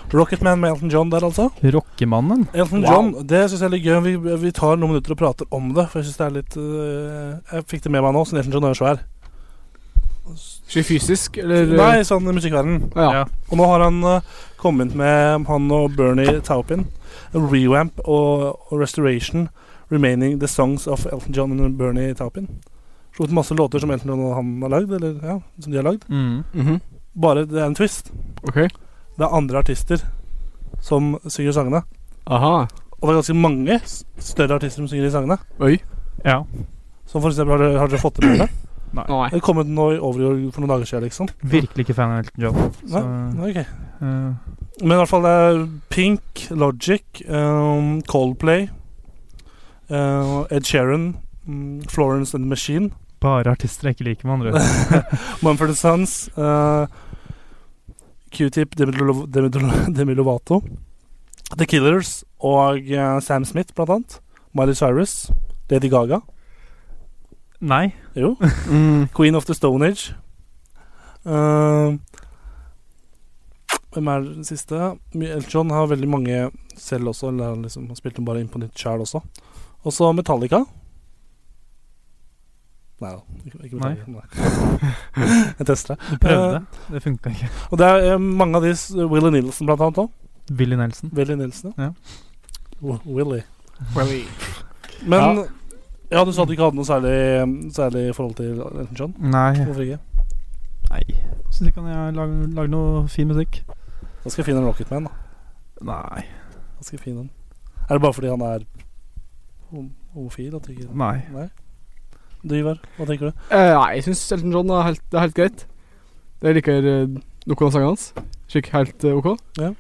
Speaker 2: Rocketman med Elton John der, altså.
Speaker 3: Rockemannen.
Speaker 2: Elton
Speaker 4: Wow.
Speaker 2: John, det syns jeg er litt gøy. Vi, vi tar noen eh, minutter og prater om det, for jeg syns det er litt øh, Jeg fikk det med meg nå, så Elton John er jo svær.
Speaker 4: Ikke fysisk, eller?
Speaker 2: Nei, sånn i musikkverdenen.
Speaker 4: Ja.
Speaker 2: Og nå har han eh, kommet med han og Bernie Taupin. en Rewamp og, og Restoration Remaining The Songs of Elton John and Bernie Taupin. Slo ut masse låter som Elton John og han har lagd, eller ja, som de har lagd.
Speaker 3: Mm.
Speaker 4: Mhm.
Speaker 2: Bare det er en twist.
Speaker 4: Ok.
Speaker 2: Det er andre artister som synger sangene.
Speaker 4: Aha.
Speaker 2: Og det er ganske mange s- større artister som synger de sangene.
Speaker 4: Oi.
Speaker 3: Ja.
Speaker 2: Som for eksempel, har dere, har dere fått det med dere?
Speaker 3: Nei.
Speaker 4: Nei.
Speaker 2: Det kom ut nå i over i år for noen dager siden, liksom.
Speaker 3: Virkelig ikke fan av Elton John. Så,
Speaker 2: Nei, ok.
Speaker 3: eh,
Speaker 2: Men i hvert fall det er Pink, Logic, um, Coldplay, uh, Ed Sheeran, um, Florence and the Machine,
Speaker 3: bare artister jeg ikke liker, med andre.
Speaker 2: Mumford Sons, uh, Q-Tip, Demi Lo- Demi Lo- Demi Lovato, The Killers og uh, Sam Smith, blant annet. Miley Cyrus, Lady Gaga,
Speaker 3: Nei.
Speaker 2: jo.
Speaker 4: Mm.
Speaker 2: Queen of the Stone Age. Uh, hvem er den siste? Elton John har veldig mange selv også. Eller han liksom, han spilte dem bare inn på nytt sjæl også. Og så Metallica. Nei da. Ikke, ikke Metallica. Nei. Jeg tester det. Eh,
Speaker 3: Du prøvde. Det funka ikke.
Speaker 2: Og det er eh, mange av de s- Willie Nilsen blant annet òg.
Speaker 3: Willy Nelson.
Speaker 2: Willie Nilsen,
Speaker 3: Ja.
Speaker 2: Wi- Willie. Men ja. du sa at du ikke hadde noe særlig, særlig forhold til Elton John.
Speaker 3: Nei.
Speaker 2: Hvorfor ikke?
Speaker 3: Nei. Syns ikke han jeg lager, lager noe fin musikk.
Speaker 2: Ganske fin en Rocketman, da.
Speaker 3: Nei.
Speaker 2: Ganske fin han. Er det bare fordi han er hom- homofil? At du ikke
Speaker 3: Nei.
Speaker 2: Nei. Du, Ivar, hva tenker du?
Speaker 4: Eh, nei, jeg syns Elton John er helt, det er helt greit. Jeg liker eh, noen av sangene hans. Skikk helt eh, OK.
Speaker 2: Ja.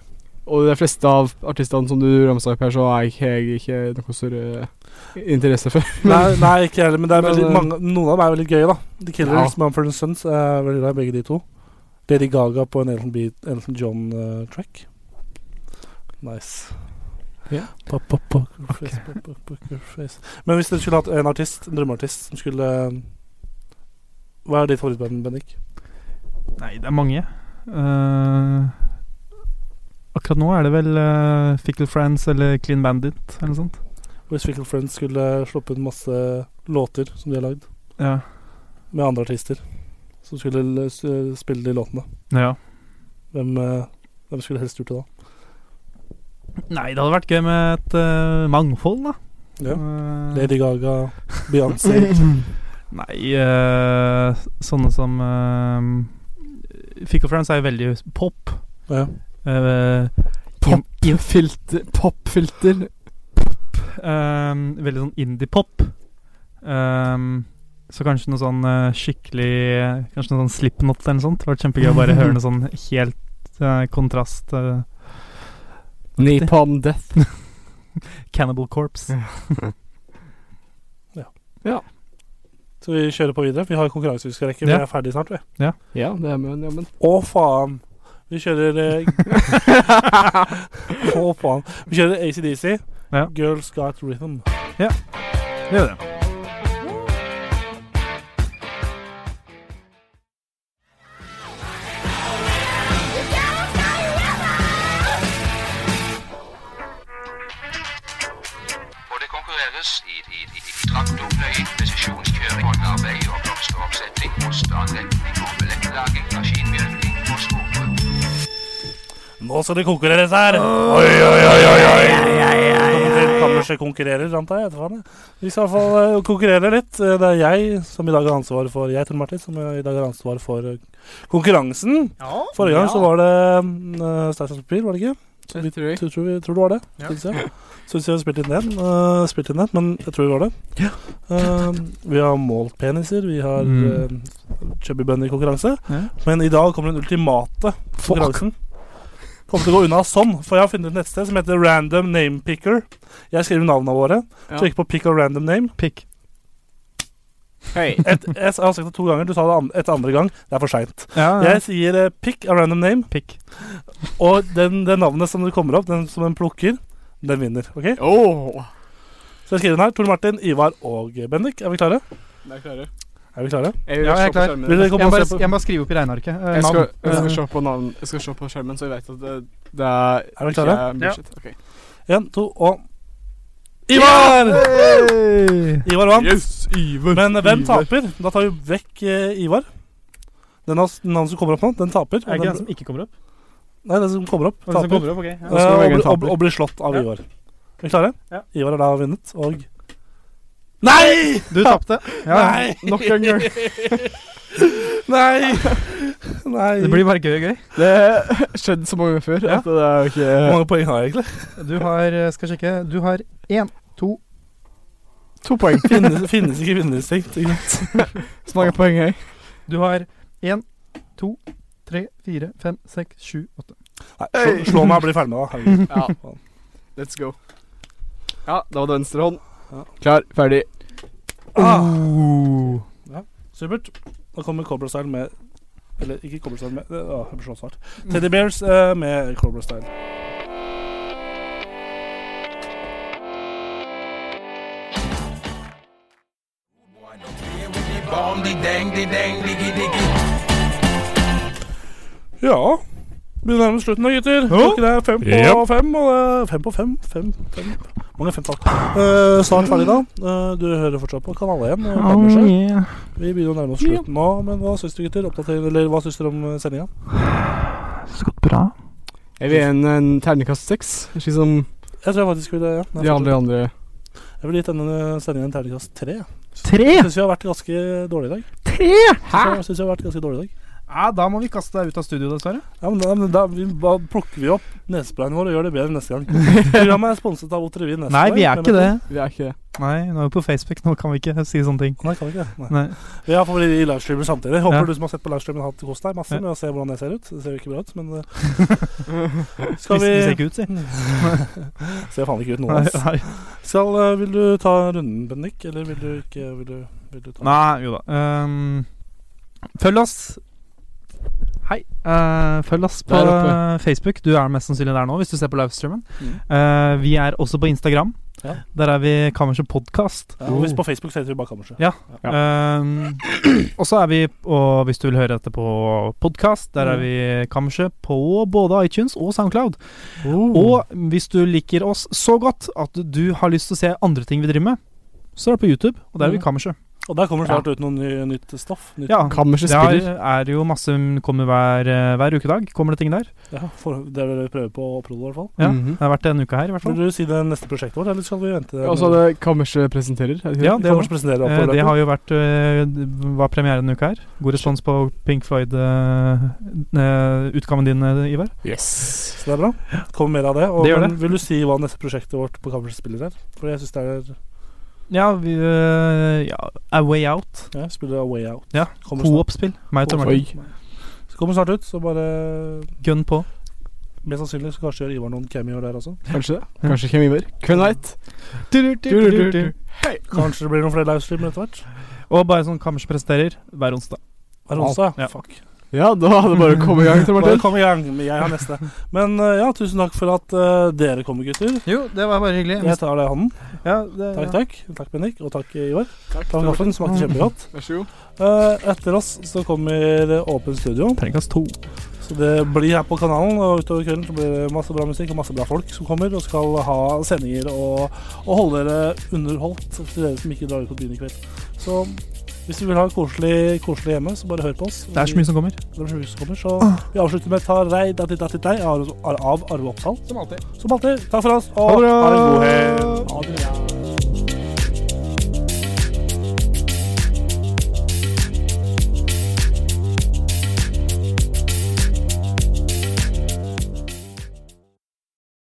Speaker 4: Og de fleste av artistene som du ramsa opp her, så har jeg- har jeg ikke noe større interesse for.
Speaker 2: Nei, nei ikke heller, men det er
Speaker 4: Men,
Speaker 2: veldig
Speaker 4: eh,
Speaker 2: mange, noen av dem er veldig gøye, da. liksom The Killers,
Speaker 4: Ja.
Speaker 2: Mumford Sons er veldig glad i begge de to. Lady Gaga på en Elton, Beat, Elton John eh, track. Nice.
Speaker 4: Ja.
Speaker 2: Pa, pa, pa, face, pa, pa, pa, face. Men hvis dere skulle hatt en artist, en drømmeartist, som skulle eh, Hva er ditt favorittband, Bendik?
Speaker 3: Nei, det er mange. Eh, akkurat nå er det vel eh, Fickle Friends eller Clean Bandit eller noe sånt.
Speaker 2: Hvis Fickle Friends skulle sluppet masse låter som de har lagd,
Speaker 3: Ja.
Speaker 2: med andre artister, som skulle l- s- spille de låtene,
Speaker 3: ja.
Speaker 2: hvem, eh, hvem skulle helst gjort det da?
Speaker 3: Nei, det hadde vært gøy med et eh, mangfold, da.
Speaker 2: Ja.
Speaker 3: Eh,
Speaker 2: Lady Gaga, Beyoncé
Speaker 3: Nei, eh, sånne som eh, Fickle Friends er jo veldig pop.
Speaker 2: ja.
Speaker 3: Eh,
Speaker 4: Pop.
Speaker 3: in- in-
Speaker 4: Filter, popfilter.
Speaker 3: eh, veldig sånn indie-pop. Eh, så kanskje noe sånn eh, skikkelig Kanskje noe sånn Slipknot eller noe sånt. Det hadde vært kjempegøy å bare høre noe sånn helt eh, kontrast. eh,
Speaker 4: Napalm Death.
Speaker 3: Cannibal Corps.
Speaker 2: Så vi kjører på videre. Vi har konkurranse vi skal rekke. Vi
Speaker 3: Ja.
Speaker 2: er ferdig snart, vi.
Speaker 4: Ja, det er med, ja, men
Speaker 2: Å, faen! Vi kjører eh, Å, faen. Vi kjører ACDC.
Speaker 3: Ja.
Speaker 2: Girls Got Rhythm.
Speaker 3: Det er det.
Speaker 10: Og det konkurreres i, i, i, i traktorpløying, presisjonskjøring, håndarbeid og blomsteroppsetting, postanretning, bombelekkelaging, maskinmjølking og skogbruk.
Speaker 2: Nå skal det konkurreres her! Oi, oi, oi, oi, oi. Kammerset konkurrerer, antar jeg. vet du hva det er. Vi skal i hvert fall eh, konkurrere litt. Eh, Det er jeg som i dag har ansvaret for Jeg, Tor Martin, som eh, i dag har ansvaret for eh, konkurransen. Forrige gang så var det uh, Steinsons papir, var det ikke? Så vi
Speaker 4: Det tror jeg.
Speaker 2: tror, tror, vi, tror det var det. Syns jeg. Syns jeg har spilt inn den. eh, spilt inn den, men jeg tror det var det. Eh, vi har målt peniser, vi har
Speaker 3: Mm.
Speaker 2: eh, chubby bunny-konkurranse.
Speaker 3: Ja.
Speaker 2: Men i dag kommer den ultimate konkurransen. Kommer til å gå unna sånn, for jeg har funnet et nettsted som heter Random Name Picker. Jeg skriver navnene våre.
Speaker 4: Ja.
Speaker 2: Trykker på pick og random name.
Speaker 3: Pick.
Speaker 4: Hei.
Speaker 2: Et, jeg har sagt det to ganger, du sa det an et andre gang. Det er for seint.
Speaker 3: Ja, ja.
Speaker 2: Jeg sier eh, pick a random name,
Speaker 3: Pick.
Speaker 2: og den, det navnet som det kommer opp, den som den plukker, den vinner. ok?
Speaker 4: Åh.
Speaker 2: Så jeg skriver den her. Tor Martin, Ivar og Bendik. Er vi klare?
Speaker 4: Jeg er klar.
Speaker 2: Er vi klare?
Speaker 4: Jeg,
Speaker 3: Ja, jeg er klar.
Speaker 2: Vil dere
Speaker 3: Jeg
Speaker 2: komme
Speaker 3: må
Speaker 2: og
Speaker 3: bare,
Speaker 2: se på?
Speaker 3: jeg må bare skrive opp i regnearket. eh,
Speaker 4: Jeg skal,
Speaker 3: navn.
Speaker 4: jeg skal
Speaker 3: Eh,
Speaker 4: se på navn Jeg skal se på skjermen, så jeg vet at det, det er
Speaker 2: Er dere klare?
Speaker 4: ikke er bullshit. Ok.
Speaker 2: Én, to og Ivar!
Speaker 3: Hey!
Speaker 2: Ivar vant.
Speaker 4: Yes, Iver.
Speaker 2: Men hvem taper? Da tar vi vekk eh, Ivar. Den, av- den som kommer opp nå, den taper.
Speaker 3: Er det ikke den
Speaker 2: den,
Speaker 3: som ikke kommer opp?
Speaker 2: Nei, den som kommer opp,
Speaker 3: Og den som
Speaker 2: taper.
Speaker 3: kommer opp, ok, ja.
Speaker 2: Eh,
Speaker 3: Og så
Speaker 2: og,
Speaker 3: velger den
Speaker 2: bli- og,
Speaker 3: taper.
Speaker 2: og blir slått av
Speaker 3: Ja.
Speaker 2: Ivar. Er vi klare?
Speaker 3: Ja.
Speaker 2: Ivar har da vunnet, og Nei!
Speaker 3: Du tapte. Ja,
Speaker 2: Nei!
Speaker 3: nok en gang.
Speaker 2: Nei! Nei.
Speaker 3: Det blir bare gøy og gøy.
Speaker 4: Det skjedde så mange ganger før
Speaker 3: Ja.
Speaker 4: at det er jo ikke
Speaker 2: Hvor mange poeng har jeg egentlig?
Speaker 3: Du har eh, Skal sjekke. Du har én, to
Speaker 4: To poeng.
Speaker 2: Finnes, finnes ikke vinnerinstinkt. ikke sant?
Speaker 4: Så mange poeng her.
Speaker 3: Du har én, to, tre, fire, fem, seks, sju, åtte.
Speaker 2: Nei, slå, slå meg og bli ferdig med det. herregud.
Speaker 4: Ja.
Speaker 2: Faen.
Speaker 4: Let's go. Ja, da var det venstre hånd.
Speaker 2: Ja.
Speaker 4: Klar, ferdig.
Speaker 2: Ah,
Speaker 3: Oh.
Speaker 2: supert. Da kommer Cobra Style med Eller ikke Cobra Style med Å, jeg blir så svart. Teddy Bears eh, med Cobra Style. Ja Vi nærmer oss slutten da, gutter. Klokken er fem på
Speaker 1: Japp.
Speaker 2: fem. Og det er fem på fem. Fem, fem. Mange femtall. Uh, snart ferdig, da. Eh, du hører fortsatt på Kanal 1. Og Kammerset. Vi begynner å nærme oss slutten nå, men hva syns du, gutter? Oppdater, eller hva syns dere om eh, sendinga?
Speaker 3: Så godt bra.
Speaker 4: Jeg vil gi en, en terningkast seks, slik som
Speaker 2: Jeg tror jeg faktisk ville ja. Nei,
Speaker 4: de alle andre.
Speaker 2: Jeg ville gitt denne eh, sendingen en terningkast tre. jeg.
Speaker 3: Tre?
Speaker 2: Jeg syns vi har vært ganske dårlige i dag.
Speaker 3: Tre? Hæ?
Speaker 2: Jeg synes vi har vært ganske dårlige i dag.
Speaker 3: Ja, da må vi kaste deg ut av studio, dessverre.
Speaker 2: Ja, men da, men da vi, da plukker vi opp nesesprayene våre og gjør det bedre neste gang. Programmet er sponset av Otrevin Nesespray.
Speaker 3: Nei, vi er
Speaker 2: med
Speaker 3: ikke det.
Speaker 2: metod.
Speaker 4: Vi er ikke det.
Speaker 3: Nei, nå er vi på Facebook, nå kan vi ikke si sånne ting.
Speaker 2: Nei, kan vi ikke det. Nei.
Speaker 3: Nei.
Speaker 2: Vi har fått i livestreamer samtidig. Håper
Speaker 3: Ja.
Speaker 2: du som har sett på livestreamen, har hatt kost deg masse
Speaker 3: Ja.
Speaker 2: med å se hvordan det ser ut. Det ser jo ikke bra ut, men eh,
Speaker 3: Vi,
Speaker 2: Skal
Speaker 3: vi Mm. ser
Speaker 2: vi
Speaker 3: ikke ut, si.
Speaker 2: Ser faen ikke ut nå,
Speaker 3: Nei,
Speaker 2: ass.
Speaker 3: nei.
Speaker 2: Skal, eh, vil du ta runden, Bendik, eller vil du ikke Vil du, vil du ta
Speaker 3: Nei, jo da. Ehm, følg oss. Hei. eh, følg oss på
Speaker 4: Der oppe.
Speaker 3: Facebook. Du er mest sannsynlig der nå, hvis du ser på livestreamen.
Speaker 2: Mm.
Speaker 3: Eh, vi er også på Instagram.
Speaker 2: Ja.
Speaker 3: Der er vi Kammerset Podkast.
Speaker 2: Ja,
Speaker 4: Oh.
Speaker 2: og hvis på Facebook så heter vi bare Kammerset.
Speaker 3: Ja. Ehm, og så er vi Og hvis du vil høre dette på podkast, der er
Speaker 2: Mm.
Speaker 3: vi Kammerset på både iTunes og Soundcloud.
Speaker 4: Mm.
Speaker 2: Oh.
Speaker 3: Og hvis du liker oss så godt at du har lyst til å se andre ting vi driver med, så er det på YouTube, og der er vi
Speaker 2: Mhm.
Speaker 3: Kammerset.
Speaker 2: Og der kommer det snart ut noe ny, nytt stoff. Nytt,
Speaker 3: Ja,
Speaker 4: Kammerset
Speaker 3: det er,
Speaker 4: spiller.
Speaker 3: er jo masse kommer hver, eh, hver ukedag. Kommer det ting der?
Speaker 2: ja, for, Det vil vi prøve på Opphold, i hvert fall.
Speaker 3: Ja,
Speaker 4: Mhm.
Speaker 3: Det har vært en uke her, i hvert fall.
Speaker 2: Vil du si det neste prosjektet vårt, eller skal vi vente?
Speaker 4: Og så er det Kammerset presenterer. er det ikke
Speaker 3: Ja,
Speaker 4: det?
Speaker 3: det,
Speaker 2: kan
Speaker 3: var-
Speaker 2: kanskje presentere
Speaker 3: eh,
Speaker 2: Opphold.
Speaker 3: det har jo vært eh, Var premiere denne uka her. God respons på Pink Floyd-utgaven din, eh, Ivar.
Speaker 4: Yes.
Speaker 2: Så det er bra. Kommer mer av det. Og
Speaker 3: Det gjør
Speaker 2: men vil du si hva neste prosjektet vårt på Kammerset spiller er? For jeg syns det er
Speaker 3: Ja, vi, eh, ja, A Way Out.
Speaker 2: ja, spiller A Way Out.
Speaker 3: Ja,
Speaker 2: Kommer snart.
Speaker 3: Coop-spill. Meg og Tom
Speaker 4: Oi.
Speaker 3: Martin.
Speaker 2: Så kommer snart ut, så bare
Speaker 3: Gun på.
Speaker 2: Mest sannsynlig så kanskje gjør Ivar noen cameo der også.
Speaker 4: Kanskje det. Kanskje Kim Iver. Hvem veit?
Speaker 2: Kanskje det blir noen flere livestreamer etter hvert.
Speaker 3: Og bare sånn Kammerset presenterer hver onsdag.
Speaker 2: Hver onsdag.
Speaker 3: Ja.
Speaker 2: Fuck.
Speaker 4: Ja, da er det bare å komme i gang, Tor
Speaker 2: Bare
Speaker 4: Martin.
Speaker 2: kom i gang. men Jeg har neste. Men eh, ja, tusen takk for at eh, dere kommer, gutter.
Speaker 3: Jo, det var bare hyggelig.
Speaker 2: Jeg tar deg i hånden.
Speaker 3: Ja, det,
Speaker 2: Takk, takk. Takk, Bendik. Og takk, Ivar.
Speaker 4: Takk,
Speaker 2: Takk for kaffen. Smakte kjempegodt.
Speaker 4: Vær så god.
Speaker 2: Eh, etter oss så kommer eh, Åpen studio.
Speaker 3: Terningkast to.
Speaker 2: Så det blir her på kanalen, og utover kvelden så blir det masse bra musikk og masse bra folk som kommer og skal ha sendinger og, og holde dere underholdt til dere som ikke drar ut på byen i kveld. Så hvis du vil ha koselig, koselig hjemme, så bare hør på oss.
Speaker 3: Det er så mye som kommer.
Speaker 2: Det er så mye som kommer, så vi avslutter med Ta rei datti datti dei av av Arve Oppsal. Som alltid. Takk for oss, og ha en god helg.